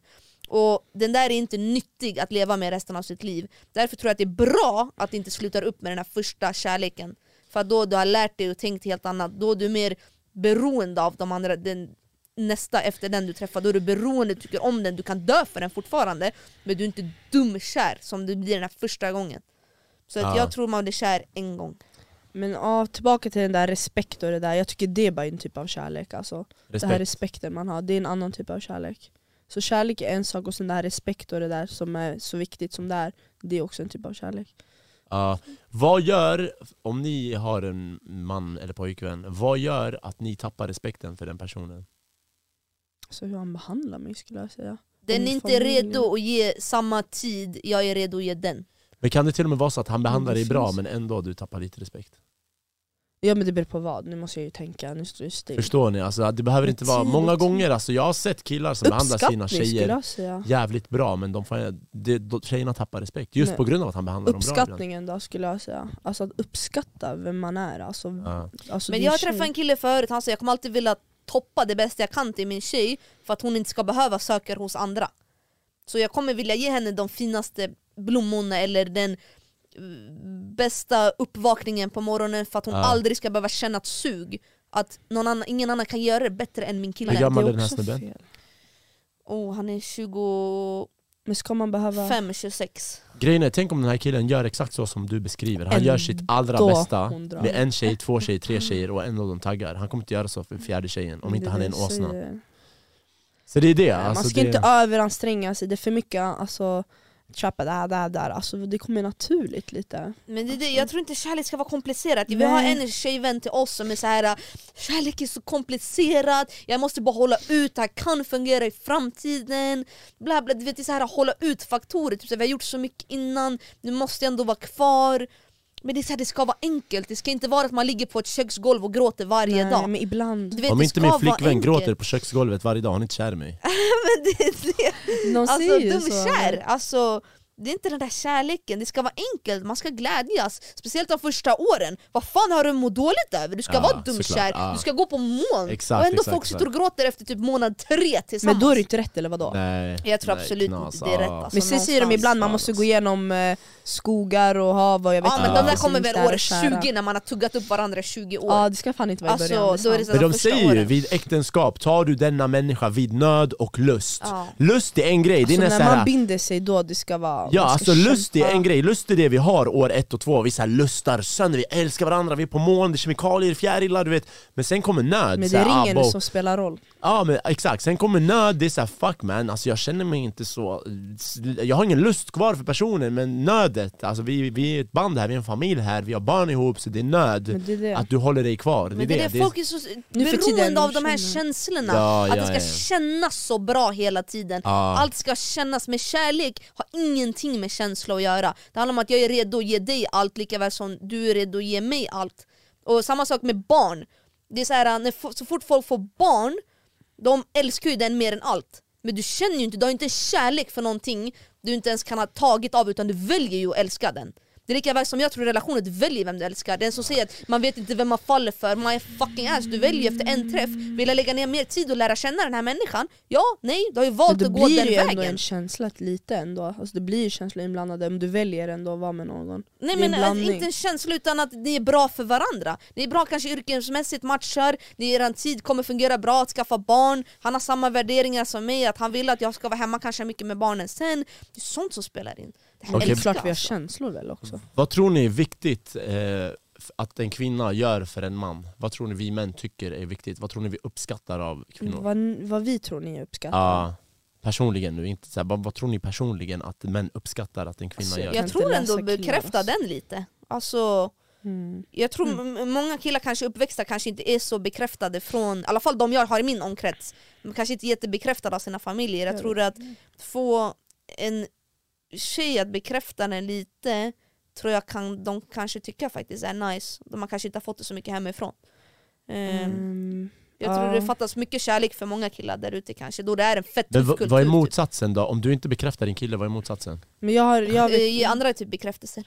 Och den där är inte nyttig att leva med resten av sitt liv. Därför tror jag att det är bra att det inte slutar upp med den här första kärleken. För att då du har lärt dig och tänkt helt annat, då är du mer beroende av de andra, den, nästa efter den du träffar, då är du beroende, tycker om den, du kan dö för den fortfarande men du är inte dumkär som du blir den här första gången. Så att
Ja.
jag tror man blir kär en gång.
Men ja, tillbaka till den där respekt och det där. Jag tycker det är bara en typ av kärlek. Alltså. Det här
Respekt.
respekten man har, det är en annan typ av kärlek. Så kärlek är en sak och sen det här respekt och det där som är så viktigt som det är, det är också en typ av kärlek.
Ja. Vad gör, om ni har en man eller pojkvän, vad gör att ni tappar respekten för den personen?
Så hur han behandlar mig skulle jag säga.
Den är
Min
inte
familj.
redo att ge samma tid jag är redo att ge den.
Men kan det till och med vara så att han behandlar
det
dig bra
finns-
men ändå du tappar lite respekt?
Ja men det beror på vad, nu måste jag ju tänka, nu står jag still.
Förstår ni? Alltså, det behöver
Men
inte vara...
tid och
Många
tid.
gånger, alltså, jag har sett killar som behandlar sina
Uppskattning skulle
tjejer
jag säga.
jävligt bra men de får, det, de, tjejerna tappar respekt just
Nej.
på grund av att han behandlar dem bra ibland.
Uppskattningen då skulle jag säga. Alltså att uppskatta vem man är. Alltså,
Ja.
alltså
Men
din
jag
tjej.
träffade en kille förut, han sa jag kommer alltid vilja toppa det bästa jag kan till min tjej för att hon inte ska behöva söka hos andra. Så jag kommer vilja ge henne de finaste blommorna eller den eh, bästa uppvakningen på morgonen för att hon
Ja.
aldrig ska behöva känna ett sug. Att någon annan, ingen annan kan göra det bättre än min
Hur
kille.
gammal
Det
är
är
den här
också
snubben?
fel.
Oh, han är 25,
Men ska man behöva...
26.
Grejen är, tänk om den här killen gör exakt så som du beskriver. Han
Ändå
gör sitt allra
hon
bästa
drar.
med en tjej, två tjejer, tre tjejer och en av dem taggar. Han kommer inte göra så för fjärde tjejen om
Det
inte han är en
jag
åsna.
säger.
Så det är det.
Nej,
Alltså,
man ska
det...
inte överanstränga sig, det är för mycket alltså, köpa där, där, där. Alltså, det kommer naturligt lite.
Men det, är det, jag tror inte kärlek ska vara komplicerat. Vi har
Nej.
en tjejvän till oss som är så här kärlek är så komplicerat, jag måste bara hålla ut, det här kan fungera i framtiden. Bla bla, du vet, det är så här hålla ut-faktorer, typ så här, vi har gjort så mycket innan, nu måste jag ändå vara kvar. Men det, är så här, det ska vara enkelt, det ska inte vara att man ligger på ett köksgolv och gråter varje
Nej,
dag.
men ibland.
Du vet,
Om
det
inte
ska
min
vara
flickvän
enkelt.
gråter på köksgolvet varje dag, hon är inte kär i mig.
Men det, är det.
De
Alltså
ju
dumkär, alltså det är inte den där kärleken, det ska vara enkelt, man ska glädjas. Speciellt de första åren. Vad fan har du mått dåligt över? Du ska
Ja,
vara dumkär,
såklart, ja.
du ska gå på moln.
Exakt,
och ändå
exakt,
folk
exakt.
sitter och gråter efter typ månad tre
Men
tillsammans.
då är det inte rätt eller vadå?
Nej,
Jag tror
nej,
absolut
knas,
inte det är rätt.
ah.
Alltså,
Men sen säger de
någonstans.
ibland man måste
Alltså,
gå igenom eh, skogar och hav och jag vet
Ja
inte
men
Ja.
de
vad
där
som
kommer
finns
väl
där
år
att skära.
20 när man har tuggat upp varandra i 20 år.
Ja det ska fan inte vara i
Alltså,
början.
då är det
sant.
så-
Men de
första
säger ju
åren.
vid äktenskap, tar du denna människa vid nöd och lust.
Ja.
Lust är en grej, det är
alltså,
nästan
när
här-
man binder sig då det ska vara...
Ja,
man ska
alltså lust är
kämpa.
en grej, lust är det vi har år ett och två, vi så här lustar sönder, vi älskar varandra, vi är på moln, det är kemikalier, fjärilar, du vet Men sen kommer nöd,
Men
så
det
här,
är
ah, bo-
ringen som spelar roll.
Ja men exakt, sen kommer nöd, det är såhär fuck man, alltså jag känner mig inte så, jag har ingen lust kvar för personen men nödet, alltså vi, vi är ett band här, vi är en familj här, vi har barn ihop så det är nöd
Men det är det.
att du håller dig kvar. Det är
Men det är det, folk är så
Nu för tiden
beroende av de här
känner-
känslorna,
Ja,
att
ja,
det ska
ja.
kännas så bra hela tiden.
Ja.
Allt ska kännas med kärlek, har ingenting med känsla att göra. Det handlar om att jag är redo att ge dig allt likaväl som du är redo att ge mig allt. Och samma sak med barn. Det är så, här, när, fo- så fort folk får barn, de älskar ju den mer än allt. Men du känner ju inte, du har ju inte en kärlek för någonting du inte ens kan ha tagit av utan du väljer ju att älska den. Det är lika väl som jag tror relationer, du väljer vem du älskar. Den som säger att man vet inte vem man faller för, my fucking ass. Du väljer ju efter en träff, vill jag lägga ner mer tid och lära känna den här människan? Ja, nej, du har ju
Men
valt
det
att gå
blir
den
ju ändå en
vägen.
känsla att lite ändå, alltså det blir ju känslor inblandade om du väljer ändå att vara med någon.
Nej
det är en
men att
blandning.
inte en känsla utan att ni är bra för varandra. Ni är bra kanske yrkesmässigt, matchar, ni er tid kommer fungera bra att skaffa barn, han har samma värderingar som mig, att han vill att jag ska vara hemma kanske mycket med barnen sen. Det är sånt som spelar in. Det här
Okej.
Det är
älskar
klart vi har
alltså.
känslor väl också.
Vad tror ni är viktigt eh, f- att en kvinna gör för en man? Vad tror ni vi män tycker är viktigt? Vad tror ni vi uppskattar av kvinnor?
Vad, vad vi tror ni uppskattar.
Mm. Ja, personligen nu, inte så här, vad, vad tror ni personligen att män uppskattar att en kvinna
Alltså,
gör?
kan
Jag
inte
tror ändå
läsa killar,
bekräfta
alltså.
den lite. Alltså,
Mm.
jag tror m- många killar kanske uppväxta kanske inte är så bekräftade från, i alla fall de jag har i min omkrets, de kanske inte är jättebekräftade av sina familjer. Jag
Jag
tror att få en tjej att bekräfta den lite tror jag kan, de kanske tycker faktiskt är nice. De har kanske inte har fått det så mycket hemifrån. Ehm,
Mm.
Jag tror
Ja.
det fattas mycket kärlek för många killar där ute kanske, då det är en fett
Men
tuff
v-
kultur. typ.
vad är motsatsen då? Om du inte bekräftar din kille, vad är motsatsen?
Men jag har, jag
typ.
vet,
Eh, Ge andra typ bekräftelser.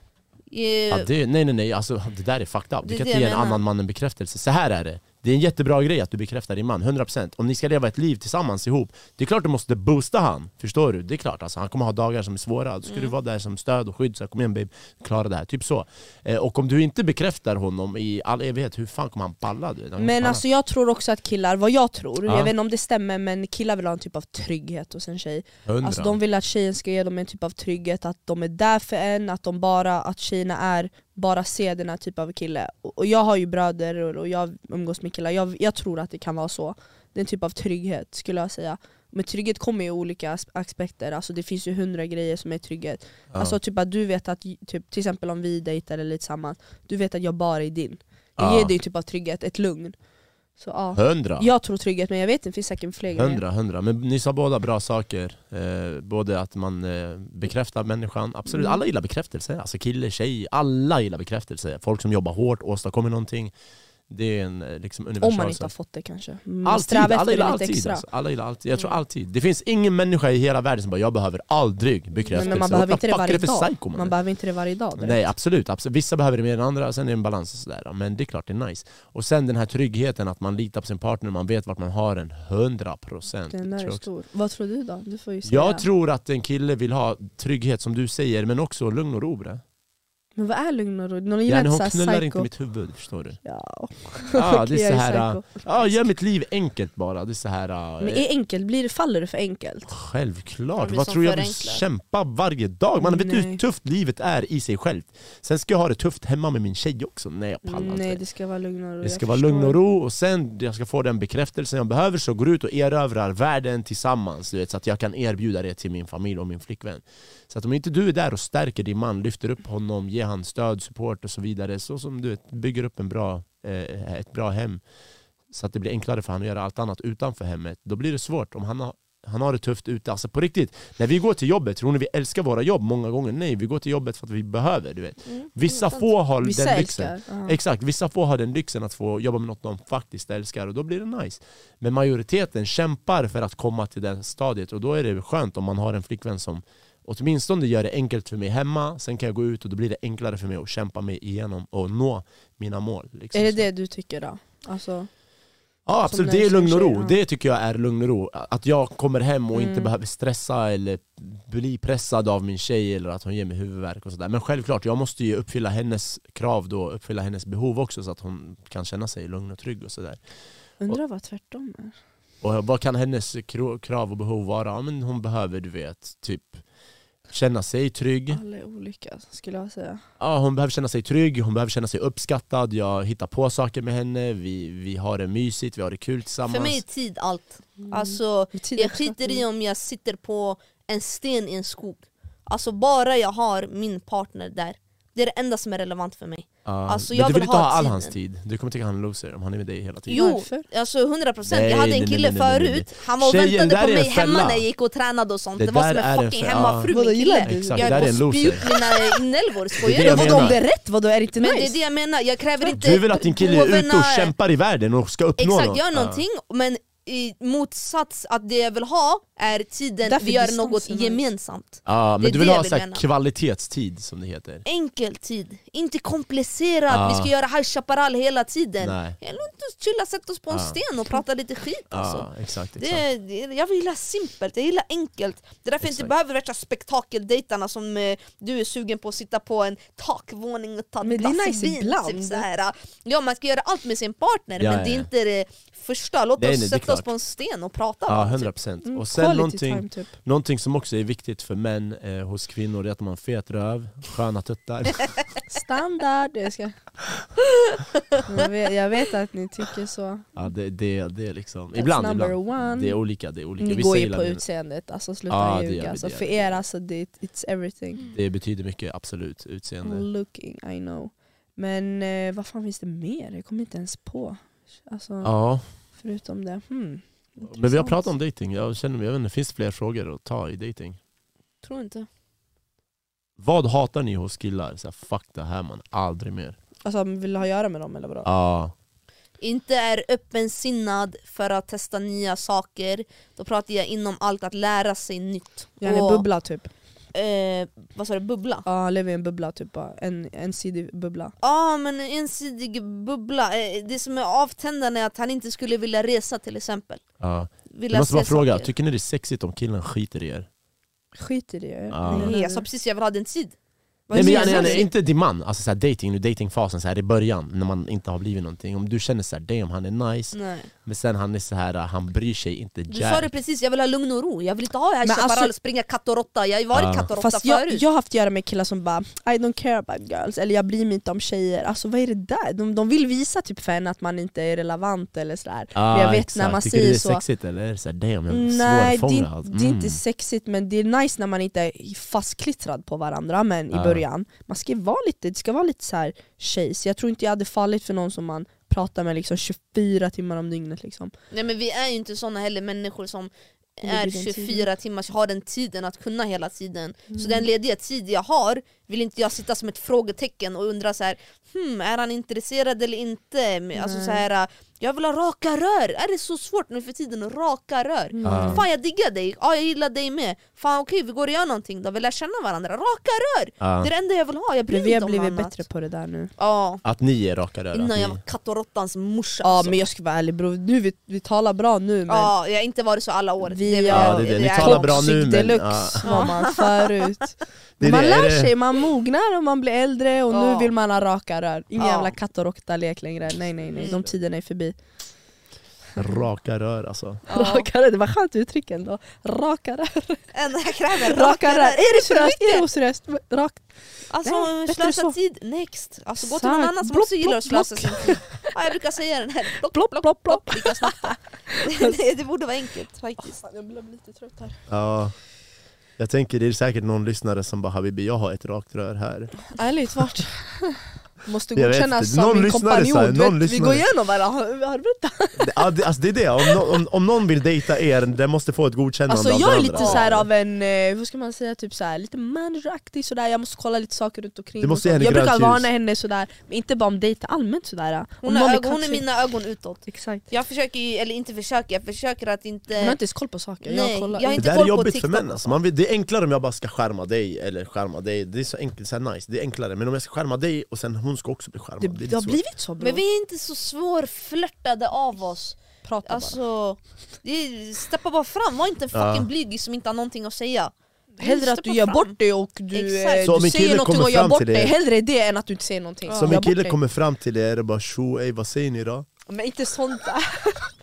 Eh, Ge-
Ja, det, nej nej nej, alltså, det där är fucked up.
Det
Du
är
kan
det
inte ge
jag
en
menar.
annan man en bekräftelse. Så här är det. Det är en jättebra grej att du bekräftar din man, 100% Om ni ska leva ett liv tillsammans ihop Det är klart du måste boosta han, förstår du? Det är klart, alltså, han kommer ha dagar som är svåra Då ska
Mm.
du vara där som stöd och skydd, så här, kom igen babe, klara det här, typ så eh, Och om du inte bekräftar honom i all evighet, hur fan kommer han palla? Du? Han kommer
men
palla.
alltså jag tror också att killar, vad jag tror,
Ja.
jag vet inte om det stämmer men killar vill ha en typ av trygghet hos en tjej.
Hundra.
Alltså de vill att tjejen ska ge dem en typ av trygghet, att de är där för en, att de bara, att tjejerna är, bara ser den här typen av kille. Och, och jag har ju bröder och, och jag umgås med killar, jag, jag tror att det kan vara så. Det är en typ av trygghet skulle jag säga. Men trygghet kommer i olika as- aspekter, alltså det finns ju hundra grejer som är trygghet.
Ja.
Alltså typ att du vet att, typ, till exempel om vi dejtar eller är tillsammans, du vet att jag bara är din. Det
Ja.
ger dig en typ av trygghet, ett lugn. Så ja,
Hundra.
jag tror trygghet men jag vet inte, det finns säkert fler grejer.
Hundra, hundra. Men ni sa båda bra saker. Eh, både att man eh, bekräftar människan. Absolut,
Mm.
alla gillar bekräftelse. Alltså kille, tjej, alla gillar bekräftelse. Folk som jobbar hårt, åstadkommer någonting. Det är en eh, liksom, universal
Om man inte har
sak.
fått det kanske. Mm, Man
Alltid,
strävar
alla
efter
gillar
det lite
alltid,
extra.
alltså. alla gillar alltid. Jag tror alltid. Det finns ingen människa i hela världen som bara jag behöver aldrig bekräftelse.
Men man behöver
What the
inte det
fuck är
varje
för
dag.
psycho, man
Man
är?
behöver inte det varje dag. direkt.
Nej absolut, absolut, vissa behöver det mer än andra, sen är det en balans och sådär. Men det är klart det är nice. Och sen den här tryggheten att man litar på sin partner, man vet vart man har den 100%.
Den där
tror
är
jag
stor. Vad tror du då? Du får ju säga.
Jag tror att en kille vill ha trygghet som du säger, men också lugn och ro bre.
Men vad är lugn och ro? Någon gillar
Gärna,
inte
hon
såhär
knullar
psycho.
inte mitt huvud, förstår du?
Ja,
Ja,
okej,
det är så
jag
här,
psycho.
ja, gör mitt liv enkelt bara. Det är så här,
Men
eh,
är enkelt, blir det, faller det för enkelt?
Man
självklart.
blir
Vad
som
tror jag vill
förenklad.
kämpa varje dag? Man vet du hur
Nej.
tufft livet är i sig självt. Sen ska jag ha det tufft hemma med min tjej också. Nej, jag pallar inte.
Nej det ska vara lugn och ro.
alltså. Det ska
jag
vara
förstår.
lugn och ro och sen jag ska få den bekräftelsen jag behöver så går ut och erövrar världen tillsammans du vet, så att jag kan erbjuda det till min familj och min flickvän. Så att om inte du är där och stärker din man, lyfter upp honom, ger han stöd, support och så vidare så som du vet, bygger upp en bra, eh, ett bra hem så att det blir enklare för han att göra allt annat utanför hemmet, då blir det svårt om han har han har det tufft ute, alltså på riktigt. När vi går till jobbet, tror ni vi älskar våra jobb många gånger? Nej, vi går till jobbet för att vi behöver, du vet.
Mm,
Vissa
sant.
få har
Vissa
den lyxen.
älskar. Ja.
Exakt, vissa får ha den lyxen att få jobba med något de faktiskt älskar och då blir det nice. Men majoriteten kämpar för att komma till det stadiet och då är det skönt om man har en flickvän som åtminstone gör det enkelt för mig hemma, sen kan jag gå ut och då blir det enklare för mig att kämpa mig igenom och nå mina mål. liksom.
Är det det du tycker då? Alltså,
Ja
när
absolut, det är
du
lugn och
som
ro.
tjej, ja.
Det tycker jag är lugn och ro. Att jag kommer hem och inte
Mm.
behöver stressa eller bli pressad av min tjej eller att hon ger mig huvudvärk och sådär. Men självklart, jag måste ju uppfylla hennes krav då, uppfylla hennes behov också så att hon kan känna sig lugn och trygg och sådär.
undrar vad tvärtom är?
Och vad kan hennes kro- krav och behov vara? Ja, men hon behöver, du vet, typ känna sig trygg.
Alla är olika skulle jag säga.
Ja, hon behöver känna sig trygg, hon behöver känna sig uppskattad, jag hittar på saker med henne, vi, vi har det mysigt, vi har det kul tillsammans.
För mig är tid allt.
Mm.
Mm.
Alltså,
Men tid är
jag skiter
knappt.
i om jag sitter på en sten i en skog. Alltså bara jag har min partner där. Det är det enda som är relevant för mig.
Ja,
Alltså,
men
jag
du
vill
vill inte
ha
ha all
tiden.
hans tid, du kommer tycka han är en loser om han är med dig hela tiden.
Jo,
Varför?
alltså 100%
Nej,
Jag hade
nej,
en
nej,
kille
nej, nej, nej.
förut, han var och
Tjejen
väntade
där
på
är en
mig hemma
fälla.
när jag gick och tränade och sånt.
Det
Det,
där
var som
är
en
en
fucking
fä-
hemmafru
Vadå,
min
gillar
kille.
du?
Exakt,
Jag
det där är
går
en
och spyr
loser.
ut mina inälvor, skojar
Det är
du?
jag
Vadå om
menar.
det är rätt? Vadå är det inte
Men det
nice?
är det jag menar, jag kräver inte
Du vill att din kille är ute
påvena-
och kämpar i världen och ska uppnå
Exakt,
något.
gör någonting men i motsats att det jag vill ha är tiden
Därför
vi gör
distansen
något
är nice.
gemensamt.
Ja,
Det är
men du
det
vill
jag
ha
vill
så här
mena.
kvalitetstid som det heter.
Enkel tid, inte komplicerat,
Ah.
vi ska göra High Chaparral hela tiden.
Nej.
Eller inte chilla, sätta oss på en
Ah.
sten och prata lite skit
Ja,
alltså.
exakt, exakt.
Det, det, jag gillar simpelt, jag gillar enkelt. Det är därför jag inte
Exakt.
behöver värsta spektakeldejtarna som eh, du är sugen på att sitta på en takvåning och ta ett
Men det är
glas
nice
vin.
ibland.
Typ så här. Ja man ska göra allt med sin partner
Ja,
men
ja,
det är
ja.
inte det första, låt
Nej,
oss
nej, det är
sätta oss
klart.
på en sten och prata.
Ja,
bara, typ.
100 procent.
Mm,
Och sen
quality
någonting,
time, typ.
någonting som också är viktigt för män eh, hos kvinnor det är att man har fet röv, sköna tuttar.
Standard! Jag, ska... jag, vet, jag vet att ni tycker så.
ja, det, det, det är liksom,
That's
ibland,
number
ibland.
one.
Det är olika, det är olika.
Ni
Vissa
går ju
gillar
på
det.
utseendet, alltså sluta
Ja, det gör vi,
ljuga.
det
Alltså,
gör
för
vi.
er alltså, det, it's everything.
Det betyder mycket, absolut,
Mm.
utseende.
Looking, I know. Men eh, vad fan finns det mer? Jag kommer inte ens på. Alltså,
Ja,
Förutom det. Hmm.
men vi har
Intressant.
pratat om dating. Jag känner, jag vet inte, finns det fler frågor att ta i dating?
Tror inte.
Vad hatar ni hos killar? Så här, fuck det här man, aldrig mer.
Alltså vill du ha att göra med dem eller vadå?
Ja.
Inte är öppensinnad för att testa nya saker. Då pratar jag inom allt att lära sig nytt.
Gärna
Och,
en bubbla typ.
Eh, vad sa du, bubbla?
Ja, lever i en bubbla typ. bara. En ensidig bubbla.
Ja men en ensidig bubbla, Eh, det som är avtändande är att han inte skulle vilja resa till exempel.
ja.
Vilja
Jag måste bara
se
fråga,
saker.
tycker ni det är sexigt om killen skiter i er?
Skit i det. alltså,
Ja.
Nej
Mm.
jag sa precis jag vill ha din tid.
Nej men
är
jag,
det
nej,
som
nej,
är-
inte din man, alltså så här, dating, nu datingfasen så här, i början när man inte har blivit någonting. Om du känner så här, damn han är
Mm.
nice,
Nej.
men sen han är så här, han bryr sig inte
Du sa det
jack.
precis, jag vill ha lugn och ro. Jag vill inte ha det här
Men
Chaparral
alltså-
springa katt och råtta. Jag har ju varit
Ja.
katt och råtta
Fast jag,
förut.
jag har haft att göra med killar som bara I don't care about girls, eller jag bryr mig inte om tjejer. Alltså vad är det där? De, de vill visa typ för henne att man inte är relevant eller sådär.
Ah,
Men jag vet
exakt.
när man
Tycker du
säger
det är
så-
sexigt eller är det så här, damn jag är
Nej det,
svårfångad? Mm.
är- det är inte sexigt men det är nice när man inte är fastklistrad på varandra men i
Ja.
början. Man ska vara lite, det ska vara lite så här tjej, så jag tror inte jag hade fallit för någon som man pratar med liksom 24 timmar om dygnet liksom.
Nej men vi är ju inte såna heller människor som
Ligger
är
den tiden. Mm.
24 timmar, har den tiden att kunna hela tiden. Så den lediga tid jag har vill inte jag sitta som ett frågetecken och undra så här, hmm, är han intresserad eller inte? Men Alltså så här, jag vill ha raka rör, är det så svårt nu för tiden? Raka rör.
Mm.
Ah.
Fan jag diggar dig, ja jag gillar dig med. Fan okej vi går och gör någonting då, vi lär känna varandra. Raka rör!
Ah.
Det är det enda jag vill ha, jag bryr
Men
mig
vi
inte
har
om
blivit
annat.
bättre på det där nu.
Ja,
Att ni är raka rör?
innan
att
jag
ni...
var katt och råttans morsa.
Ja
alltså.
men jag ska vara ärlig bror, nu, vi, vi talar bra nu men
Ja, jag har inte varit så alla år.
Vi-
vill
Ja,
jag-
det är det. Ni
jag-
talar bra nu, men-
deluxe
ja.
var man förut.
Det är
man
det, är
lär
det-
sig, man mognar och man blir äldre och
Ja.
nu vill man ha raka rör. Ingen
Ja.
jävla katt och råtta-lek längre. Nej nej nej, de tiderna är förbi.
Raka rör alltså.
Ja.
Raka rör, det var skönt uttryck ändå. Raka rör.
En kräver
Raka rör. Är det seriöst? Är det oseriöst? Rakt.
Alltså
Nej, bättre
slösa
så.
tid, next. Alltså gå till någon
Exakt.
annan som
Block,
också gillar att
block,
slösa sin tid. Ja, jag brukar säga den här, block,
Plopp, plopp, plopp.
lika snabbt. Nej, det borde vara enkelt faktiskt.
Jag blir lite trött här.
Ja. Jag tänker det är säkert någon lyssnare som bara Habibi jag har ett rakt rör här.
Ärligt, vart? Måste
Jag vet
godkännas
inte.
som
Någon
min
lyssnare
kompanjon.
sa-
du
någon
vet, vi
lyssnare.
går igenom varandra, har har du berättat?
Det, ja, det, alltså det är det, om, no, om, om någon vill dejta er, den måste få ett godkännande
Alltså
av
jag
den
är
andra.
lite så här av en, eh, vad ska man säga, typ så här, lite manageraktig sådär, jag måste kolla lite saker runt omkring
Du måste
och
ge
sånt.
henne
Jag brukar
grönt ljus.
varna henne sådär, men inte bara om dejter, allmänt sådär Om
Hon
någon
har,
är
ögon, hon är
kaxig-
mina Eh, ögon utåt.
Exakt,
Jag försöker ju, eller inte försöker, jag försöker att
hon har
inte...
inte ens koll på saker,
Nej,
jag kollar
jag är
det
inte
där är
koll på
jobbigt för
TikTok
män alltså. Man vill, det är enklare om jag bara ska skärma dig eller skärma dig, det är så enkelt, så här nice, det är enklare. Men om jag ska skärma dig och sen hon ska också bli skärmad,
det,
det, är
det
lite
har
svårt.
blivit så bror,
Men vi är inte så svårflörtade av oss.
pratar bara
Alltså, det är, steppa bara fram, var inte en
Ja.
fucking blyg som inte har någonting att säga.
Hellre att du
steppa
gör
fram.
bort dig och du,
Exakt.
eh,
Så om
du
en kille
säger någonting
kommer
och gör
fram
bort
till
dig,
dig-
hellre det än att du inte säger någonting
Som
Gör
en
bort
kille
dig.
kommer fram till er och bara tjo, ey vad säger ni då?
Men inte sånt där.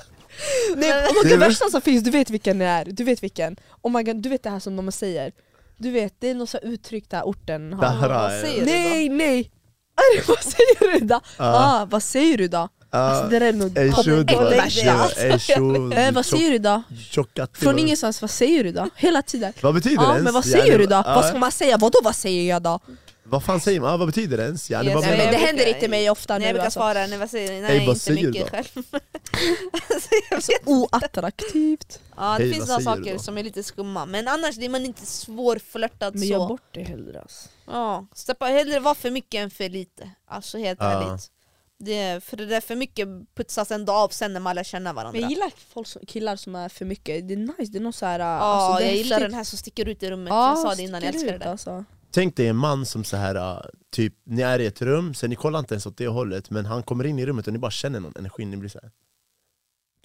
Nej, och
Det
det,
är väl-
värsta som finns, du vet vilken det är. Du vet vilken. Oh my God, du vet det här som de säger. Du vet, det är något så här uttryck där orten har.
Det här
vad
är-
säger du?
Nej, nej! Arr, vad säger du då? Ah, vad säger du då?
Ah,
Alltså, det där är nog
Ey tjo, det
Äckligt,
var-
alltså.
ja, ey, tjo,
Eh, vad säger du då?
Tjocka till
Från
och-
ingenstans, vad säger du då? Hela tiden.
Vad betyder det
Ja,
ens?
men vad
Yani,
säger du då?
ah,
Vad ska man säga? Vadå vad säger jag då?
Vad fan säger man? Ah, vad betyder det ens? Yani,
Yes,
vad
jag
Nej,
menar
men
du?
det
brukar-
händer inte mig ofta
Nej jag
nu
brukar
alltså.
svara, nej vad säger ni?
Ey,
Nej
vad
inte
säger du
mycket
då?
själv. alltså, jag vet.
Oattraktivt.
Ja det
Hej,
finns
vad
några
säger du
saker
då?
som är lite skumma, men annars är man inte svårflörtad
Men
så.
gör bort det hellre alltså.
Ja, steppa hellre vara för mycket än för lite. Alltså helt
Ja.
ärligt. Det, är- för det där för mycket putsas ändå av sen när man lär känna varandra.
Men jag gillar folk som, killar som är för mycket, det är nice, det är någon så här,
ja,
alltså, det är
jag gillar
häftigt.
den här som sticker ut i rummet.
Ja,
jag sa det innan, jag
sticker
älskar det
ut,
där.
Alltså.
Tänk dig en man som så här, ah, typ ni är i ett rum, så ni kollar inte ens åt det hållet men han kommer in i rummet och ni bara känner någon energi, ni blir så här.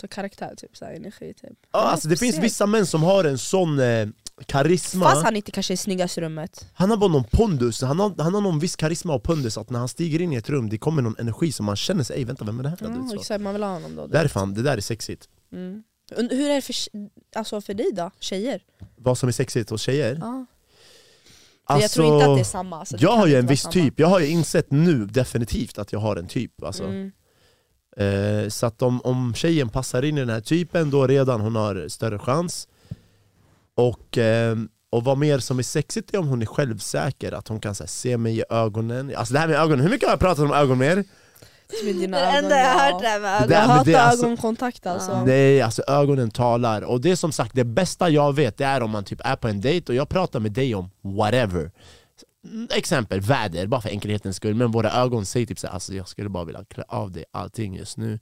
Så karaktär, typ, så här, energi typ.
Ja, alltså det finns
precis.
vissa män som har en sån eh, karisma,
Fast
han...
han inte kanske är snyggast i rummet.
har bara någon pondus, han har, han har någon viss karisma och pondus att när han stiger in i ett rum det kommer någon energi som man känner sig, ej vänta vem är det här?
Ja,
du, vet, så.
exakt, man vill ha honom då. du
Där är
vet.
fan, det där är sexigt.
Mm. Und- Hur är det för, alltså, för dig då, tjejer?
Vad som är sexigt hos tjejer?
Ja. För jag tror inte att det är samma. Alltså, det
jag
kan
har ju
inte
en
vara
viss
samma.
typ, jag har ju insett nu definitivt att jag har en typ alltså.
Mm.
Eh, så att om, om tjejen passar in i den här typen då redan hon har större chans. Och, eh, och vad mer som är sexigt är om hon är självsäker, att hon kan så här, se mig i ögonen. Alltså det här med ögonen, hur mycket har jag pratat om ögon med er?
Med dina
Det
ögon,
enda jag
ja.
har hört är med
Det där-
Jag
ögonen.
men
hatar
alltså-
ögonkontakt alltså.
Ja.
Nej, alltså ögonen talar. Och det är som sagt, det bästa jag vet det är om man typ är på en dejt och jag pratar med dig om whatever. mm, exempel väder, bara för enkelhetens skull. Men våra ögon säger typ såhär, alltså jag skulle bara vilja klä av dig allting just nu.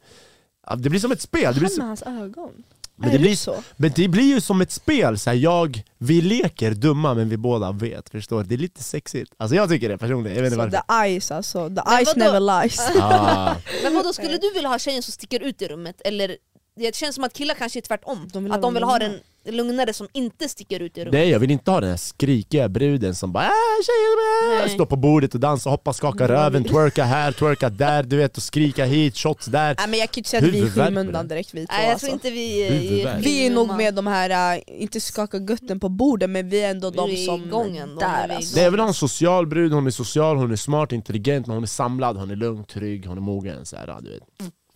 Ja, Det blir som ett spel. Det blir
Han
som,
med hans ögon.
men,
är
det
du
blir,
så?
men det blir ju som ett spel, så här, jag, vi leker dumma men vi båda vet, förstår du? Det är lite sexigt. Alltså jag tycker det personligen, jag vet inte
Så
varför.
the eyes alltså, the
Men
eyes
vadå?
never lies.
Ah.
Men vadå, skulle du vilja ha tjejen som sticker ut i rummet? Eller det känns som att killar kanske är tvärtom.
De vill ha
att de vill
den
ha den
lugna.
lugnare som inte sticker ut i rummet.
Nej jag vill inte ha den här skrikiga bruden som bara äh, tjejer, äh,
Nej.
står på bordet och dansar, hoppar, skakar röven, twerka här, twerka där, du vet och skrika hit, shots där.
Nej men jag kan ju inte säga att vi är i
Huvudvärk på den.
skymundan direkt vi två
Nej jag
alltså.
tror inte vi
Huvudvärk.
Vi är nog med de här, äh, inte skaka götten på bordet men vi är ändå
Vi
de
är
som
igång ändå, men
där
vi är
alltså.
Nej, jag vill ha en social brud, hon är social, hon är smart, intelligent, men hon är samlad, hon är lugn, trygg, hon är mogen. Så här, ja, du vet.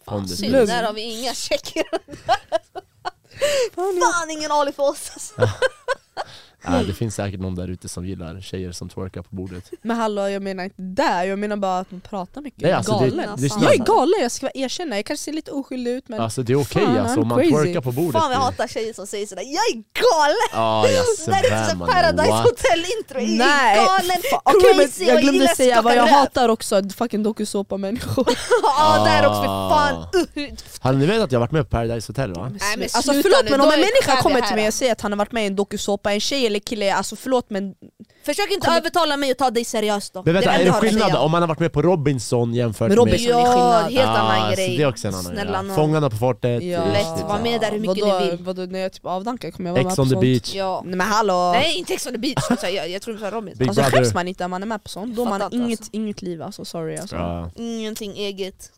Pondus.
Mm. Synd,
Lugn.
där har vi inga tjejer.
Fan, jag-
Fan ingen Ali för oss alltså.
Ja, det finns säkert någon där ute som gillar tjejer som twerkar på bordet.
Men hallå jag menar inte där, jag menar bara att man pratar mycket.
Nej, alltså, det,
Galen, alltså.
det,
jag är
är
galen, jag ska erkänna, jag kanske ser lite oskyldig ut men
Alltså det är okej
Fan,
alltså, om man
I'm crazy.
twerkar på bordet.
Fan jag hatar tjejer som säger sådär, jag är galen!
Ja, jag
Det här är
svär,
inte
mannen.
så Paradise
What?
Hotel intro, jag är galen,
fa- okej, men
crazy
jag
och
glömde
gillar
säga vad
skaka
jag
röv.
hatar också, fucking dokusåpa-människor.
Ja där också, för
Ah.
fan! Uh,
Hade ni vetat att jag varit med på Paradise Hotel va?
Nej, men
alltså
sluta
förlåt
nu,
men
då
om
är-
en
kan vi
människa kommer
här
till mig
då.
och säger att han har varit med i en dokusåpa, en tjej eller kille, alltså förlåt men
Försök inte
Kom-
övertala mig att ta dig seriöst då.
Men vänta,
enda
är
jag
det
har att
skillnad
säga.
om man har varit med på Robinson jämfört
Men Robinson-
med...
Ja,
Det är skillnad.
helt annan
Ah, så
grej.
Det är också en annan
Snälla
grej.
nån.
Fångarna på fortet.
Ja.
Lätt, var med där hur mycket
vadå,
ni vill.
vadå när jag typ avdankar kommer jag vara
Ex
med
on
på
the
sånt?
beach.
Ja.
Nej men hallå!
Nej inte Ex on the beach, Så jag, jag tror de sa Robinson.
Big
Alltså
brother.
skäms man inte när man är med på sånt, då har man
Fattar inte,
inget,
alltså.
inget liv alltså, sorry alltså.
Ja.
Ingenting eget.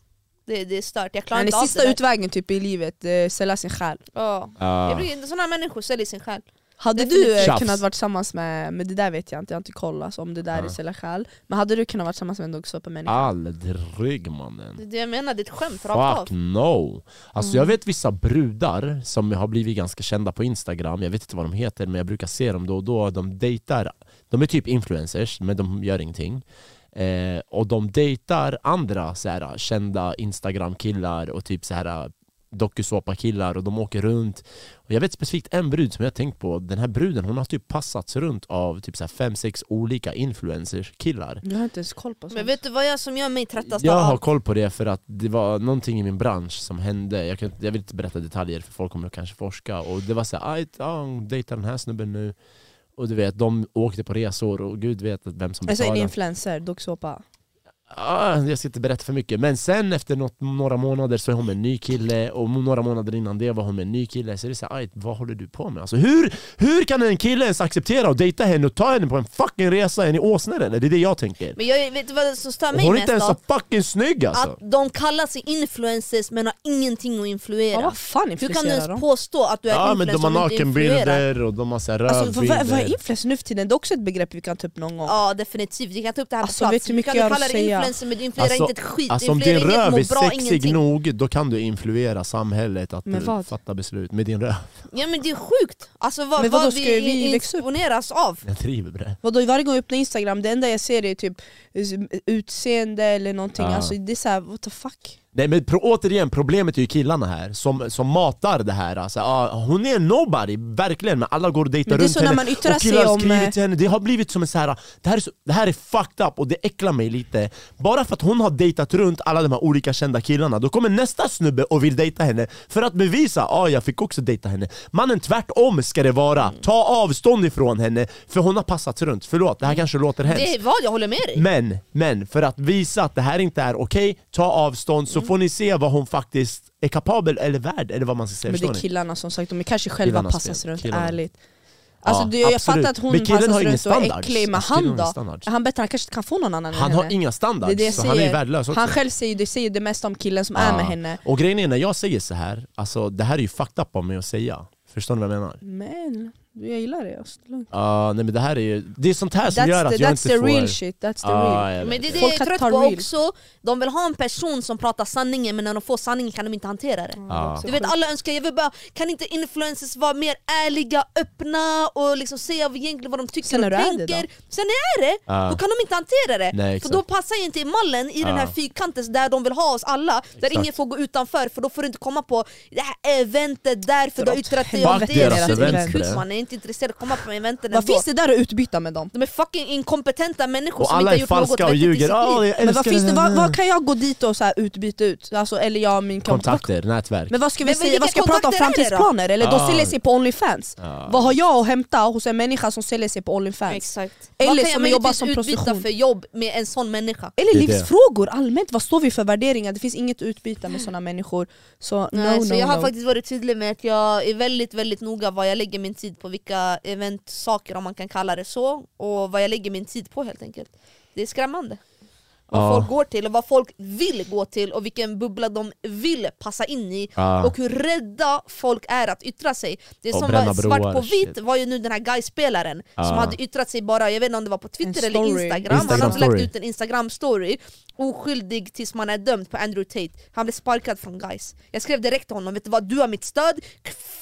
Det, det är stört, jag klarar
Men det
inte av det
sista
där.
utvägen typ i livet, eh, sälja sin själ.
Ja. Jag
Ja.
blir inte sådana människor säljer sin själ.
Hade du
Definitivt.
eh,
Tjafs.
kunnat vara tillsammans med, men det där vet jag inte, jag har inte kollat alltså, om det där
Ja.
är sälja själ, men hade du kunnat vara tillsammans med en dokusåpa-människa?
Aldrig mannen.
Det är det jag menar, det är ett skämt rakt av.
Fuck no! Alltså jag vet vissa brudar som har blivit ganska kända på instagram, jag vet inte vad de heter men jag brukar se dem då och då, de dejtar, de är typ influencers men de gör ingenting. Eh, och de dejtar andra så här, kända instagram-killar och typ så här dokusåpa-killar och de åker runt. Och jag vet specifikt en brud som jag tänkt på, den här bruden hon har typ passats runt av typ så här fem, sex olika influencers-killar.
Jag har inte ens koll på sånt.
Men vet du vad jag som gör mig tröttast
Jag
av
har
allt?
koll på det för att det var någonting i min bransch som hände, jag, kan, inte- jag vill inte berätta detaljer för folk kommer kanske forska och det var såhär, "Aj, ja, hon dejtar den här snubben nu och du vet, de åkte på resor och gud vet att vem som
alltså en
betalade.
influencer, dokusåpa.
Ah, jag ska inte berätta för mycket, men sen efter något, några månader så är hon med en ny kille och några månader innan det var hon med en ny kille så det är såhär, "Aj, vad håller du på med? Alltså, hur, hur kan en kille ens acceptera att dejta henne och ta henne på en fucking resa? Är ni åsnor eller? Det är det jag tänker.
Men jag, vet du vad som stör
Och
mig
hon är inte
mest
ens
av?
så fucking snygg alltså!
Att de kallar sig influencers men har ingenting att influera.
Ja, vad fan
Hur kan du ens
influencerar de?
påstå att du är
Ja men
influencer
de har
om du inte influerar?
nakenbilder och de har så här
Alltså, vad, vad är
rövbilder.
influencer nu för tiden? Det är också ett begrepp vi kan ta upp någon gång.
Ja definitivt, vi kan ta upp det här
Alltså,
på plats.
vet du hur mycket
kan
jag har
kalla
att
dig
säga?
influencer men du influerar inte ett skit,
alltså om
du
din
influerar
röv är
inget, mår bra,
sexig
ingenting.
nog, då kan du influera samhället att
Med
du
vad?
fatta beslut. Med din röv.
Ja men det är sjukt! Alltså vad,
Men vadå,
vad
ska
vi,
vi växa upp?
exponeras av.
Jag driver med det.
Vadå varje gång jag öppnar instagram, det enda jag ser är typ utseende eller någonting,
Ja.
alltså, det är såhär what the fuck?
Nej men pro- återigen, problemet är ju killarna här som, som matar det här. Alltså, ah, hon är en nobody, verkligen, men alla går och dejtar
Men det är
runt
så
henne.
när man yttrar
och killar
sig
har
om, eh,
skrivit till henne. Det har blivit som en så här, det här, är så, det här är fucked up och det äcklar mig lite. Bara för att hon har dejtat runt alla de här olika kända killarna, då kommer nästa snubbe och vill dejta henne för att bevisa att ah, jag fick också dejta henne. Mannen tvärtom ska det vara, ta avstånd ifrån henne för hon har passat runt. Förlåt, det här kanske låter hemskt.
Det är vad, jag håller med dig.
Men, men för att visa att det här inte är okej, ta avstånd så
Mm.
får ni se vad hon faktiskt är kapabel eller värd eller vad man ska säga.
Men det är
förstår ni?
killarna som sagt, de är kanske själva
Killarnas
passas
fel.
runt,
Killarna.
ärligt. Alltså,
Ja,
du, jag
absolut.
fattar att hon
Men killen
passas
har ingen
runt och är
standards.
äcklig, men
Alltså, killen
han
har ingen
då?
standards.
Är han bättre? Han kanske inte kan få någon annan
Han
än
har
henne.
inga standards,
Det är det jag
så han är
säger.
värdelös också.
Han själv säger, det säger det mesta om killen som är
Ja.
med henne.
Och grejen är när jag säger så här, alltså det här är ju fucked up av mig att säga. Förstår ni vad jag menar?
Men jag gillar det. Alltså. Lugnt.
Ja, nej men det här är ju, det är sånt här som
That's,
gör att
the,
jag
that's
inte
the
får...
real shit, that's
Ja,
the real.
jag
Men
vet
det är det
det.
jag
Folk
är
kan
trött
ta
på
real.
också, de vill ha en person som pratar sanningen men när de får sanningen kan de inte hantera det.
Ja.
Du vet alla önskar, jag vill bara, kan inte influencers vara mer ärliga, öppna och liksom säga egentligen vad de tycker
Sen
och
när du är det
tänker? Sen när jag är det,
Ja.
då kan de inte hantera det.
Nej,
för
exakt.
då passar jag inte i mallen i den här
Ja.
fyrkanten där de vill ha oss alla, där
Exakt.
ingen får gå utanför för då får du inte komma på det här eventet där för du har
Dra åt
yttrat dig om
Fuck
helvete
det.
deras
deras
event
event.
Man
bre.
är inte intresserade, komma på eventen
Vad
ändå.
finns det där att utbyta med dem?
De är fucking inkompetenta människor
Och
som
alla
inte har
är
gjort något
falska och
vettigt i
ljuger.
sitt liv.
Ah, jag
Men vad,
älskar
finns det,
den
vad,
här.
vad kan jag gå dit och så här utbyta ut? Alltså, eller jag och min kompis?
Kontakter, nätverk.
Men vad ska vi
Men
säga?
vilka
Vad ska jag prata om?
kontakter är det då?
Framtidsplaner? Eller
Ah.
de säljer sig på Onlyfans?
Ja.
Vad har jag att hämta hos en människa som säljer sig på Onlyfans?
Exakt.
Eller
Vad kan
som
jag
jobbar
möjligtvis
som
utbyta
prostitution.
för jobb med en sån människa?
Eller
Det är det.
livsfrågor allmänt, vad står vi för värderingar? Det finns inget utbyte med sådana människor. Så
Nej,
no
så
no
jag har
no.
faktiskt varit tydlig med att jag är väldigt väldigt noga vad jag lägger min tid på, vilka eventsaker om man kan kalla det så, och vad jag lägger min tid på helt enkelt. Det är skrämmande. Vad
Ja.
folk går till och vad folk vill gå till och vilken bubbla de vill passa in i.
Ja.
Och hur rädda folk är att yttra sig. Det
Och
som
bränna
var svart
broar,
på vitt
shit.
var ju nu den här guy-spelaren
Ja.
som hade yttrat sig bara, jag vet inte om det var på Twitter
En
eller
story.
Instagram, han hade
Instagram-story.
lagt ut en Instagram-story oskyldig tills man är dömd på Andrew Tate. Han blev sparkad från guys. Jag skrev direkt till honom, vet du vad? Du har mitt stöd,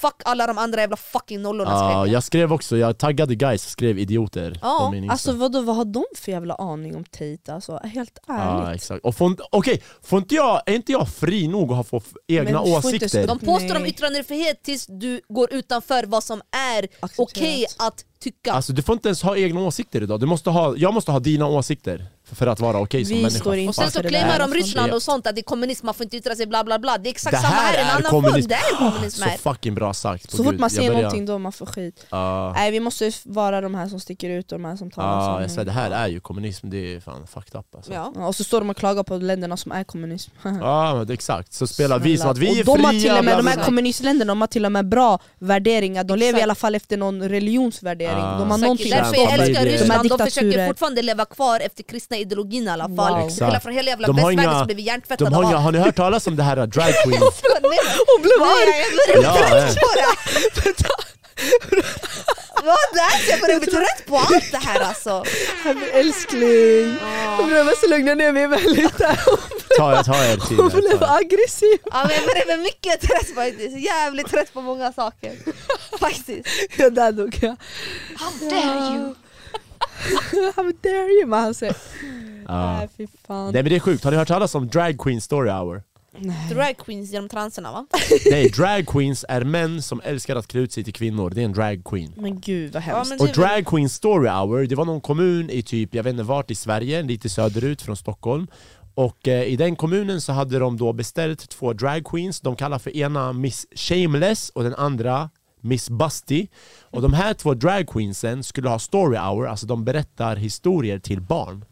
fuck alla de andra jävla fucking nollorna
Ja,
skrev jag.
Ah, jag skrev också, jag taggade guys och skrev idioter
Ja,
på min Insta.
Alltså vadå, vad har de för jävla aning om Tate? Alltså, helt
Ja,
ärligt.
exakt. Och får inte, okej, får inte jag, är inte jag fri nog att få f- egna
Men du får inte
åsikter?
De påstår om
Nej.
yttrandefrihet tills du går utanför vad som är
Accepterat.
okej att tycka.
Alltså du får inte ens ha egna åsikter idag, du måste ha, jag måste ha dina åsikter för, för att vara okej som
Vi
människa. Alltså,
står inte
och sen
för
så
det
claimar
där.
de Ryssland
Ja.
och sånt att det är kommunism, man får inte yttra sig bla bla bla. Det är exakt
Det
samma
här
här, en
är
annan
kommunism. Ah,
form, det är kommunism
Så
här.
fucking bra sagt. på
Så fort
Gud.
man
Jag
ser
börjar-
någonting då man får skit.
Ja.
Nej vi måste vara de här som sticker ut och de här som talar
Ja,
sanning.
Ah, jag svär, det här är ju kommunism, det är fan fucked up alltså.
Ja.
Ja, Och så står de och klagar på länderna som är kommunism.
Ja, men det- exakt. Så spelar vi som att vi är
och de
fria,
har till och med,
bla,
de
bla,
här
bla.
kommunistländerna de har till och med bra värderingar, de lever i
Exakt.
alla fall efter någon religionsvärdering.
Ah.
De har
Säkert.
någonting
Därför
att
jag
stoppa
älskar
i det.
Ryssland,
De
de
här
försöker
diktaturer.
fortfarande leva kvar efter kristna ideologin i alla fall.
Wow.
Hela,
Exakt.
från hela jävla
De har
västvärlden
inga-
som blivit hjärntvättade
De har, inga-
av.
har ni hört talas om det här uh, drag queen?
Hon blev arg!
Ja, nej.
Vad det här? Jag börjar bli trött på allt det här alltså.
Älskling! Hon blev måste lugna ner mig väldigt där.
ta, er- ta er tid.
Hon
här,
blev
ta er.
aggressiv.
Ja, men jag börjar bli mycket trött faktiskt. Jävligt trött på många saker. Faktiskt.
Ja, där dog jag.
How dare you?
How dare you man han säger.
Ja.
Nej fy fan.
Nej men Ah. det är sjukt, har ni hört talas om drag queen story hour?
Drag queens genom transerna va?
Nej, drag queens är män som älskar att klä ut sig till kvinnor, det är en drag queen.
Men gud vad
Ja,
hemskt.
men typ-
Och
det är väl-
Drag Queen Story Hour, det var någon kommun i typ, jag vet inte vart i Sverige, lite söderut från Stockholm. Och eh, i den kommunen så hade de då beställt två drag queens. De kallar för ena Miss Shameless och den andra Miss Busty. Och de här två drag queensen skulle ha story hour, alltså de berättar historier till barn.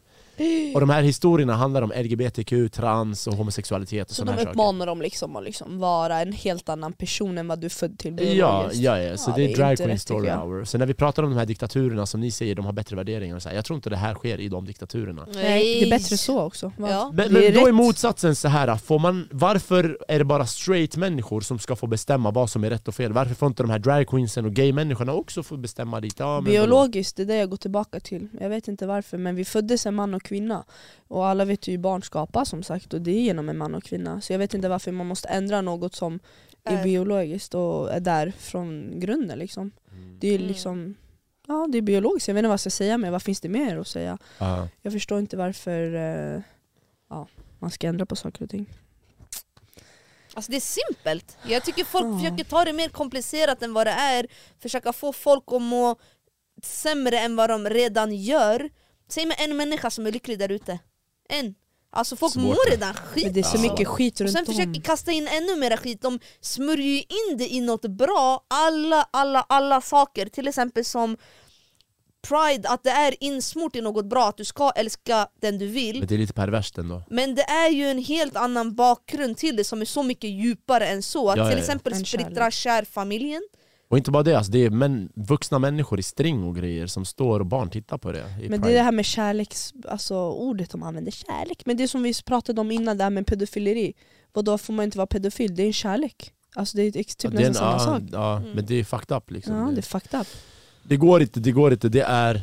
Och de här historierna handlar om LGBTQ, trans och homosexualitet och
så
sådana
de
här saker.
uppmanar dem liksom att liksom vara en helt annan person än vad du är född till
Ja,
biologiskt.
ja, ja, så
Ja,
det är,
det är
drag
inte
queen
rätt,
story
tycker jag.
hour. Så när vi pratar om de här diktaturerna som ni säger, de har bättre värderingar och så här, jag tror inte det här sker i de diktaturerna.
Nej, det är bättre så också. Va?
Ja.
Men,
Det är
men då är
rätt.
motsatsen så här, får man, varför är det bara straight människor som ska få bestämma vad som är rätt och fel? Varför får inte de här dragqueensen och gay-människorna också få bestämma lite? Ja, men vadå?
Biologiskt, det är det jag går tillbaka till. Jag vet inte varför men vi föddes en man och kvinna. Och alla vet ju hur barn skapas som sagt och det är genom en man och kvinna. Så jag vet inte varför man måste ändra något som är
Är.
biologiskt och är där från grunden liksom. Det är ju
Mm.
liksom, ja det är biologiskt. Jag vet inte vad jag ska säga men vad finns det mer att säga?
Ja.
Jag förstår inte varför eh, ja, man ska ändra på saker och ting.
Alltså det är simpelt. Jag tycker folk
Ja.
försöker ta det mer komplicerat än vad det är. Försöka få folk att må sämre än vad de redan gör. Säg mig en människa som är lycklig där ute. En. Alltså folk
Svårt
mår
det.
redan
Men
skit. Alltså.
det är så
Ja.
mycket skit
Och
runt
sen
om.
försöker kasta in ännu mer skit. De smörjer ju in det i något bra. Alla, alla, alla saker. Till exempel som Pride, att det är insmort i något bra. Att du ska älska den du vill.
Men det är lite perverst ändå.
Men det är ju en helt annan bakgrund till det som är så mycket djupare än så. Att
Ja, ja,
till
ja.
exempel
En
splittra
kärlek.
kärfamiljen.
Och inte bara det, alltså, det är män, vuxna människor i string och grejer som står och barn tittar på det. i
Men det är
Pride.
det här med kärleks, alltså ordet de använder, kärlek. Men det som vi pratade om innan, det här med pedofileri. Vadå får man inte vara pedofil? Det är en kärlek. Alltså det är ex- typ
Ja, det är
nästan samma
en-
sak. Mm.
ja, Ja, men det är fucked up liksom.
Ja, det är
det,
fucked up.
det går inte, det går inte, det är...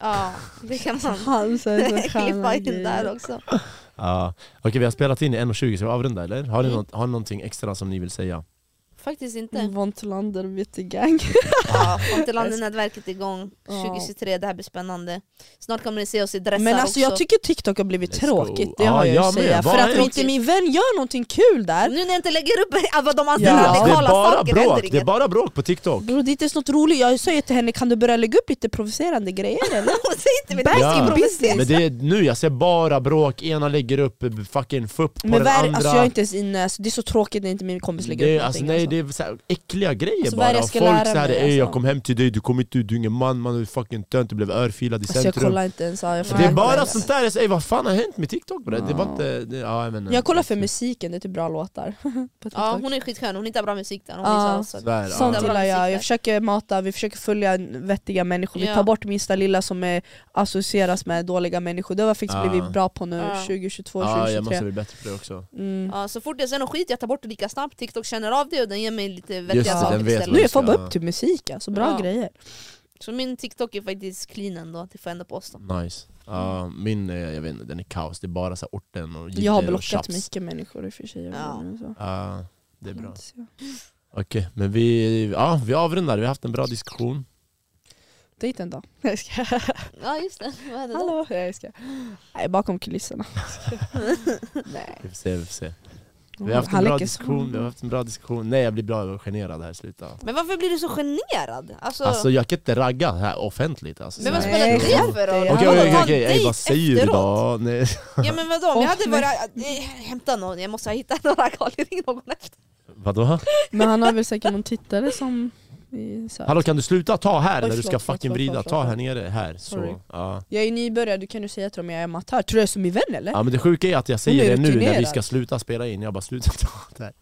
Ja, det kan man
Han säger så
klippa
sköna
in där
grejer.
också.
Ja. Okej vi har spelat in i 1.20 så vi avrundar eller? Har ni, något, har ni någonting extra som ni vill säga?
Faktiskt inte.
Vontlander Vitty Gang.
Ja, Fattiglanden-nätverket är igång 2023, det här blir spännande. Snart kommer ni se oss i dressar
Men alltså
också.
jag tycker TikTok har blivit
Let's
tråkigt,
go.
det
Ja,
har jag ju
jag
att
med.
säga.
Vad
För
är
att
det?
om inte min vän gör någonting kul där,
Nu när jag inte lägger upp vad de anser
Ja.
Alltså, Det är
radikala
bara
saker händer
bråk, det är
inget.
bara bråk på TikTok.
bror det är inte ens något roligt. Jag sa ju till henne, kan du börja lägga upp lite provocerande grejer eller?
Säg inte mitt
Back
Ja.
in business!
Men det är nu, jag ser bara bråk, ena lägger upp eh, fucking fupp på
Men
den
vad är det-
andra.
alltså jag är inte ens inne, alltså, det är så tråkigt när inte min kompis lägger
det, är-
upp
alltså,
någonting.
nej,
alltså.
det är så här äckliga grejer
Alltså, vad
bara.
är det jag
Och
ska
Folk
lära
så här,
mig,
"Ey, jag
alltså?"
kom hem till dig, du kom inte, du är ingen man, man är fucking tönt, du blev örfilad i
Alltså, jag
centrum.
kollar inte ens, ja, jag
Det
det är
försöker
bara
verkligen.
sånt där, jag säger, "Ey, vad fan har hänt med TikTok bre? Det var
Ja.
inte, det, ja, jag, menar,
Jag kollar för musiken, det är typ bra låtar. På
Ja
TikTok.
hon är skitskön, hon hittar bra musik där. Hon
Ja.
visar oss.
Sådär, ja.
Sånt
Det var
gillar jag,
musik där.
jag försöker mata, vi försöker följa vettiga människor, vi
Ja.
tar bort minsta lilla som är, associeras med dåliga människor. Det har vi faktiskt
Ja.
blivit bra på nu,
Ja.
2022,
Ja, jag
2023.
måste bli bättre på det också.
Mm.
Ja, så fort jag ser någon skit jag tar bort det lika snabbt, TikTok känner av det och den ger mig lite vettiga
Just det,
saker
den vet
istället.
Nu är folk bara
Ja.
upp till musik alltså, bra
Ja.
grejer.
Så min TikTok är faktiskt clean ändå, det får jag ändå påstå.
Nice. Ja, min, eh, jag vet inte, den är kaos, det är bara så här orten och
Jag
jidder
har
och
blockat
tjafs.
mycket människor i och för sig. jag
Ja.
vet inte, så.
Ja, det är bra. Okej, men vi, ja, vi avrundar, vi har haft en bra diskussion.
Dejten då? Nej, jag skojar.
Ja just det, vad hände då?
Hallå? Nej, jag skojar. Nej, bakom kulisserna. Nej.
Vi får se, vi får se. Vi har haft en
Han
bra
läcker
diskussion, vi har haft en bra diskussion. Nej jag blir bra, jag blir generad här, sluta.
Men varför blir du så generad? Alltså,
Alltså jag kan inte ragga här offentligt alltså.
men vad
Så
spelar
här.
det
Nej,
för roll?
det.
Okej
Vadå,
okej
ta en
okej, Ey,
dejt
vad säger du
efteråt?
då? Nej.
Ja men vadå, om
Åh,
jag hade
nej.
varit... eh, Hämta någon, jag måste hitta några galningar någon efter.
Vadå?
Men han har väl säkert någon tittare som... i- så här-
Hallå kan du sluta ta här
Oj,
när du ska
förlåt, förlåt,
fucking
förlåt,
vrida?
förlåt,
Ta här
förlåt.
nere, här.
Sorry.
Så. Ja.
Jag är nybörjare, du kan ju säga till dem jag är amatör. Tror du jag är som min vän eller?
ja men det sjuka är att jag
Hon är
säger det nu när vi
rutinerad.
ska sluta spela in, jag bara sluta ta det här.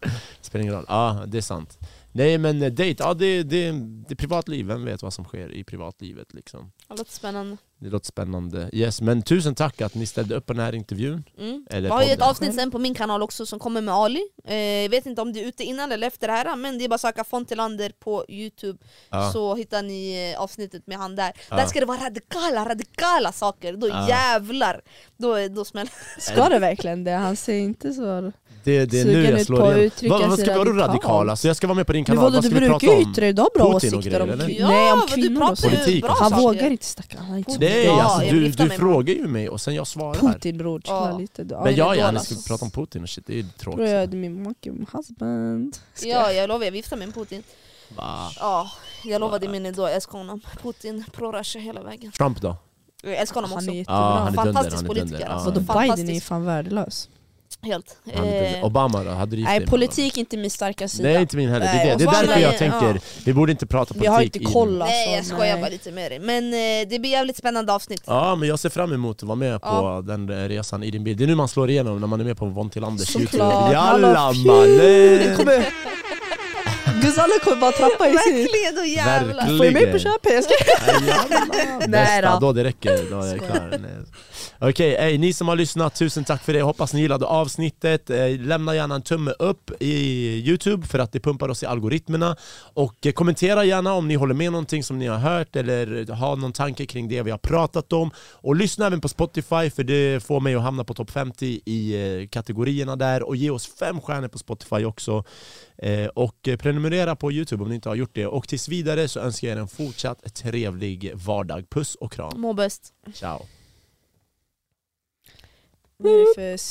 Spelar ingen roll. Ja det är sant. Nej men eh, dejt, ja det, det, det är privatliv, vem vet vad som sker i privatlivet liksom.
Det låter spännande.
Det låter spännande. Yes, men tusen tack att ni ställde upp på den här intervjun.
Mm.
Eller
Jag har ju ett
podden.
avsnitt sen på min kanal också som kommer med Ali. Eh, jag vet inte om det är ute innan eller efter det här men det är bara att söka Fontelander på youtube
Ja.
så hittar ni eh, avsnittet med han där.
Ja.
Där ska det vara radikala, radikala saker. Då
Ja.
jävlar! Då, då smäller
Ska det verkligen det? Han ser inte så...
Det, det är
Sugen
nu jag
ut
slår
på att
igen.
uttrycka
Vad, vad
sig
ska vi vara
radikalt?
radikal? Alltså jag ska vara med på din
Men
kanal,
vadå,
vad
du
ska vi
brukar
prata
ju
om?
yttra dig idag bra
Putin och
åsikter om
grejer, eller?
kvinnor. Nej, om
men du
kvinnor och
pratar
så.
ju
Politik
bra
och
Han
sånt.
saker.
vågar inte snacka. Han är inte så
Nej,
Ja,
alltså
jag
du,
viftar
du
med
frågar ju mig och sen jag svarar.
Putin bror, chilla
Ja.
lite. Du,
Men
ja,
jag
det är
gärna
dåligt.
ska prata om Putin och shit, det är ju
bror, alltså. jag är
tråkigt.
min make, min husband. Ska
Ja, jag lovar, jag viftar med en Putin.
Va?
Ja, jag lovade min idol, jag älskar honom. Putin, pro-Russia hela vägen.
Trump då?
Jag älskar honom
Han
också.
är jättebra.
Ja, han är dunder.
Fantastisk
Han är
politiker,
dunder. Ja,
alltså.
Vadå,
Fantastisk.
Biden är fan värdelös.
Helt.
han är dunder.
Eh,
Obama då? Hade du gift dig
Nej,
med
politik är inte min starka
honom? Nej
sida.
inte min heller, det
Nej,
är det. Det
Obama
är därför
är-
jag tänker,
ja.
vi borde inte prata politik
Vi har inte
i-
koll alltså.
Nej jag skojar bara lite med dig. Men eh, det blir jävligt spännande avsnitt.
Ja men jag ser fram emot att vara med på
Ja.
den eh, resan i din bil. Det är nu man slår igenom när man är med på Von Tillanders
Såklart,
youtube.
alla
Jalla
fjus.
mannen!
Kommer... Gusanna kommer bara trappa i sin...
Verkligen, då jävlar!
Får du mig på
Verkligen.
köpet? Jag ska... Nej
Nästa,
då.
då det räcker. Då är jag klar. Nej. Okej, ey, ni som har lyssnat, tusen tack för det. Jag hoppas ni gillade avsnittet. Eh, Lämna gärna en tumme upp i Youtube för att det pumpar oss i algoritmerna. Och eh, kommentera gärna om ni håller med någonting som ni har hört eller har någon tanke kring det vi har pratat om. Och lyssna även på Spotify för det får mig att hamna på topp 50 i eh, kategorierna där. Och ge oss fem stjärnor på Spotify också. Eh, Och eh, prenumerera på Youtube om ni inte har gjort det. Och tills vidare så önskar jag er en fortsatt trevlig vardag.
Mm.
Puss och kram.
Må bäst.
Ciao.
Vad är det för